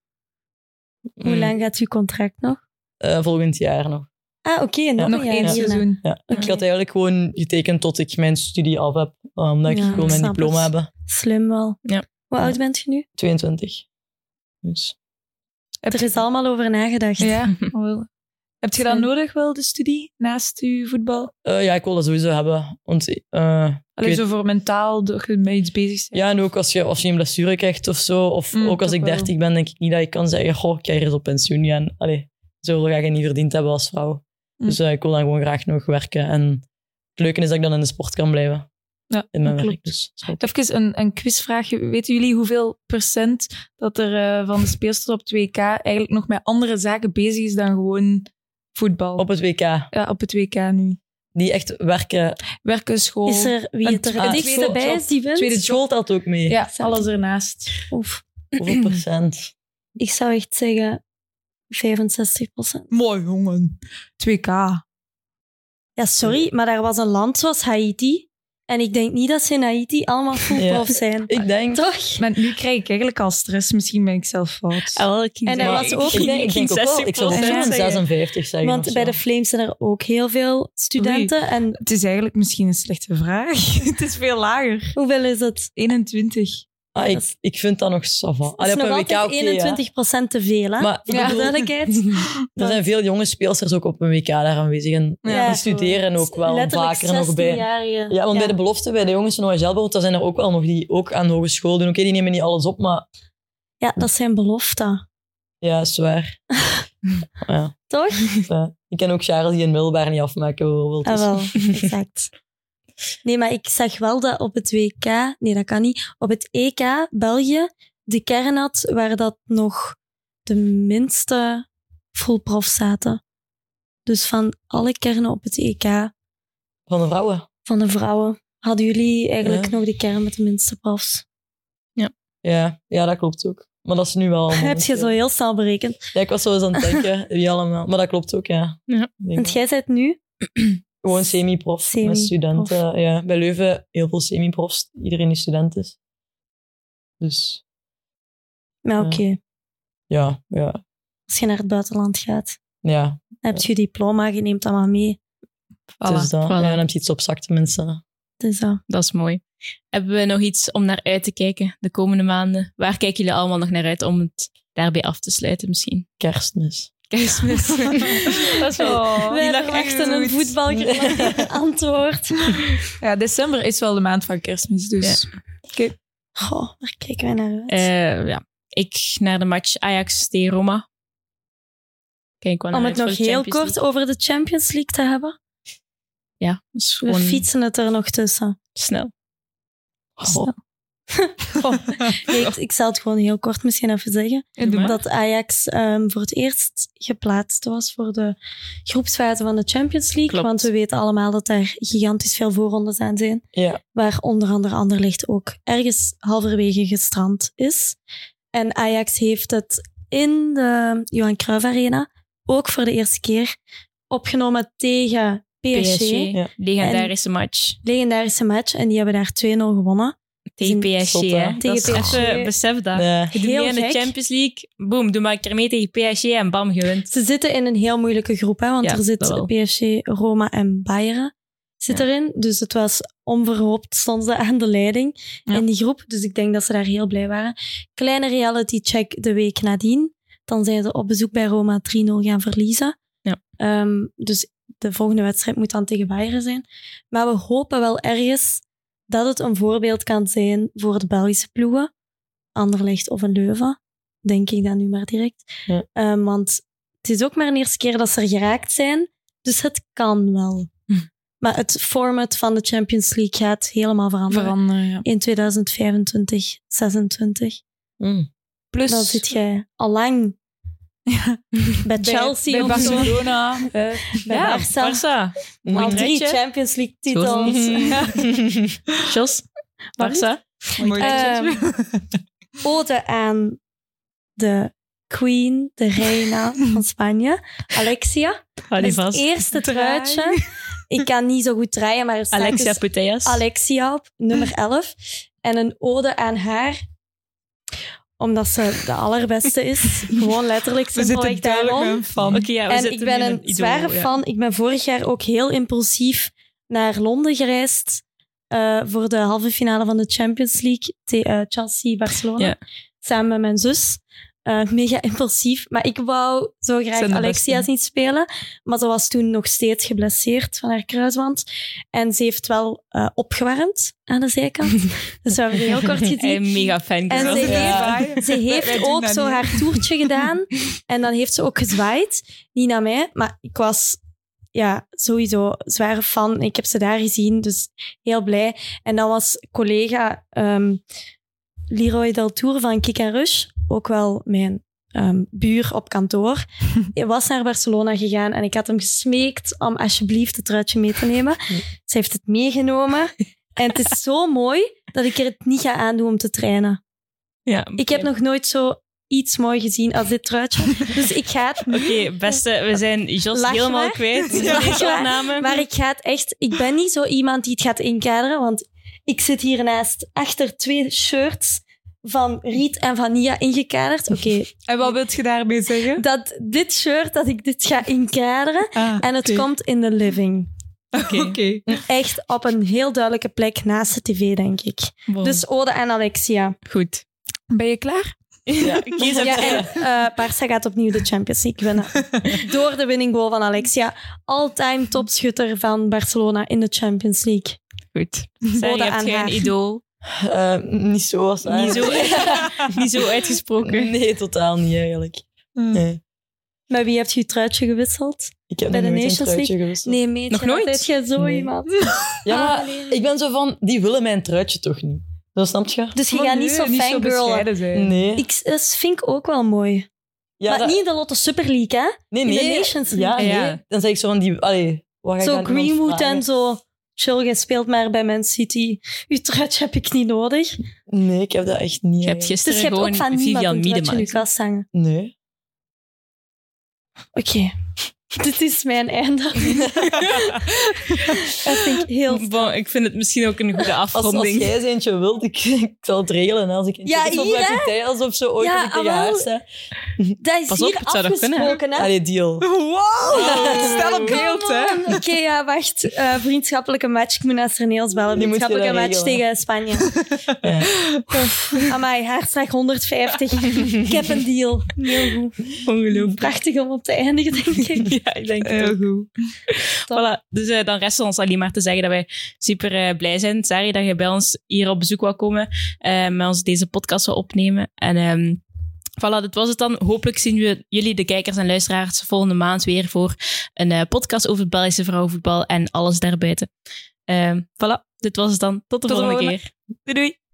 S3: hoe
S4: Mm,
S3: lang gaat uw contract nog?
S4: eh, volgend jaar nog.
S3: Ah, oké, nog
S2: Nog
S3: een jaar
S2: één
S3: hierna.
S2: seizoen.
S4: Ja. Ik had eigenlijk gewoon getekend tot ik mijn studie af heb, eh, omdat ik
S3: Ja,
S4: gewoon
S3: ik
S4: mijn
S3: snap
S4: diploma
S3: het.
S4: heb.
S3: Slim wel.
S1: Ja.
S3: Hoe
S4: Ja.
S3: oud bent je nu?
S4: 22. Dus.
S2: Heb
S3: Er
S2: je-
S3: is allemaal over nagedacht.
S2: Ja, wel. Heb je dat
S3: Slim.
S2: nodig wel, de studie, naast je voetbal?
S4: Eh, ja, ik wil dat sowieso hebben. Want eh,
S2: Alleen
S4: weet-
S2: zo voor mentaal, dat je met iets bezig bent.
S4: Ja, en ook als je, als je een blessure krijgt of zo. Of
S2: Mm,
S4: ook als
S2: toch
S4: ik
S2: wel.
S4: 30 ben, denk ik niet dat ik kan zeggen: Goh, ik ga hier eens op pensioen gaan. Allee, zo ga je niet verdiend hebben als vrouw.
S2: Mm.
S4: Dus eh, ik wil dan gewoon graag nog werken. En het leuke is dat ik dan in de sport kan blijven.
S2: Ja,
S4: in mijn
S2: dat
S4: werk.
S2: klopt.
S4: Dus, zo.
S2: Even een, een quizvraagje. Weten jullie hoeveel procent dat er eh, van de speelsters op het WK eigenlijk nog met andere zaken bezig is dan gewoon voetbal?
S4: Op het WK.
S2: ja, op het WK nu.
S4: Die echt werken.
S2: Werken, school,
S3: Is er wie het er
S2: Ah,
S3: het
S2: tweede
S3: dichtst bij
S2: job.
S3: is, die wint?
S4: Tweede school telt ook mee.
S2: ja, alles ernaast.
S3: Oef.
S4: Hoeveel procent?
S3: Ik zou echt zeggen 65 procent.
S2: Mooi, jongen. 2K.
S3: Ja, sorry, maar daar was een land zoals Haiti. En ik denk niet dat ze in Haiti allemaal voetprof zijn.
S4: Ik denk.
S3: Toch?
S2: Maar nu krijg ik eigenlijk al stress. Misschien ben ik zelf fout.
S1: Ah, wel, ik
S3: En er
S4: maar
S3: was ook-
S4: ik denk, ik denk ook wel, ik
S1: 60%
S4: zou ook wel een
S1: zeggen.
S4: 56 zeggen.
S3: Want
S4: of
S3: bij
S4: zo.
S3: de Flames zijn er ook heel veel studenten. En
S2: Het is eigenlijk misschien een slechte vraag. het is veel lager.
S3: hoeveel is het?
S2: 21.
S4: Ah, ik, ik vind dat nog sava.
S3: Het is
S4: Oh, Allee, op
S3: nog
S4: een WK
S3: altijd
S4: oké, ja.
S3: 21 procent te veel, hè?
S4: Maar ik
S2: Ja.
S4: bedoel,
S3: Duidelijkheid.
S4: Er zijn veel jonge speelsters ook op een WK daar aanwezig. En
S2: Ja,
S4: die studeren ook wel
S3: Letterlijk
S4: vaker nog bij.
S3: 16-jarigen.
S4: Ja, want bij de belofte, bij de jongens van OHL bijvoorbeeld, daar zijn er ook wel nog die ook aan de hogeschool doen. Oké, die nemen niet alles op, maar
S3: ja, dat zijn beloften.
S4: ja, zwaar. ja,
S3: Toch?
S4: ja. Ik ken ook Charles die in middelbaar niet afmaken bijvoorbeeld.
S3: Ah,
S4: Dus-
S3: wel, exact. Nee, maar ik zag wel dat op het WK, nee, dat kan niet, op het EK België de kern had waar dat nog de minste fullprof zaten. Dus van alle kernen op het EK
S4: Van de vrouwen.
S3: van de vrouwen hadden jullie eigenlijk
S4: Ja.
S3: nog de kern met de minste profs.
S4: Ja, ja, dat klopt ook. Maar dat is nu wel...
S3: Heb je zo heel snel berekend.
S4: Ja, ik was zo eens aan het denken, wie allemaal. Maar dat klopt ook, ja.
S1: Ja.
S4: Ik denk
S3: Want
S4: wel.
S3: jij bent nu
S4: Gewoon semi-prof met
S3: Semi-prof.
S4: studenten. Ja. Bij Leuven heel veel semi-profs. Iedereen die student is. Dus
S3: Maar
S4: Ja.
S3: oké,
S4: ja, ja,
S3: als je naar het buitenland gaat,
S4: ja.
S3: heb je je diploma, je neemt dat maar mee.
S4: Het is
S2: Voilà.
S4: dat.
S1: voilà.
S4: Ja, dan heb je iets op zak tenminste.
S3: Dus dat.
S1: Dat is mooi. Hebben we nog iets om naar uit te kijken de komende maanden? Waar kijken jullie allemaal nog naar uit om het daarbij af te sluiten misschien?
S4: Kerstmis.
S1: Kerstmis.
S2: Dat is wel...
S3: We
S2: die lag
S3: hebben Oh, echt
S2: goed.
S3: een voetbalgerelateerd antwoord.
S2: Ja, december is wel de maand van kerstmis, dus...
S3: Goh, waar kijken wij naar uit?
S1: Eh, ja. Ik naar de match Ajax tegen Roma. Kijk, wel naar
S3: Om
S1: uit
S3: het
S1: voor
S3: nog
S1: nou, de
S3: heel
S1: Champions
S3: kort over de Champions League te hebben.
S1: ja, dat is
S3: We
S1: gewoon
S3: fietsen Oh, het er nog tussen.
S1: snel.
S3: Snel. Nee, ik, ik zal het gewoon heel kort misschien even zeggen.
S2: Doe maar.
S3: Dat Ajax ehm, voor het eerst geplaatst was voor de groepsfase van de Champions League.
S4: Klopt.
S3: Want we weten allemaal dat daar gigantisch veel voorrondes aan zijn.
S4: Ja.
S3: Waar onder andere Anderlicht ook ergens halverwege gestrand is. En Ajax heeft het in de Johan Cruijff Arena ook voor de eerste keer opgenomen tegen PSG.
S1: PSG,
S4: Ja.
S1: legendarische match.
S3: Legendarische match. En die hebben daar 2-0 gewonnen.
S1: Tegen
S3: Tegen
S1: PSG,
S4: Zot, hè?
S1: hè.
S3: Tegen
S1: Dat is
S3: PSG.
S1: Even besef dat.
S4: Nee.
S1: Je doet
S3: Heel
S1: mee in de
S3: gek.
S1: Champions League. Boom, doe maar een keer mee tegen PSG en bam, gewint.
S3: Ze zitten in een heel moeilijke groep, hè, want
S1: Ja,
S3: er
S1: dat
S3: zit
S1: wel.
S3: PSG, Roma en Bayern zit
S1: Ja.
S3: erin. Dus het was onverhoopt stonden ze aan de leiding
S2: Ja.
S3: in die groep. Dus ik denk dat ze daar heel blij waren. Kleine reality check de week nadien. Dan zijn ze op bezoek bij Roma 3-0 gaan verliezen.
S1: Ja.
S3: Ehm, dus de volgende wedstrijd moet dan tegen Bayern zijn. Maar we hopen wel ergens dat het een voorbeeld kan zijn voor de Belgische ploegen. Anderlecht of een Leuven, denk ik dan nu maar direct.
S4: Ja.
S3: Ehm, want het is ook maar de eerste keer dat ze er geraakt zijn. Dus het kan wel.
S1: Hm.
S3: Maar het format van de Champions League gaat helemaal veranderen.
S2: Veranderen, ja.
S3: In 2025, 26.
S4: Mm.
S1: Dus
S2: Plus
S3: Dan zit jij al lang bij Chelsea
S2: bij
S3: of zo.
S2: Barcelona. eh,
S3: Bij
S1: ja,
S3: Barca.
S1: Barca. Mooi
S3: Al drie
S1: rijtje.
S3: Champions League titels.
S1: Jos, Barca.
S4: Mooi
S3: Ehm, ode aan de queen, de reina van Spanje, Alexia.
S1: Hou Ah, die
S3: Dat is
S1: vast.
S3: het eerste
S2: Draai.
S3: truitje. Ik kan niet zo goed draaien, maar er staat
S1: Alexia
S3: dus
S1: Putellas.
S3: Alexia op nummer 11. En een ode aan haar omdat ze de allerbeste is. Gewoon letterlijk
S2: we zitten
S3: simpelweg
S2: duidelijk
S3: daarom.
S2: met een fan.
S1: Oké, ja, we
S3: En
S1: zitten
S3: ik ben
S1: nu in
S3: een
S1: idool,
S3: zware
S1: ja.
S3: fan. Ik ben vorig jaar ook heel impulsief naar Londen gereisd eh, voor de halve finale van de Champions League te- eh, Chelsea-Barcelona.
S1: Ja.
S3: Samen met mijn zus. Eh, mega impulsief. Maar ik wou zo
S2: Zijn
S3: graag
S2: de
S3: Alexia
S2: beste.
S3: zien spelen. Maar ze was toen nog steeds geblesseerd van haar kruisband. En ze heeft wel eh, opgewarmd aan de zijkant. dus we hebben heel kort gezien.
S1: Hij mega fan.
S3: En ze
S1: geworden.
S2: Ja.
S3: heeft, ze
S2: Wij
S3: heeft
S2: doen
S3: ook
S2: dat
S3: zo
S2: niet.
S3: haar toertje gedaan. En dan heeft ze ook gezwaaid. Niet naar mij, maar ik was ja, sowieso zware fan. Ik heb ze daar gezien, dus heel blij. En dan was collega ehm, Leroy Del Tour van Kick and Rush, ook wel mijn ehm, buur op kantoor, Hij was naar Barcelona gegaan en ik had hem gesmeekt om alsjeblieft het truitje mee te nemen. Ze heeft het meegenomen. En het is zo mooi dat ik er het niet ga aandoen om te trainen.
S1: Ja,
S3: Ik heb nog nooit zo iets mooi gezien als dit truitje. Dus ik ga het
S1: Oké, beste, we zijn Jos
S3: Lach
S1: helemaal
S3: maar.
S1: kwijt. in
S3: Lach
S1: Deze
S3: maar.
S1: opname.
S3: Maar ik ga het echt... Ik ben niet zo iemand die het gaat inkaderen, want ik zit hiernaast achter twee shirts van Riet en Vania ingekaderd. Oké,
S2: En wat wilt je daarmee zeggen?
S3: dat dit shirt, dat ik dit ga inkaderen.
S2: Ah,
S3: En het
S2: oké.
S3: komt in de living.
S2: Oké.
S3: Echt op een heel duidelijke plek naast de tv, denk ik.
S1: Wow.
S3: Dus Ode en Alexia.
S1: goed.
S2: Ben je klaar?
S4: Ja.
S1: Kies
S3: Ja,
S1: ja,
S3: en eh Barca gaat opnieuw de Champions League winnen. Door de winning goal van Alexia. All-time topschutter van Barcelona in de Champions League.
S1: Goed. Sarah,
S3: Ode
S1: je hebt
S3: aan
S1: geen
S3: haar.
S1: idool.
S4: Eh, niet zo als
S1: Niet zo,
S4: eigenlijk.
S1: niet zo uitgesproken.
S4: Nee, totaal niet eigenlijk.
S3: Hmm.
S4: Nee.
S3: Met wie heb je je truitje gewisseld?
S4: Ik heb
S3: Bij
S4: nog
S3: de
S4: nooit een
S3: Nations
S4: truitje gewisseld.
S3: Nee, meetje,
S1: Nog nooit?
S3: Weet jij zo
S4: Nee.
S3: iemand?
S4: Ja, maar
S3: Ah, nee.
S4: ik ben zo van, die willen mijn truitje toch niet. Dat snap je?
S3: Dus je
S2: Oh,
S3: gaat niet zo fangirlen.
S2: zijn.
S4: Nee.
S3: Ik eh, vind ik ook wel mooi.
S4: ja,
S3: maar
S4: dat-
S3: niet in de Lotto Super League, hè?
S4: nee,
S3: in de
S4: nee.
S3: Nations
S4: ja,
S1: League. Ja.
S4: nee. Dan zeg ik zo van, die, allee, wat ga ik
S3: Zo
S4: aan iemand
S3: Greenwood
S4: vragen?
S3: en zo. Chill, jij speelt maar bij Man City. Je truitje heb ik niet nodig.
S4: Nee, ik heb dat echt niet.
S1: Je hebt
S4: eigenlijk.
S1: gisteren
S3: Dus je hebt
S1: gewoon
S3: ook van niemand
S1: Vivian
S3: een truitje in je
S1: Miedema.
S3: kast hangen.
S4: Nee.
S3: Oké. Dit is mijn einde. dat vind ik heel
S1: Bon, ik vind het misschien ook een goede
S4: Als, als
S1: afronding.
S4: jij eens eentje wilt, ik, ik zal het regelen. Als ik eentje
S3: Ja,
S4: wissel,
S3: hier,
S4: maak ik tijd alsof ze ooit
S3: Ja,
S4: als ik tegen
S3: ah, wel.
S4: haar sta.
S3: Dat is
S1: Pas op,
S3: hier
S1: het zou dat kunnen, hè?
S3: afgesproken, hè? Oh.
S4: Allee, deal.
S2: Wow! Stel op beeld, hè?
S3: Oké, ja, wacht. Eh, vriendschappelijke match. Ik moet naar Serneels bellen.
S4: Die moet je dan
S3: Vriendschappelijke match
S4: regelen.
S3: tegen Spanje.
S4: Ja.
S3: Amai, haarslag 150. Ik heb een deal. Heel goed.
S1: Ongelooflijk.
S3: Prachtig om op te eindigen, denk ik. Eh,
S1: Ja, ik denk het ook.
S2: Heel goed.
S3: Top.
S1: Voilà. Dus eh, dan rest ons alleen maar te zeggen dat wij super eh, blij zijn, Sari, dat je bij ons hier op bezoek wou komen, eh, met ons deze podcast wil opnemen. En ehm, Voilà, dat was het dan. Hopelijk zien we jullie, de kijkers en luisteraars, volgende maand weer voor een eh, podcast over het Belgische vrouwenvoetbal en alles daarbuiten. Ehm voilà, dit was het dan. Tot de
S2: Tot de
S1: volgende
S2: volgende.
S1: keer.
S2: Doei doei.